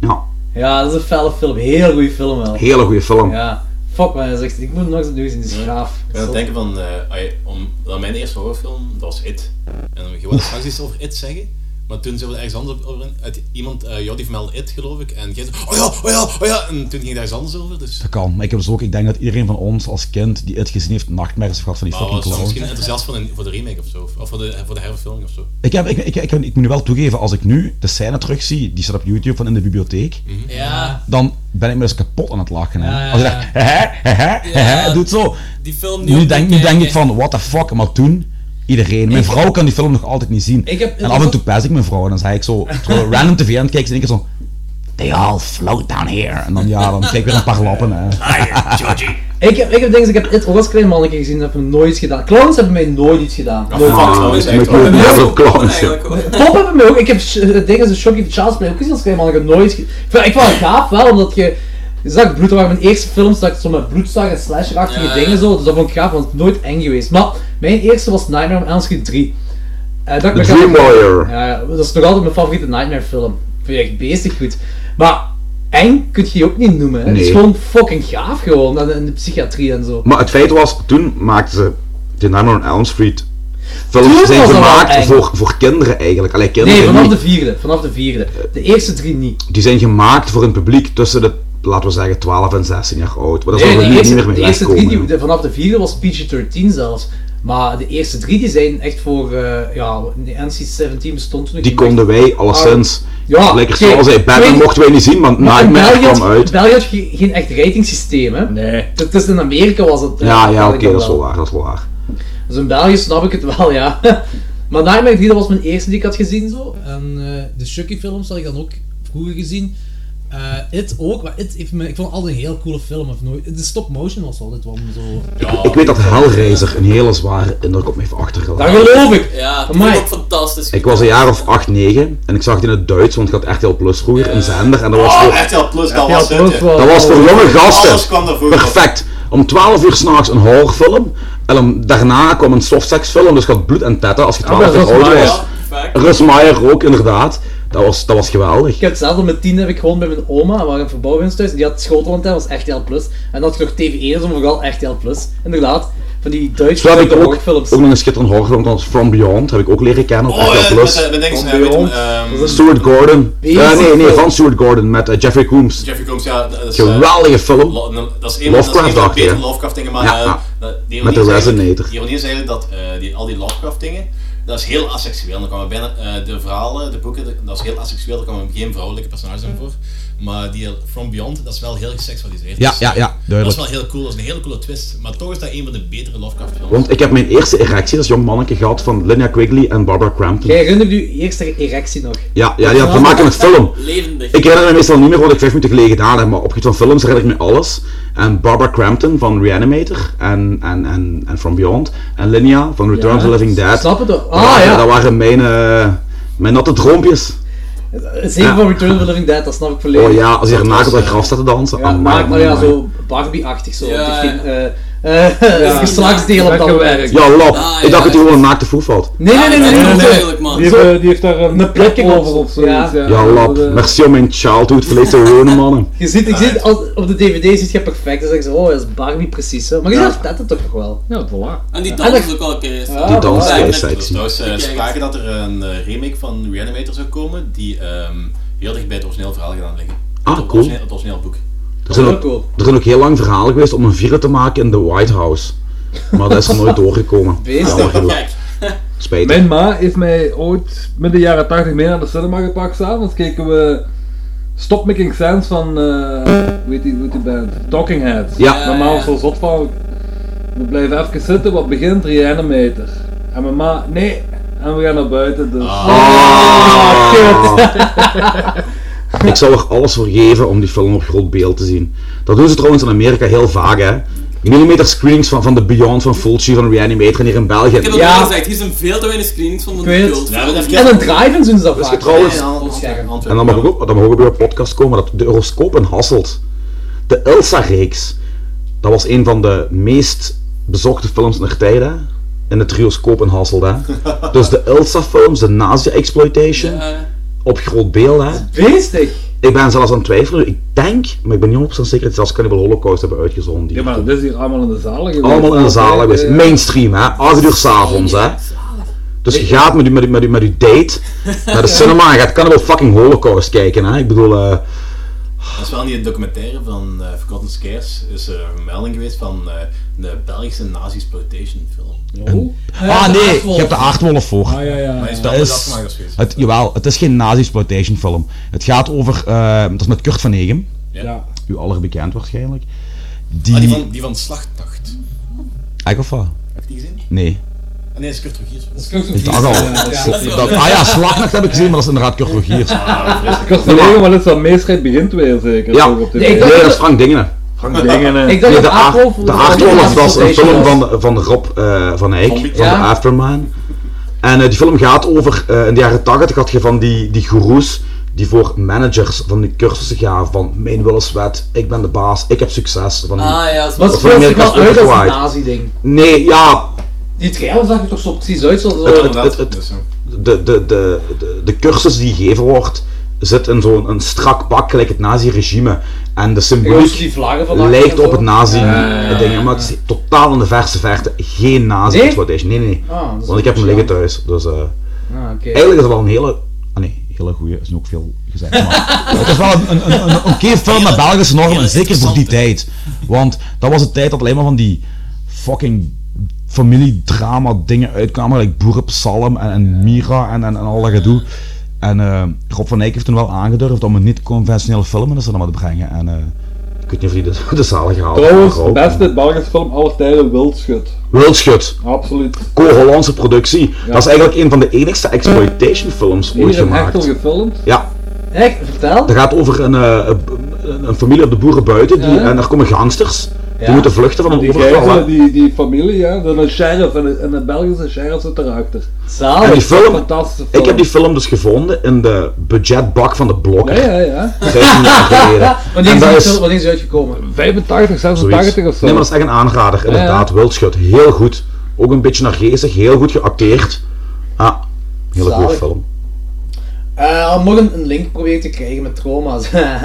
A: Ja,
D: Ja, dat is een felle film. Heel goede film wel.
A: hele goede film.
D: Ja. Fuck man, hij zegt, ik moet hem nog eens opnieuw zien, die is gaaf.
C: Ik ben aan het denken van, eh, ai, om, dat mijn eerste horrorfilm, dat was It. En je wilde straks iets over It zeggen, maar toen zijn we ergens anders op- over, in- uit, iemand, eh jou die vermeldde It geloof ik, en jij zei, oh ja, oh ja, oh ja, en toen ging daar iets anders over, dus...
K: Dat kan. Maar ik heb dus ook, ik denk dat iedereen van ons als kind die het gezien heeft, nachtmerries heeft gehad van die
C: Maar
K: fucking
C: was
K: clowns.
C: Nou, misschien enthousiast voor, een, voor de remake of zo, of voor de, voor de herverfilming of zo.
K: Ik, heb, ik, ik, ik, ik moet nu wel toegeven, als ik nu de scène terugzie, die staat op YouTube van in de bibliotheek,
E: Ja,
K: dan ben ik me dus kapot aan het lachen. Hè.
E: Ja, ja,
K: Als ik dacht, hè, hè, hè, hè, doet zo.
E: die film die
K: Nu
E: ook
K: denk, nu
E: bekijken.
K: denk ik van, what the fuck, maar toen, iedereen. Mijn vrouw kan die film nog altijd niet zien.
D: Ik heb-
K: en af en toe pes ik mijn vrouw en dan zei ik
E: *laughs*
K: zo, terwijl we random tv aan het kijken, en ik zo, they all float down here. En dan
E: *laughs*
K: ja, dan kijk ik weer een paar lappen. Hè.
D: Ik heb, ik heb dingen, ik heb dit ook als klein mannetje gezien, dat heb ik nooit iets gedaan. Clowns hebben mij nooit iets gedaan. Nooit.
C: fuck, dat is echt wel-
A: Heel clowns, ja.
E: Oh, Eigenlijk hoor.
D: Pop hebben mij ook, ik heb sh- eh, dingen, de Shocky Charles Play ook gezien als klein mannetje, nooit ge- ik, vond- ik vond het gaaf wel, omdat je, je zag bloed, dat waren mijn eerste films, dat ik zo met bloed zag en slasherachtige
E: Ja, ja.
D: dingen zo, dus dat vond ik gaaf, want het is nooit eng geweest. Maar, mijn eerste was Nightmare on Elm Street 3. Eh, dat
A: The
D: dat-
A: Dream Warrior.
D: Ja, ja, dat is nog altijd mijn favoriete Nightmare film. Ik vind je echt beestig goed. Maar eng kun je je ook niet noemen. hè. Het is
A: Nee.
D: gewoon fucking gaaf gewoon. En in de psychiatrie en zo.
A: Maar het feit was, toen maakten ze The Nightmare on Elm Street. Films
D: Toen
A: zijn
D: was dat wel
A: gemaakt
D: eng.
A: voor, voor kinderen eigenlijk. Allee, kinderen
D: Nee, vanaf
A: niet.
D: de vierde. Vanaf de vierde. De eerste drie niet.
A: Die zijn gemaakt voor een publiek tussen de, laten we zeggen, 12 en 16 jaar oud. Maar daar
D: Nee,
A: zullen we
D: de
A: hier niet
D: eerste,
A: meer mee
D: de eerste drie,
A: wegkomen.
D: die,
A: joh.
D: de- vanaf de vierde was PG-13 zelfs. Maar de eerste drie die zijn echt voor, eh, ja, de NC-17 bestond toen
A: Die
D: nog niet
A: konden
D: echt.
A: wij alleszins.
D: Ah, Ja,
A: lekker
D: oké,
A: zoals hij Batman
D: twee-
A: mochten wij niet zien, want
D: Maar in
A: Nightmare
D: België had-
A: kwam uit.
D: België had ge- geen echt ratingsysteem, hè? Nee. Dat is in Amerika was het. eh,
A: Ja, ja, oké,
D: dan
A: dat is wel
D: wel.
A: waar, dat is wel waar.
D: Dus in België snap ik het wel, ja. *laughs* maar Nightmare 3, dat was mijn eerste die ik had gezien, zo. En eh,
L: de Chucky films had ik dan ook vroeger gezien. Eh It ook, maar It heeft me, ik vond het altijd een heel coole film. Of nooit, de stop motion was altijd wel zo.
A: ik weet dat Hellraiser een hele zware indruk op mij heeft achtergelaten.
D: Dat geloof ik!
E: Ja, dat
D: Amai.
E: is ook fantastisch.
A: Ik was een jaar of 8, 9 en ik zag het in het Duits, want ik had RTL Plus vroeger, een zender. En dat
D: Ah,
A: was
C: Oh,
A: voor,
C: RTL Plus, dat was het. hè.
A: dat was voor jonge
C: Alles
A: gasten.
C: kwam daarvoor.
A: Perfect. Om 12 uur s'nachts een horrorfilm. En om, daarna kwam een softseksfilm, dus ik had bloed en tetten als je 12
D: maar
A: jaar
D: Russ
A: oud
D: Meyer.
A: was. Russ Meyer ook, inderdaad. Dat was, dat was geweldig.
D: Ik heb hetzelfde met 10 heb ik gewoon bij mijn oma, we waren een verbouwingsthuis, en die had Schoteland, dat was RTL Plus. En dat had nog TV1, dus vooral RTL Plus. Inderdaad, van die Duitse
A: Zo heb ik ook, ook
D: horrorfilms.
A: nog een schitterend horrorfilm, dat was From Beyond, heb ik ook leren kennen op
D: Oh, ja,
A: RTL Plus.
D: met, eh, met
C: Engels,
A: From
C: eh, weet je,
A: Beyond.
C: ehm,
A: Stuart Gordon.
C: Wie is
A: Eh, nee,
C: die
A: nee,
C: film?
A: van Stuart Gordon met eh, Jeffrey Combs.
C: Jeffrey Combs, ja, dat is... eh,
A: Geweldige film.
C: Lo- no- dat is
A: Lovecraft
C: een
A: dacht,
C: Lovecraft dat is een van
A: hè?
C: de Lovecraft dingen, maar
A: Ja,
C: eh,
A: ja.
C: dat- die
A: Met de
C: ironie is eigenlijk-
A: Resonator.
C: Die ironie is eigenlijk dat eh, die, al die Lovecraft dingen, dat is heel asexueel. Dan kwamen bijna eh, de verhalen, de boeken, de- dat is heel asexueel, daar kwamen geen vrouwelijke personages in voor. Maar die From Beyond, dat is wel heel geseksualiseerd.
A: Ja,
C: Dus,
A: ja, ja,
C: eh, Dat
A: duidelijk.
C: is wel heel cool, dat is een hele coole twist. Maar toch is dat een van de betere Lovecraft films.
A: Want ik heb mijn eerste erectie als jong manneke gehad van Linnea Quigley en Barbara Crampton.
D: Jij herinnert je eerste erectie nog?
A: Ja, ja, die had te maken met film. Ik herinner me meestal niet meer wat ik vijf minuten geleden gedaan heb, maar op het van films herinner ik me alles. En Barbara Crampton van Reanimator en, en, en, en From Beyond. En Linnea van Return
D: Ja,
A: of the Living Dead.
D: snap het wel.
A: Dat
D: Ah,
A: waren-
D: ja.
A: Dat waren mijn, eh, mijn natte droompjes.
D: Zeker
A: Ja.
D: van Return of the Living Dead, dat snap ik volledig.
A: Oh ja, als je ernaast op dat Ah, graf staat te dansen.
D: Ja,
A: amai,
D: maar, maar ja,
A: amai.
D: zo Barbie-achtig zo.
E: Ja,
D: Die geen, eh, *laughs* eh, Geslachtsdeel op dat werk.
A: Ja, lap.
D: Ah,
A: ik dacht dat hij gewoon een naakte voet valt.
D: Nee, nee, nee, nee, nee, nee.
B: Die,
D: Zo-
B: heeft, eh, die heeft daar een,
D: Een plekje
B: over of zoiets. Ja,
A: Ja, lap.
B: Dat, eh,
A: Merci om mijn childhood verleed
D: *laughs*
A: te wonen, mannen.
D: Je ziet, ik zie, het als, op de DVD zit je perfect. Dan zeg je, oh, dat is Barbie precies. Hè. Maar je ziet dat het toch nog wel.
B: Ja, voilà.
E: En die
D: Ja.
E: dans is ook al keer.
D: Die dans
E: Ja,
A: is
E: net-
A: keisheid.
E: Ja,
C: Trouwens, eh,
E: Ik kijk
C: sprake dat er een eh, remake van Reanimator zou komen, die ehm, heel dicht bij het origineel verhaal gedaan liggen.
A: Ah,
C: het
A: cool.
C: origineel, het origineel boek.
A: Er zijn, ook, er zijn ook heel lang verhalen geweest om een villa te maken in de White House. Maar dat is er
D: *laughs*
A: nooit doorgekomen.
D: Beest.
A: Jammer genoeg.
D: *laughs*
A: Spijtig.
B: Mijn ma heeft mij ooit midden jaren 80 mee naar de cinema gepakt. S'avonds keken we Stop Making Sense van, eh hoe heet die, hoe heet die band? Talking Heads.
A: Ja.
B: Mijn ma was zo zot van, we blijven even zitten, wat begint Reanimator. En mijn ma, nee, en we gaan naar buiten dus.
A: Ah.
B: kut.
A: Ik zou er alles voor geven om die film op groot beeld te zien. Dat doen ze trouwens in Amerika heel vaak, hè. Millimeter screenings van, van de Beyond, van Fulci, van Reanimator en hier in België.
E: Ik heb het al gezegd, hier zijn veel te weinig screenings van de cult.
D: En een drive-in doen ze dat
A: Dus
D: vaak.
A: trouwens-
D: Ja, ja, scherm.
A: En dan mag ik ook, dan mag ook weer een podcast komen dat de Euroscoop in Hasselt. De Elsa-reeks. Dat was een van de meest bezochte films in de tijd, hè? In het Rioscoop in Hasselt,
E: *laughs*
A: hè? Dus de Elsa-films, de Nazi-exploitation. Op groot beeld, hè?
D: Beestig!
A: Ik ben zelfs aan het twijfelen. Ik denk, maar ik ben niet 100% zeker, dat ze zelfs Cannibal Holocaust hebben uitgezonden. die
B: Ja, maar dat is hier allemaal in de zalen geweest.
A: allemaal in de zalen geweest.
B: Eh,
A: Mainstream, hè? 8 uur s'avonds, hè? Dus je gaat met je, met, je, met, je, met je date naar de cinema en je gaat Cannibal fucking Holocaust kijken, hè? Ik bedoel, eh,
C: Dat is wel in die documentaire van eh, Forgotten Skies, is er een melding geweest van eh, de Belgische nazi-exploitation film.
M: ah nee, je hebt de aardwolf voor.
B: Ah, ja, ja.
C: Maar is dat
M: Dat
C: wat
M: is,
C: afgemaakt of zoiets?
M: het, jawel, het is geen nazi-exploitation film. Het gaat over, eh, dat is met Kurt van Egem,
C: Ja.
M: u aller bekend waarschijnlijk.
C: Die...
M: Die,
C: Ah, die van, die van Slachtacht.
M: Eigenlijk of wat?
C: Heb je die gezien?
M: Nee.
C: Ah, nee, dat is Kurt Rogiers. Dat is
M: Ik dacht al. Sla- dat- ah ja, Slagnacht heb ik gezien, maar dat is inderdaad Kurt Rogiers.
B: Ik was verlegen, maar dat is dat meestrijd begint weer zeker.
A: Ja,
B: toch, op de
A: nee,
B: wereld.
A: dat is Frank Dingen.
B: Frank Dingen, eh. hè.
D: Ik dacht
A: de
D: dat
A: Aard-
D: Aardwolf-
A: de Aardwolf was een film van, van Rob eh, van Eyck, van de
D: Ja.
A: Afterman. En eh, die film gaat over, eh, in de jaren 80 had je van die, die goeroes die voor managers van die cursussen gaven van mijn wil is wet, ik ben de baas, ik heb succes. Van die-
E: Ah ja,
D: Maar
E: dat
D: het
E: is
A: van
D: speelt zich
A: Amerika's
D: wel uit als een
A: Overwide.
D: nazi-ding.
A: Nee, ja,
D: Die trailer zag er toch zo precies uit zoals... eh,
A: Het- het- het-
C: Dus,
A: het-
C: eh,
A: de, de, de, de, de cursus die gegeven wordt, zit in zo'n een strak pak, gelijk het nazi-regime. En de
D: Jongens,
A: symboliek
D: die vlaggen van achter
A: lijkt
D: en
A: op
D: zo.
A: het nazi eh,
D: Ja, ja, ja,
A: dingen maar het is totaal in de verse verte geen nazi
D: Nee?
A: exploitation. Nee, nee, nee.
D: Ah, dat is
A: Want ik heb hem liggen thuis. Dus, eh,
D: Ah, oké.
A: Eigenlijk is het wel een hele... Ah nee, hele goede is nu ook veel gezegd. Maar *laughs* het is wel een, een, een, een oké film met Belgische normen, en zeker voor die tijd. Want dat was de tijd dat alleen maar van die fucking familiedrama dingen uitkwamen, like Boer op Salm en, en Mira en, en, en al dat gedoe. En eh, Rob van Eyck heeft toen wel aangedurfd om een niet-conventionele film in de cinema te brengen. En, eh, ik weet niet of hij *laughs* de, de zalen gehaald heeft,
B: Trouwens,
A: maar ook. eh,
B: beste Belgische film aller tijden, Wildschut.
A: Wildschut.
B: Absoluut.
A: Co-Hollandse productie.
B: Ja.
A: Dat is eigenlijk een van de enigste exploitation films ooit
B: Hier in
A: gemaakt.
B: Hechtel gefilmd.
A: Ja.
D: Echt? Vertel?
A: Dat gaat over een, eh, een, een familie op de boeren buiten die,
B: Ja.
A: en er komen gangsters.
B: Ja.
A: Die moeten vluchten van een
B: Die
A: overval.
B: gijzelen,
A: hè.
B: die, die familie, ja. Dat is een sheriff en een, en een Belgische sheriff zit erachter.
A: En die film,
B: Fantastische film.
A: ik heb die film dus gevonden in de budgetbak van de blokker.
B: Ja, ja, ja.
A: 15
B: *laughs*
A: jaar geleden.
D: Wanneer
A: En
D: is
A: dat
D: die
A: is
D: film- wanneer is die uitgekomen?
B: 85,
A: zoiets.
B: 86 of zo.
A: Nee, maar dat is echt een aanrader.
B: Ja,
A: Inderdaad, Wildschut. Heel goed. Ook een beetje nargeestig, heel goed geacteerd. Ah, hele goede
D: Zalig.
A: film.
D: Eh, al morgen een link proberen te krijgen met trauma's. *laughs*
C: Ja,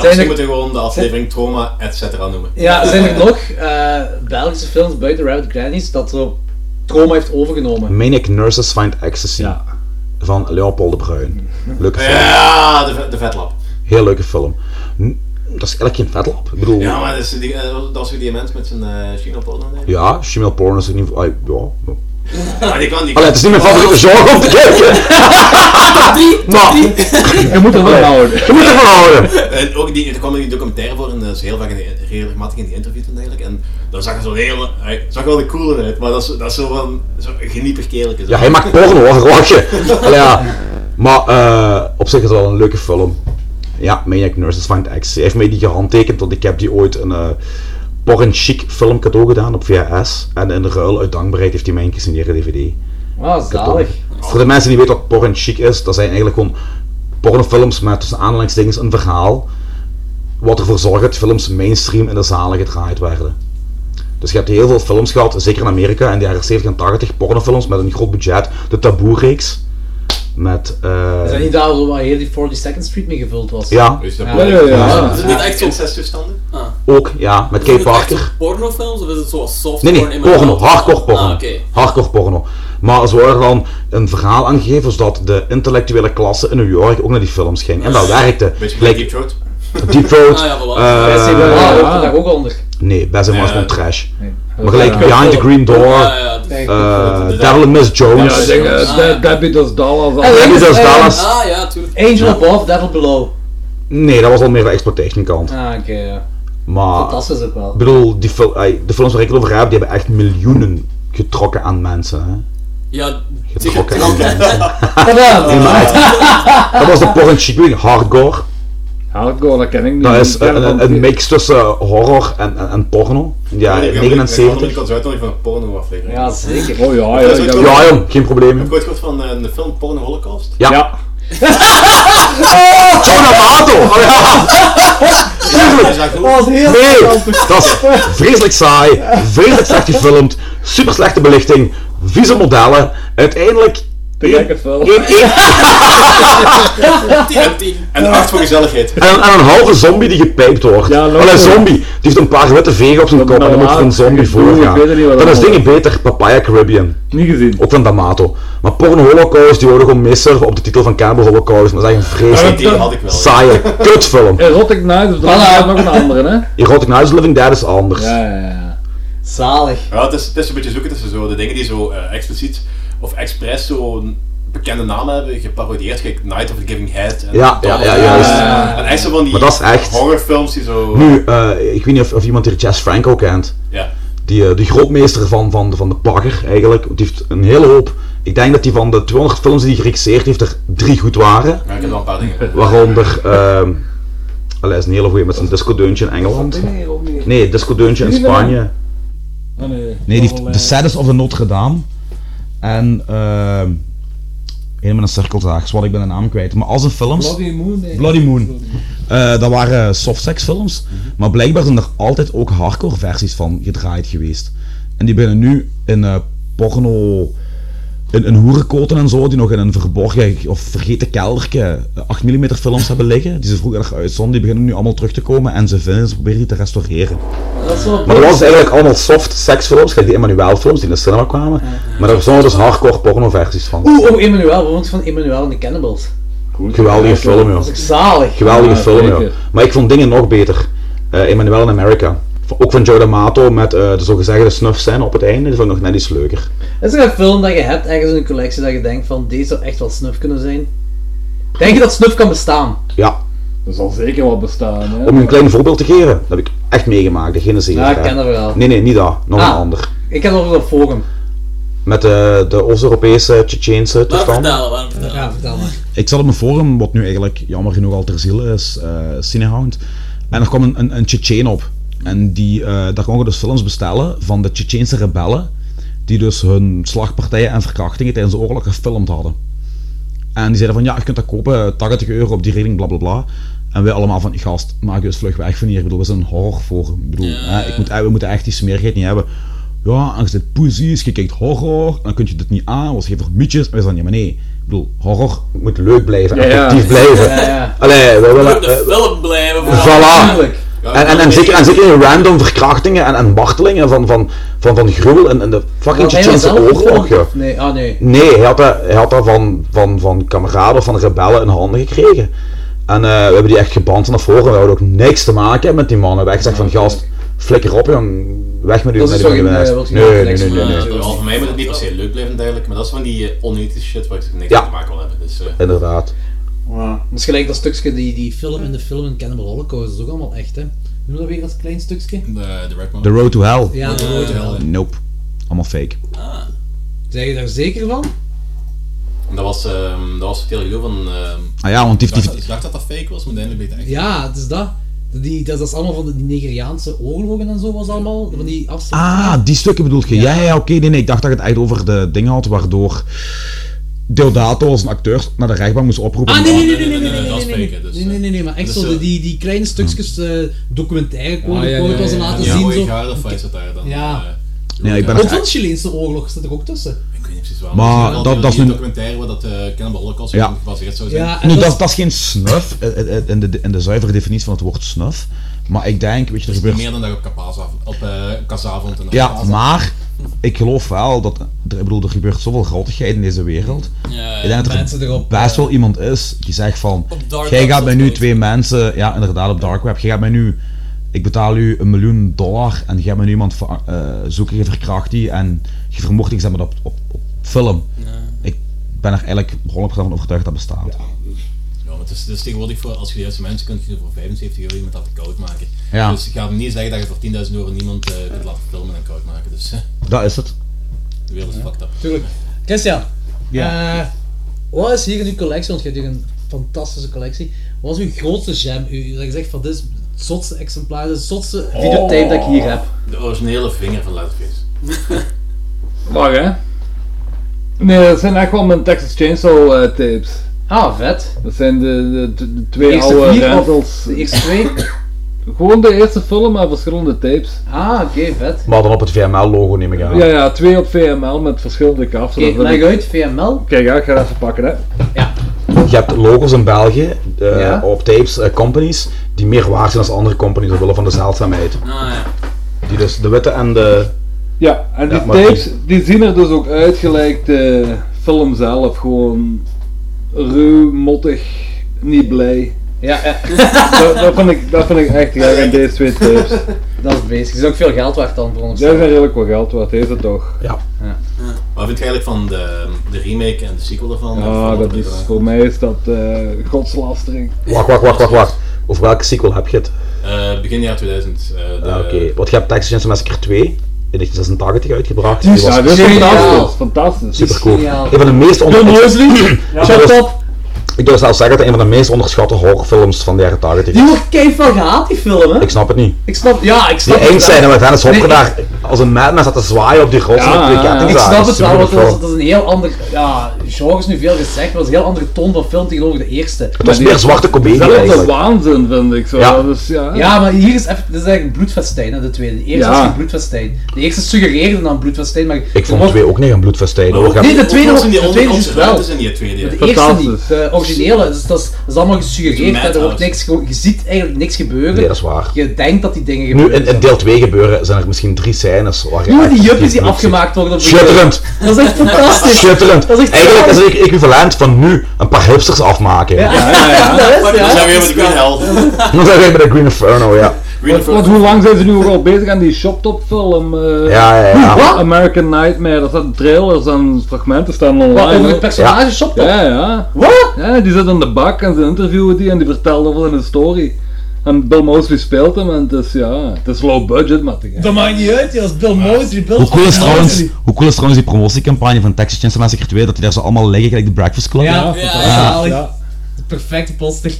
D: Zijn
C: ze
D: er-
C: moeten gewoon de aflevering Trauma, et cetera noemen.
D: Ja, zijn er nog eh, Belgische films buiten Rabbit Grannies dat zo trauma heeft overgenomen?
A: Manic Nurses Find Ecstasy van Leopold de Bruin. Leuke film.
C: Ja, de, de vetlap.
A: Heel leuke film. N- Dat is eigenlijk geen vetlap. Ik bedoel,
C: Ja, maar dat is, die, eh, dat is weer die mens met zijn eh China-porno. nee.
A: Ja, female porn is in ieder geval... ah, Ja.
C: Maar die kan, die
A: Allee, het is niet mijn favoriete genre om te kijken. Maar,
B: Je moet er wel houden.
A: je moet ervan houden.
C: En ook die, er kwam die documentaire voor en dat is heel vaak in die, regelmatig in die interviews en dergelijke. En daar zag er zo'n hele, hij zag er wel de coole uit, maar dat is, dat is zo van, zo'n geniepig kereltje. zo.
A: Ja, hij maakt porno, hoor, *laughs* lachje. Allee, ja. Maar eh, op zich is het wel een leuke film. Ja, Maniac Nurses Find X. Hij heeft mij die gehandtekend, want ik heb die ooit een eh porn chic film cadeau gedaan op VHS. En in ruil uit dankbaarheid heeft hij mij een gesigneerde DVD.
D: Ah, zalig.
A: Voor de mensen die weten wat porn chic is, dat zijn eigenlijk gewoon pornofilms met tussen aanhalingstekens een verhaal. Wat ervoor zorgt dat films mainstream in de zalen gedraaid werden. Dus je hebt heel veel films gehad, zeker in Amerika in de jaren 70 en 80, pornofilms met een groot budget. De Taboe-reeks. Met. eh,
D: Is dat niet daar zo waar heel die 42nd Street mee gevuld was? Ah,
A: Ja. Is dat Ja, ja, ja. Ja.
E: Is het echt zo'n toestanden? Ah.
A: Ook, ja, met
E: Is
A: Kay
E: het echt
A: Parker.
E: zo'n pornofilms of is het zoals Ah, soft
A: Nee, nee, porno,
D: Ah,
A: hardcore porno. Hardcore porno. Maar ze worden dan een verhaal aangegeven zodat de intellectuele klasse in New York ook naar die films ging. En dat werkte.
C: Beetje
A: Gelijk-
C: Deep Throat.
A: *laughs* Deep Throat.
C: Ah, ja, voilà.
A: eh,
C: Best in the World,
A: ja.
D: hoort er daar ook onder.
A: Nee, Best in
D: Nee,
A: World is
D: Ah, ja.
A: gewoon trash.
D: Nee.
A: Maar gelijk
D: Ja.
A: Behind the Green Door,
E: Ah,
D: Ja, ja,
E: dus-
D: dat
A: eh,
D: is- Ja.
A: Devil and Miss Jones.
B: Ja, denk, eh, De- Debbie Does Dallas.
D: Ah,
A: Debbie Does
D: eh,
A: Dallas.
E: Ah ja, tuurlijk.
D: Angel Above, Devil Below.
A: Nee, dat was al meer de exploitation kant.
D: Ah, oké, ja.
A: Maar,
D: Fantastisch ook wel.
A: Ik bedoel, die fil- ai, de films waar ik het over heb, die hebben echt miljoenen getrokken aan mensen. Hè?
E: Ja,
A: Getrokken aan
E: zeker.
A: mensen.
E: Tadaa.
A: Nee, maar echt. dat was de porn chic, weet je, hardcore.
B: Hardcore, dat ken ik niet.
A: Dat is eh,
B: Ik ken
A: een, een,
B: van-
A: een mix tussen horror en, en, en porno. Ja,
C: Ik kwam- Ik kwam er
A: 79.
C: niet uit, want ik van een porno-aflevering.
D: Ja, zeker.
B: Oh ja,
C: Dat
B: ja.
C: is
B: ik heb-
C: ook
A: Ja, jong, geen probleem.
C: Heb je ooit gehoord van eh, de film Porno
A: *laughs*
C: Holocaust?
A: Ja. John Amato! Oh ja! Tuurlijk. Nee! Dat is vreselijk saai, vreselijk slecht gefilmd, super slechte belichting, vieze modellen. Uiteindelijk. Te gekke
B: film.
C: En acht voor gezelligheid.
A: En, en een halve zombie die gepijpt wordt. Ja, een zombie. Die heeft een paar witte vegen op zijn kop en dan moet er een zombie voorgaan.
B: ik weet het niet wat
A: Dan
B: dat
A: is
B: was.
A: dingen beter. Papaya Caribbean.
B: Niet gezien.
A: Ook van D'Amato. Maar Porno Holocaust, die hoorde gewoon misser op de titel van Cannibal Holocaust. Maar dat is echt een vreselijk
B: Ja, dat- dat had ik wel. *laughs*
A: saaie kutfilm.
B: Erotic Night of Dallas, nog een andere, hè?
A: Erotic Nights Living Dead is anders.
D: Zalig.
C: Ja, het is, het is een beetje zoeken tussen zo de dingen die zo eh, expliciet of expres zo'n bekende namen hebben geparodieerd, gelijk Night of the Giving Head. En Eh,
A: Ja, ja, ja, juist.
C: En echt zo van die
A: Maar dat is echt.
C: horrorfilms die zo...
A: Nu, eh, ik weet niet of, of iemand hier Jess Franco kent.
C: Ja.
A: Die, eh, de grootmeester van, van, van de bagger eigenlijk. Die heeft een hele hoop. Ik denk dat hij van de 200 films die hij geregisseerd heeft, er drie goed waren.
C: Ja, ik heb wel een paar dingen.
A: Waaronder. ehm allee, is een hele goeie met zijn discodeuntje in Engeland. Nee, discodeuntje in Spanje.
N: Nee, die heeft The Saddest of the Notre Dame. En ehm helemaal een cirkelzaag, wat ik ben de naam kwijt. Maar als een films.
B: Bloody Moon, nee.
N: Bloody Moon. Eh, dat waren softsex films. Maar blijkbaar zijn er altijd ook hardcore versies van gedraaid geweest.
A: En die beginnen nu in eh, porno. In, in hoerenkoten en zo, die nog in een verborgen of vergeten kelderke 8 mm films hebben liggen, die ze vroeger nog uitzonden, die beginnen nu allemaal terug te komen en ze vinden ze proberen die te restaureren.
O: Dat is wel
A: Maar dat was eigenlijk allemaal soft seksfilms, gelijk die Emmanuel-films die in de cinema kwamen, maar daar stonden dus hardcore pornoversies van.
D: Oeh, oh, Emmanuel, we moeten van Emmanuel en de Cannibals.
A: Geweldige film, joh.
D: Dat is ik zalig.
A: Geweldige film,
D: ja.
A: joh. Maar ik vond dingen nog beter. Eh Emmanuel in America. V- Ook van Joe D'Amato met eh de zogezegde snuff scène op het einde, die vond ik nog net iets leuker.
D: Is er een film dat je hebt ergens in een collectie dat je denkt van deze zou echt wel snuf kunnen zijn? Denk je dat snuf kan bestaan?
A: Ja.
B: Dat zal zeker wel bestaan. Hè?
A: Om je een klein voorbeeld te geven, dat heb ik echt meegemaakt, de Genesis.
D: Ja, ik ken dat verhaal.
A: Nee, nee, niet dat. Nog
D: Ah.
A: een ander.
D: Ik heb nog wel een forum.
A: Met eh, de Oost-Europese, Tsjetsjeense toestand.
D: Ja, vertel maar.
A: Ik zat op een forum, wat nu eigenlijk jammer genoeg al ter ziele is, eh Cinehound. En er kwam een, een, een Tsjetsjeen op. En die, eh, daar kon je dus films bestellen van de Tsjetsjeense rebellen. Die dus hun slagpartijen en verkrachtingen tijdens de oorlog gefilmd hadden. En die zeiden van ja, je kunt dat kopen, 80 euro op die regeling, bla bla bla. En wij allemaal van, gast, maak je eens vlug weg van hier. Ik bedoel, we zijn een horrorforum. Ik bedoel, hè, ik moet, eh, we moeten echt die smerigheid niet hebben. Ja, en je zit poesies, je kijkt horror, dan kun je dit niet aan, was geen vermietjes. En wij zeiden, ja maar nee, ik bedoel, horror moet leuk blijven,
E: Ja, ja.
A: effectief blijven.
E: Ja, ja.
A: Allee, we willen...
E: Moet de film blijven.
A: eh,
E: vooral.
A: voilà! En, en, en, zeker, en zeker in random verkrachtingen en, en martelingen van, van, van, van gruwel en, en de fucking
D: Was hij
A: Tsjetsjense
D: dat zelf
A: oorlog.
D: gewoon?
A: ja.
D: Nee, ah nee.
A: Nee, hij had dat, hij had dat van, van, van kameraden of van rebellen in handen gekregen. En eh, we hebben die echt geband naar voren. We hadden ook niks te maken met die mannen. We hebben echt gezegd van gast, flikker op jong. Weg met u.
D: Dat
A: met
D: is
A: die
D: toch
A: mannen
D: geen,
A: met huis.
D: eh, wat je
A: Nee,
D: niet
A: nee, nee,
D: flex-
A: nee, nee,
D: Ja,
A: nee.
C: Maar Eh, voor mij moet het niet per se leuk blijven en dergelijke, maar dat is van die eh, onethische shit waar ik niks
A: Ja.
C: te maken wil hebben. Dus, eh,
A: Inderdaad.
D: Ja. Dat is gelijk dat stukje die, die
O: film in de film in Cannibal Holocaust, dat is ook allemaal echt, hè? Noem dat weer als klein stukje?
C: De, de Red
A: The Road to Hell.
O: Ja,
D: Eh,
O: The Road to Hell.
A: Nope. Allemaal fake.
O: Zijn je daar zeker van?
C: dat was, ehm dat was het hele gedoe van... ehm,
A: Ah ja, want die-
C: ik dacht
A: die-
C: dat- Ik dacht dat dat fake was, maar uiteindelijk bleek het echt.
O: Ja, het is dat. Die, dat, is, dat is allemaal van de Nigeriaanse oorlogen en zo was allemaal, van die afstand.
A: Ah, die stukken bedoel je? Ja, ja, ja, oké. nee, nee, ik dacht dat je het echt over de dingen had waardoor Deodato als een acteur naar de rechtbank moest oproepen.
O: Ah,
A: om-
O: nee, nee, nee, nee, nee, nee, nee, nee, nee, nee, nee, nee, nee, nee, maar echt
A: Eh, dus,
O: zo, de-
A: eh, Hmm.
O: die, die kleine stukjes eh documentaire
A: Ah,
O: code
A: ja,
O: ja,
A: ja, ja,
O: was en
A: ja,
O: laten
A: ja.
O: zien
A: Mooie
O: zo.
C: Gouden of is dat daar dan? eh,
O: Ja.
A: Nee, ik ben
O: Ook
A: echt-
O: van de Chileense oorlog zit er ook tussen.
C: Ik weet niet precies waar.
A: Maar
C: er is wel
A: dat-
C: die-
A: dat is
C: die
A: nu-
C: documentaire waar dat eh Cannibal Holocaust
A: Ja.
C: gebaseerd zou zijn.
A: nu, dat, dat is geen snuf, eh, eh, eh, in de, in de zuivere definitie van het woord snuf. Maar ik denk, weet je, er
C: is
A: gebeurt...
C: meer dan dat op kapasavond, op eh kasavond en op
A: Ja,
C: kaasavond.
A: maar ik geloof wel dat er, ik bedoel, er gebeurt zoveel grottigheid in deze wereld.
C: Ja,
A: ik denk dat
C: Eh, mensen
A: er
C: erop, eh,
A: best wel iemand is die zegt van,
C: dark
A: jij
C: web
A: gaat mij nu twee mensen, ja inderdaad op dark web, jij gaat mij nu, ik betaal u een miljoen dollar en jij gaat mij nu iemand ver- eh, zoeken, je verkracht die en je vermoordt die, zeg maar, op, op, op film. Ik ben er eigenlijk 100% van overtuigd dat bestaat.
C: Ja, maar het is, het is tegenwoordig voor, als je de juiste mensen kunt, kun je voor 75 euro iemand laten koud maken.
A: Ja.
C: Dus ik ga hem niet zeggen dat je voor 10.000 euro niemand eh, kunt laten filmen en koud maken. Dus eh,
A: Dat is het.
C: de wereld is fucked up.
O: Tuurlijk. Christian,
C: Ja.
O: eh, wat is hier in uw collectie, want je hebt hier een fantastische collectie. Wat is uw grootste gem? U, dat je zegt van dit is het zotste exemplaar, dit is het zotste
A: Oh.
O: videotape dat ik hier heb.
C: De originele vinger van Letterface.
B: Mag hè? Nee, dat zijn echt wel mijn Texas Chainsaw eh, tapes.
D: Ah, vet.
B: Dat zijn de, de, de, de twee
D: De eerste
B: oude
D: vier of
B: rentals.
D: de eerste twee?
B: *coughs* Gewoon de eerste film, maar verschillende tapes.
D: Ah, oké, vet.
A: Maar dan op het VML-logo neem ik aan.
B: Ja, ja, twee op VML met verschillende kaft.
D: Oké, leg uit, VML.
B: Kijk, ja, ik ga dat even pakken hè.
A: Je hebt logos in België, eh, op tapes, eh, companies, die meer waard zijn dan andere companies, omwille van de zeldzaamheid.
C: Ah,
A: Die dus de witte en de...
B: Ja, en die
A: Ja, maar-
B: tapes die zien er dus ook uit gelijk de film zelf. Gewoon ruw, mottig, niet blij.
D: Ja, ja.
B: *laughs* dat, dat, vind ik, dat vind ik echt raar aan deze twee tapes.
D: Dat is bezig. Is ook veel geld waard dan voor
B: Jij
D: ons.
B: zijn redelijk wat geld waard, deze toch?
A: Ja.
C: Wat vind je eigenlijk van de, de remake en de sequel ervan?
B: Ja, Ah, dat is, voor mij is dat eh godslastering.
A: Wacht, wacht, wacht, wacht, wacht. Over welke sequel heb je het?
C: Eh, begin jaar 2000. eh, de-
A: Ah, Oké, want je hebt Texas Chainsaw Massacre 2 in 1986 uitgebracht.
B: Ja,
A: was
B: dit is
A: geniaal.
B: fantastisch. fantastisch.
A: Super cool. Een van de meest
B: John Wesley, shut
A: up! Ik durf zelfs zeggen dat het een van de meest onderschatte horrorfilms van de jaren 80
D: Die
A: is.
D: wordt keihard van gehaald, die film, hè?
A: Ik snap het niet.
D: Ik snap, ja, ik snap
A: Die
D: het
A: eng zijn en
D: wel.
A: met Dennis Hopper
D: Nee,
A: daar als een madman zat te zwaaien op die rots met twee kettingzagen.
D: Ik snap het wel,
A: Supergoed
D: want dat is,
A: film.
D: dat is een heel ander ja, genre is nu veel gezegd, maar het is een heel andere toon van film tegenover de eerste.
A: Het was meer zwarte comedie
B: Dat is de
A: eigenlijk.
B: waanzin, vind ik zo.
A: Ja.
B: Dus, ja.
D: Ja, maar hier is, even, dit is eigenlijk een bloedfestijn, hè, de tweede. De eerste
B: Ja.
D: is geen bloedfestijn. De eerste suggereerde dan bloedfestijn, maar...
A: Ik vond twee ook niet een bloedfestijn. hoor.
D: Nee, de tweede,
C: was in
D: de
C: die
D: tweede is
C: ondergrondse
D: wel.
C: ruimtes in die tweede.
D: Maar De eerste niet, de originele, dus dat is, dat is allemaal
C: Het is
D: gesuggereerd,
C: een
D: hè, er wordt
C: madhouse.
D: niks, ge- je ziet eigenlijk niks gebeuren.
A: Nee, dat is waar.
D: Je denkt dat die dingen
A: Nu,
D: gebeuren.
A: in, in deel 2 gebeuren, zijn er misschien drie scènes waar je...
D: Hoe die
A: echt
D: juppies die
A: bloed ziet.
D: afgemaakt worden op de
A: Schitterend!
D: Dat is echt fantastisch.
A: Schitterend!
D: Dat is echt
A: Eigenlijk is
D: geweldig.
A: het equivalent van nu een paar hipsters afmaken.
D: Ja, ja,
B: ja.
D: Dat is,
C: Dan
D: ja.
C: zijn we weer met de Green Hell.
A: *laughs* Dan zijn we bij de Green Inferno, ja.
B: Want, want hoe lang zijn ze nu al bezig aan die shoptop film? eh,
A: Ja, ja, ja.
B: Wat? American Nightmare, daar staan trailers en fragmenten staan online.
D: Wat, over het
B: hoor.
D: personage shop dan?
B: Ja, ja.
D: Wat?
B: Ja, die zit aan de bak en ze interviewen die en die vertelt over zijn story. En Bill Mosley speelt hem en het is, ja, het is low budget, maar te gek.
D: Dat maakt niet uit, als Bill Mosley, Bill
P: Hoe cool, is trouwens, hoe cool is trouwens die promotiecampagne van Texas Chainsaw Massacre 2, dat die daar zo allemaal liggen, gelijk de Breakfast Club?
D: Ja, ja,
P: ja.
D: zalig. De perfecte poster.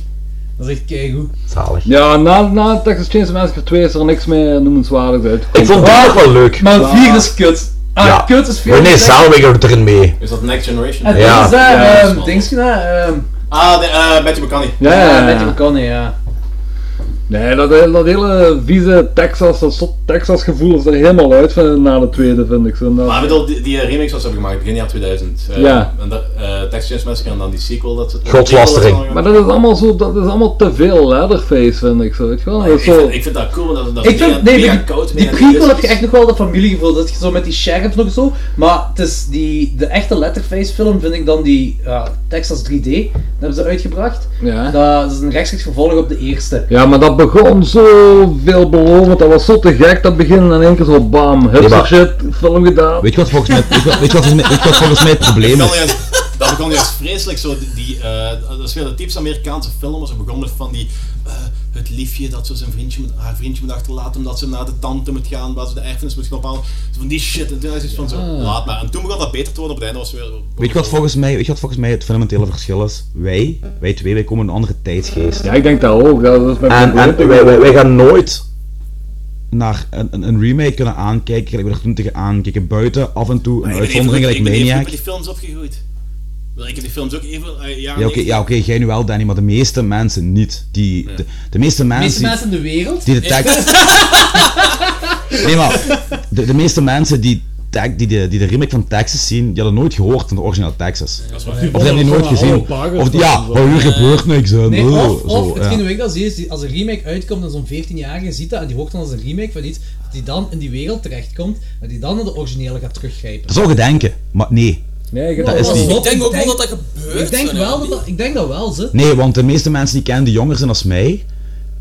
D: Dat is echt keigoed.
A: Zalig.
B: Ja, na, na Texas Chainsaw Massacre 2 is er niks meer noemenswaardigs uit.
A: Ik vond dat ook wel leuk.
D: Maar het vierde is kut. Ah,
A: Ja.
D: kut is veel
A: René
D: gezegd.
A: Zellweger doet erin mee.
C: Is dat Next Generation?
D: En
A: Ja.
D: dat is dat,
B: Ja,
D: ehm,
C: dat is
D: dingetje daar, ehm,
C: Ah, de, eh Matthew McConaughey.
B: Ja,
D: ja,
B: ja,
D: met
B: ja.
D: die Connie, ja.
B: Nee, dat, he- dat hele vieze Texas, dat zot Texas gevoel is er helemaal uit van, na de tweede, vind ik. Zo,
C: Maar ik bedoel, die, die remix was hebben gemaakt begin jaar 2000. eh,
B: Ja.
C: En dat, eh Texas Chainsaw Massacre en dan die sequel. Dat, dat-
A: Godslastering.
C: dat-
B: Maar dat is allemaal zo, dat is allemaal te veel Leatherface, vind ik zo, weet je wel. Dat
C: Ik
B: is zo,
C: vind, ik vind dat cool, want dat, dat is
D: Ik vind,
C: mega-
D: nee,
C: mega
D: die,
C: koud.
D: die
C: mega
D: prequel
C: netjes.
D: heb je echt nog wel dat familiegevoel, dat je zo met die sheriff nog zo, maar het is die, de echte Letterface film vind ik dan die ja, Texas 3D, dat hebben ze uitgebracht.
B: ja.
D: Dat is een rechtstreeks vervolg op de eerste.
B: ja, maar dat begon zo veelbelovend, dat was zo te gek, dat begin en in één keer zo bam, hipster
A: maar-
B: shit, film gedaan.
P: Weet je wat volgens mij, weet je wat, weet je wat volgens mij, weet je wat volgens mij het probleem
C: Dat
P: is?
C: begon juist- dat begon juist vreselijk zo. die- Die, eh, dat is weer de typische Amerikaanse film. Ze begonnen van die. eh, het liefje dat ze zijn vriendje moet- haar vriendje moet achterlaten omdat ze naar de tante moet gaan, waar ze de erfenis moet gaan ophalen. Zo van die shit. En toen is het van zo, laat maar. En toen begon dat beter te worden, op het einde was het weer...
P: Weet je wat volgens mij, weet je wat volgens mij het fundamentele verschil is? Wij, wij twee, wij komen uit een andere tijdsgeest.
B: Ja, ik denk dat ook, dat is mijn
A: En, en
B: probleem.
A: wij, wij, wij gaan nooit...
P: Naar een, een, een remake kunnen aankijken, gelijk we er toen tegen aankijken, buiten, af en toe, een
C: Ik ben even-
P: uitzondering, gelijk
C: ik ben even
P: Maniac.
C: met die films opgegroeid. Wel, Ik heb die films ook even... eh, jaren
P: Ja, oké,
C: 90.
P: ja, oké, jij nu wel, Danny, maar de meeste mensen niet. Die, de, de meeste
D: De
P: mensen...
D: meeste mensen in de wereld,
P: Die de
C: *laughs*
P: tekst. nee, maar de, de meeste mensen die, tag- die, de, die de remake van Texas zien, die hadden nooit gehoord van de originele Texas.
C: Dat is waar.
P: Of die hebben die nooit gezien. Of die- ja, oh, hier gebeurt niks. Hè.
D: Nee,
P: Bleh,
D: of, of
P: zo, ja.
D: hetgeen wat ik dan zie is, die- als een remake uitkomt en zo'n 14-jarige ziet dat en die hoort dan als een remake van iets, dat die dan in die wereld terechtkomt, dat die dan naar de originele gaat teruggrijpen.
P: Dat zou je denken, maar nee.
B: Nee, ik
P: Dat is
D: Wat
P: niet.
D: zot,
P: Ik
E: Ik denk ook wel
D: denk-
E: dat dat gebeurt.
D: Ik denk
E: zo,
D: wel
E: ja.
D: dat dat, ik denk dat wel, ze.
P: Nee, want de meeste mensen die kennen, die jonger zijn als mij,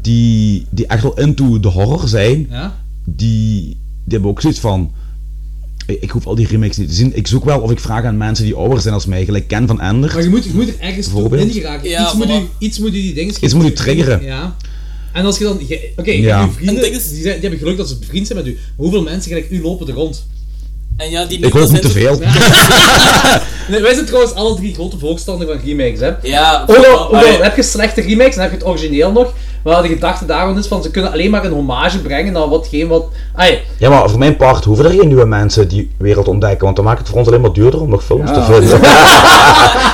P: die, die echt wel into de horror zijn,
D: Ja?
P: die, die hebben ook zoiets van. Ik, ik hoef al die remakes niet te zien. Ik zoek wel of ik vraag aan mensen die ouder zijn als mij, gelijk Ken van Ender.
D: Maar je moet, je moet er ergens toe
P: Bijvoorbeeld?
D: in geraken.
E: Ja,
D: iets, moet
E: voilà.
D: u, iets moet u die dingen...
P: Iets moet u triggeren.
D: Ja. En als je dan... je- Oké, je
P: Ja.
D: hebt uw vrienden,
E: En
D: die,
E: het ding is-
D: zijn- die hebben geluk dat ze vriend zijn met u. Maar hoeveel mensen gelijk u lopen er rond?
E: En ja, die
P: Ik hoop niet te
E: mensen-
P: veel.
D: Nee, wij zijn trouwens alle drie grote voorstander van remakes, hè.
E: Ja,
D: Hoewel,
E: maar-
D: hoewel, heb je slechte remakes, dan heb je het origineel nog. Maar de gedachte daarvan is van, ze kunnen alleen maar een hommage brengen naar watgeen wat... Ai,
A: Ja, maar voor mijn part hoeven er geen nieuwe mensen die wereld ontdekken, want dan maakt het voor ons alleen maar duurder om nog films te vinden. *laughs*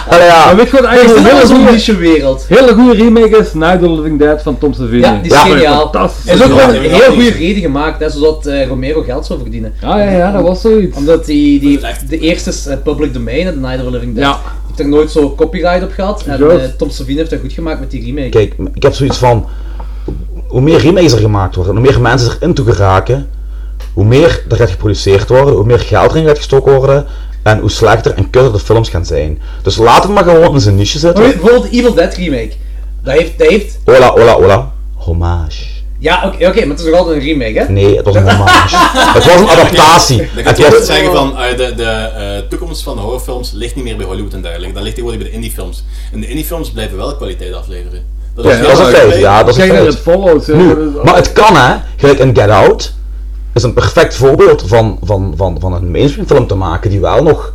A: Allee, ja.
B: Maar weet je wat eigenlijk een
D: dat
B: hele
D: is een
B: goede,
D: niche wereld.
B: hele goede remake is? Night of the Living Dead van Tom Savini.
D: Ja, die is
A: Ja,
D: geniaal.
B: fantastisch.
D: Er is ook
C: Ja,
D: wel
C: dat
D: een
C: heb ik ook
D: heel goede
C: niet.
D: reden gemaakt, hè, zodat eh, Romero geld zou verdienen.
B: Ja, ja, ja, dat was zoiets.
D: Omdat die, die,
E: Dat is echt-
D: de eerste is eh, public domain, hè, The Night of the Living Dead.
B: Ja.
D: Heeft er nooit zo copyright op gehad. En
B: Juist.
D: eh, Tom Savini heeft dat goed gemaakt met die remake.
A: Kijk, ik heb zoiets van, hoe meer remakes er gemaakt worden, hoe meer mensen erin toe geraken, hoe meer er gaat geproduceerd worden, hoe meer geld erin gaat gestoken worden, en hoe slechter en kutter de films gaan zijn. Dus laten we maar gewoon in zijn niche
D: Maar weet
A: zitten.
D: je, bijvoorbeeld de Evil Dead remake. Dat heeft... Dat heeft
A: Hola, hola, hola. Hommage.
D: ja, oké, oké, maar het is nog altijd een remake, hè?
A: Nee, het was een
C: *laughs*
A: hommage. het was een adaptatie.
C: Dan
A: Het
C: gaat iemand
A: was...
C: zeggen van eh, de, de eh, toekomst van de horrorfilms ligt niet meer bij Hollywood en dergelijke. Dan ligt tegenwoordig bij de indiefilms. En de indiefilms blijven wel kwaliteit afleveren. Dat
A: Ja,
C: heel
A: dat is een
C: erg
A: feit,
C: bij-
A: ja, dat is een
B: Kijk naar het
A: feit.
B: Follows. ja, dat
A: Nu,
B: is-
A: maar het kan hè, gelijk een Get Out is een perfect voorbeeld van, van, van, van een mainstream film te maken die wel nog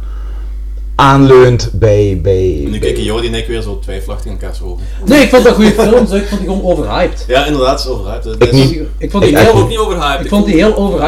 A: aanleunt bij... bij
C: Nu kijken Jordi en ik weer zo twijfelachtig aan elkaar over.
D: Nee, ik vond dat goede film, zo. ik vond die gewoon overhyped.
C: Ja, inderdaad, het is Eh, overhyped. hè.
D: Ik,
C: Dat is-
D: vond die heel, Ik vond die heel overhyped,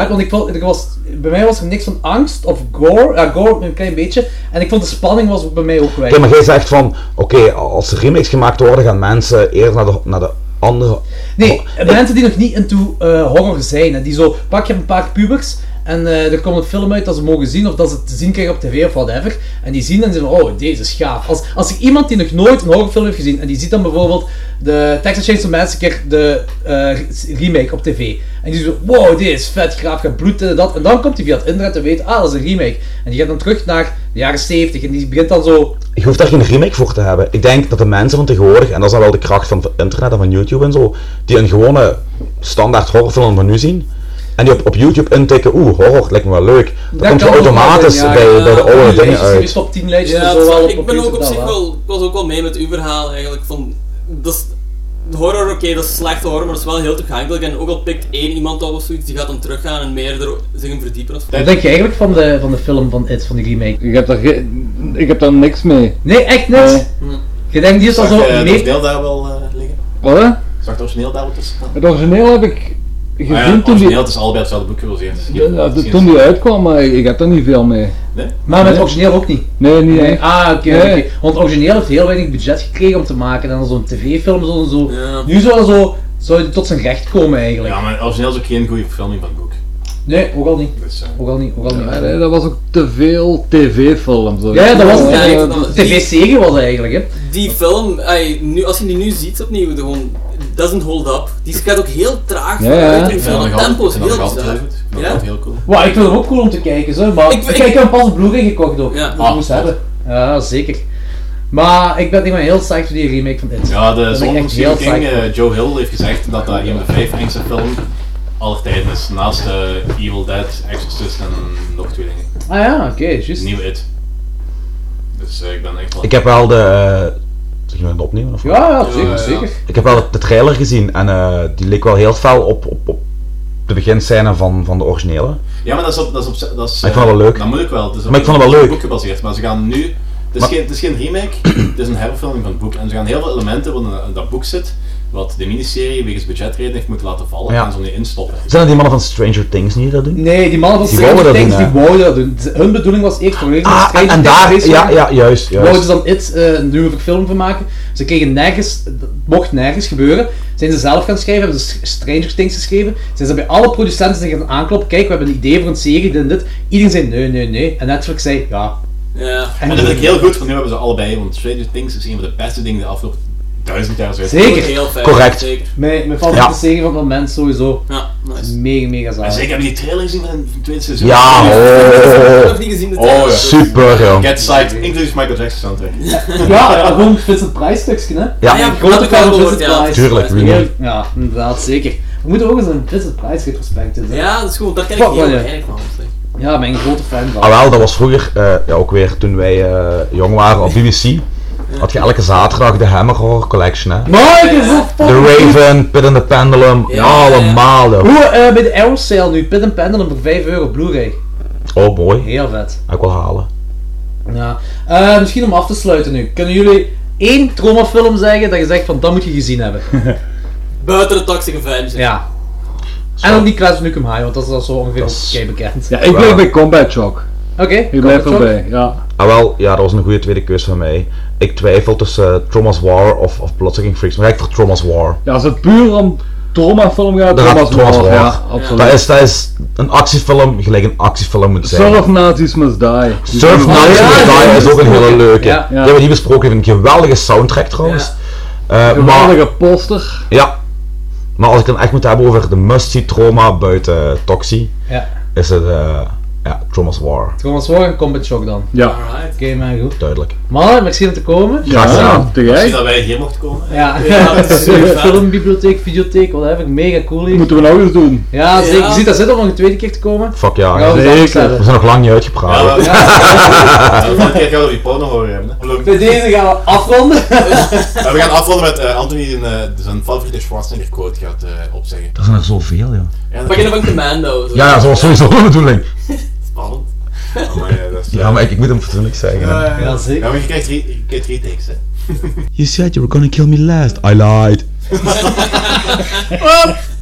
D: want ik vond, ik was, bij mij was er niks van angst of gore, ja, gore een klein beetje. En ik vond de spanning was ook bij mij ook weg.
A: Oké, maar jij zegt van, oké, als er remakes gemaakt worden, gaan mensen eerder naar de, naar de andere... Oh,
D: Nee, mensen die nog niet into eh, horror zijn, hè, die zo, pak je een paar pubers en eh, er komt een film uit dat ze mogen zien of dat ze het te zien krijgen op tv of whatever. En die zien en zeggen van, oh, deze is gaaf. Als, als er iemand die nog nooit een horrorfilm heeft gezien en die ziet dan bijvoorbeeld de Texas Chainsaw Massacre, de eh, remake op tv. En die zegt, wow, dit is vet gaaf, gaat bloed en dat. En dan komt hij via het internet en weet, ah, dat is een remake. En die gaat dan terug naar de jaren 70 en die begint dan zo
A: Je hoeft daar geen remake voor te hebben. Ik denk dat de mensen van tegenwoordig, en dat is dan wel de kracht van internet en van YouTube en zo, die een gewone standaard horrorfilm van nu zien, en die op, op YouTube intikken, oeh, horror, lijkt me wel leuk, dan komt je
D: kan nog wel
A: automatisch
D: zijn, ja,
A: bij,
D: ja.
A: bij de oude
D: Lijstjes,
A: dingen
D: die
A: uit.
D: is top 10 lijstjes
E: Ja,
D: en zo
E: dat-
D: wel op
E: ik ben
D: computer
E: ook op
D: dan
E: zich
D: wel.
E: wel, ik was ook wel mee met uw verhaal eigenlijk van, dat is, horror oké, dat is slechte horror, maar dat is wel heel toegankelijk en ook al pikt één iemand op of zoiets, die gaat dan teruggaan en meer er zich in verdiepen of
D: Wat denk je eigenlijk van de, van de film van It, van die remake?
B: Ik heb daar, ge- ik heb daar niks mee.
D: Nee, echt niks? Je denkt die is al
C: Zag eh,
D: zo
C: je het
D: mee...
C: origineel daar wel eh, liggen?
B: Wat? hè?
C: Zag het origineel daar wel tussen? Ah
B: Het origineel heb ik gezien toen die...
C: origineel, het is allebei hetzelfde boek gebaseerd. Dus je
B: Ja,
C: hebt-
B: ja,
C: misschien
B: toen die uitkwam, maar ik, ik heb daar niet veel mee.
C: Nee?
D: Maar met het origineel ook niet?
B: Nee, niet echt.
D: Ah, oké.
B: Nee.
D: oké. Want het origineel heeft heel weinig budget gekregen om te maken. En dan zo'n tv-film zo en zo. Nu zou dat zo... Zou die tot zijn recht komen eigenlijk.
C: Ja, maar het origineel is ook geen goede verfilming van het boek. Dus, eh,
D: Nee, ook al niet. Ook al niet, ook al niet.
B: Ja, nee, eh, dat was ook te veel tv-films.
D: Ja, ja, dat was
E: Ja,
D: een
E: dat was-
D: tv-serie was het eigenlijk, hè.
E: Die film, ey, nu, als je die nu ziet opnieuw, de gewoon, it doesn't hold up. Die gaat ook heel traag
D: Ja, ja.
E: vooruit in
D: Ik vind
E: film.
D: dat
E: Het
D: nog
E: tempo is
D: altijd-
E: heel
D: ik vind dat nog
E: bizar.
D: altijd
E: Ja?
D: Wauw, ik vind hem ook cool om te kijken, zo, maar ik, ik, heb hem pas op Blu-ray gekocht ook. Ja. Dat ik moest hebben. Ja, zeker. Maar ik ben, ik ben heel psyched voor die remake van It.
C: Ja,
D: Daar ben
C: de
D: ik
C: Zon van
D: echt heel
C: Stephen King,
D: psyched
C: eh, Joe Hill heeft gezegd dat dat een van de vijf engste film aller tijden is. Naast eh, Evil Dead, Exorcist en nog twee dingen.
D: Ah ja, oké, juist.
C: Nieuw It. Dus eh, ik ben echt wel...
A: Ik heb wel de... eh, Zeg je het opnemen? Of
C: Ja,
A: wat?
C: ja, zeker, Ja, ja. zeker.
A: Ik heb wel de trailer gezien en eh, die leek wel heel fel op, op, op de beginscène van, van de originele.
C: Ja, maar dat is op... Dat is op dat is,
A: Maar ik vond het wel
C: eh,
A: leuk.
C: Dat moet ik wel. Het is op
A: Maar ik vond het wel
C: op
A: leuk.
C: boek gebaseerd, maar ze gaan nu... Het is,
A: Maar-
C: geen, het is geen remake, het is een herverfilming van het boek. En ze gaan heel veel elementen wat in dat boek zit, wat de miniserie wegens budgetreden heeft moeten laten vallen,
A: Ja.
C: en zo nu instoppen.
A: Zijn dat die mannen van Stranger Things niet die dat doen?
D: Nee, die mannen van
A: wouden
D: Stranger
A: dat
D: Things,
A: doen,
D: die
A: hè?
D: wouden dat doen. Z- Hun bedoeling was eerst voor hun ah,
A: en- en daar- ja, ja, juist, juist.
D: Wouden ze dan It eh, een nieuwe film van maken. Ze kregen nergens, dat mocht nergens gebeuren. Zijn ze zelf gaan schrijven, hebben ze Str- Stranger Things geschreven. Zijn ze bij alle producenten zijn gaan aankloppen, kijk, we hebben een idee voor een serie, dit en dit. Iedereen zei nee, nee, nee. En Netflix zei ja.
E: Ja.
C: En dat vind ik heel goed, want nu hebben ze allebei, want Stranger Things is een van de beste dingen de afgelopen duizend jaar zijn.
D: Zeker.
A: Correct.
D: Mijn, mijn favoriete
C: Ja.
D: serie van het moment sowieso.
E: Ja, nice.
D: Mega, mega zalig.
C: En zeker hebben die trailer gezien van het tweede seizoen.
A: Ja,
C: Die-
A: oh.
C: Ik heb niet gezien de trailer.
A: Oh, ja. Super, jong.
C: Get psyched, inclusief Michael Jackson soundtrack.
D: Ja, ja, gewoon Vincent Price stukje, hè?
C: Ja, ja, dat heb ik wel gehoord, ja. Tuurlijk, wie niet?
D: Ja, inderdaad, zeker. We moeten ook eens een Vincent Price retrospect doen. hè.
E: Ja, dat is gewoon, daar ken ik
D: Fuck,
E: heel
D: man, ja.
E: weinig van. zeg.
D: Ja, ik ben een grote fan van.
A: Ah wel, dat was vroeger, eh, ja, ook weer toen wij eh, jong waren op BBC, had je elke zaterdag de Hammer Horror Collection, hè.
D: Mike, is dat
A: The
D: fucking goed.
A: Raven, Pit and the Pendulum, allemaal, joh.
D: Hoe eh, bij de Arrow Sale nu, Pit and Pendulum voor 5 euro Blu-ray.
A: Oh, mooi.
D: Heel vet.
A: Ga ik wel halen.
D: Ja. Eh, misschien om af te sluiten nu. Kunnen jullie één traumafilm zeggen dat je zegt van dat moet je gezien
A: *laughs*
D: hebben?
E: Buiten de Toxic Avenger.
D: ja. En ook die Clash of Nukem High, want dat is al zo ongeveer kei bekend.
B: Ja, ik bleef bij Combat Shock.
D: Oké,
B: Ik blijf erbij, ja.
A: Ah wel, ja, dat was een goede tweede keus van mij. Ik twijfel tussen eh, Trauma's War of, of Bloodsucking Freaks, maar ik voor Trauma's War.
B: Ja, als het puur om traumafilm gaat,
A: Daar gaat
B: trauma's
A: Trauma's
B: wel,
A: War.
B: ja, absoluut.
A: Dat is, dat is een actiefilm gelijk een actiefilm moet zijn.
B: Surf Nazis Must Die.
A: Surf Nights in the Dime is ook een hele leuke.
B: Ja.
A: Die hebben we niet besproken, vind ik een geweldige soundtrack trouwens. Eh,
B: Geweldige
A: maar,
B: poster.
A: ja. Maar als ik dan echt moet hebben over de must-see trauma buiten Toxie,
D: Ja.
A: is het eh ja, Trauma's War.
D: Thomas Warren, Combat Shock dan.
A: Ja.
D: Oké, maar goed.
A: Duidelijk.
D: Mannen, merci om te komen.
A: Graag gedaan.
C: Misschien dat wij hier mochten komen.
D: Ja,
C: Ja, dat
D: *laughs*
C: is super vet.
D: filmbibliotheek, videotheek, wat heb ik, mega cool hier.
B: Moeten we nou eens doen.
D: Ja,
B: Ja.
D: zeker. Je ziet dat zit om nog een tweede keer te komen.
A: Fuck ja,
D: Gaan we eens anders hebben.
A: we zijn nog lang niet uitgepraat.
C: Ja,
D: Ja.
C: De volgende keer gaan we die porno horen hebben. hè.
D: Bij deze gaan we afronden.
C: Eh, we gaan afronden met eh, Anthony die een, eh, zijn favoriete Schwarzenegger quote gaat eh, opzeggen.
A: Er zijn er zoveel, ja.
C: Ja,
E: Beginnen van Commando. zo.
A: Ja, ja, zoals sowieso de bedoeling.
C: Spannend. eh,
A: Ja, maar ik, ik moet hem fatsoenlijk zeggen. hè.
C: ja, zeker. Ja, maar je krijgt drie, je krijgt drie takes, hè.
A: You said you were gonna kill me last. I lied.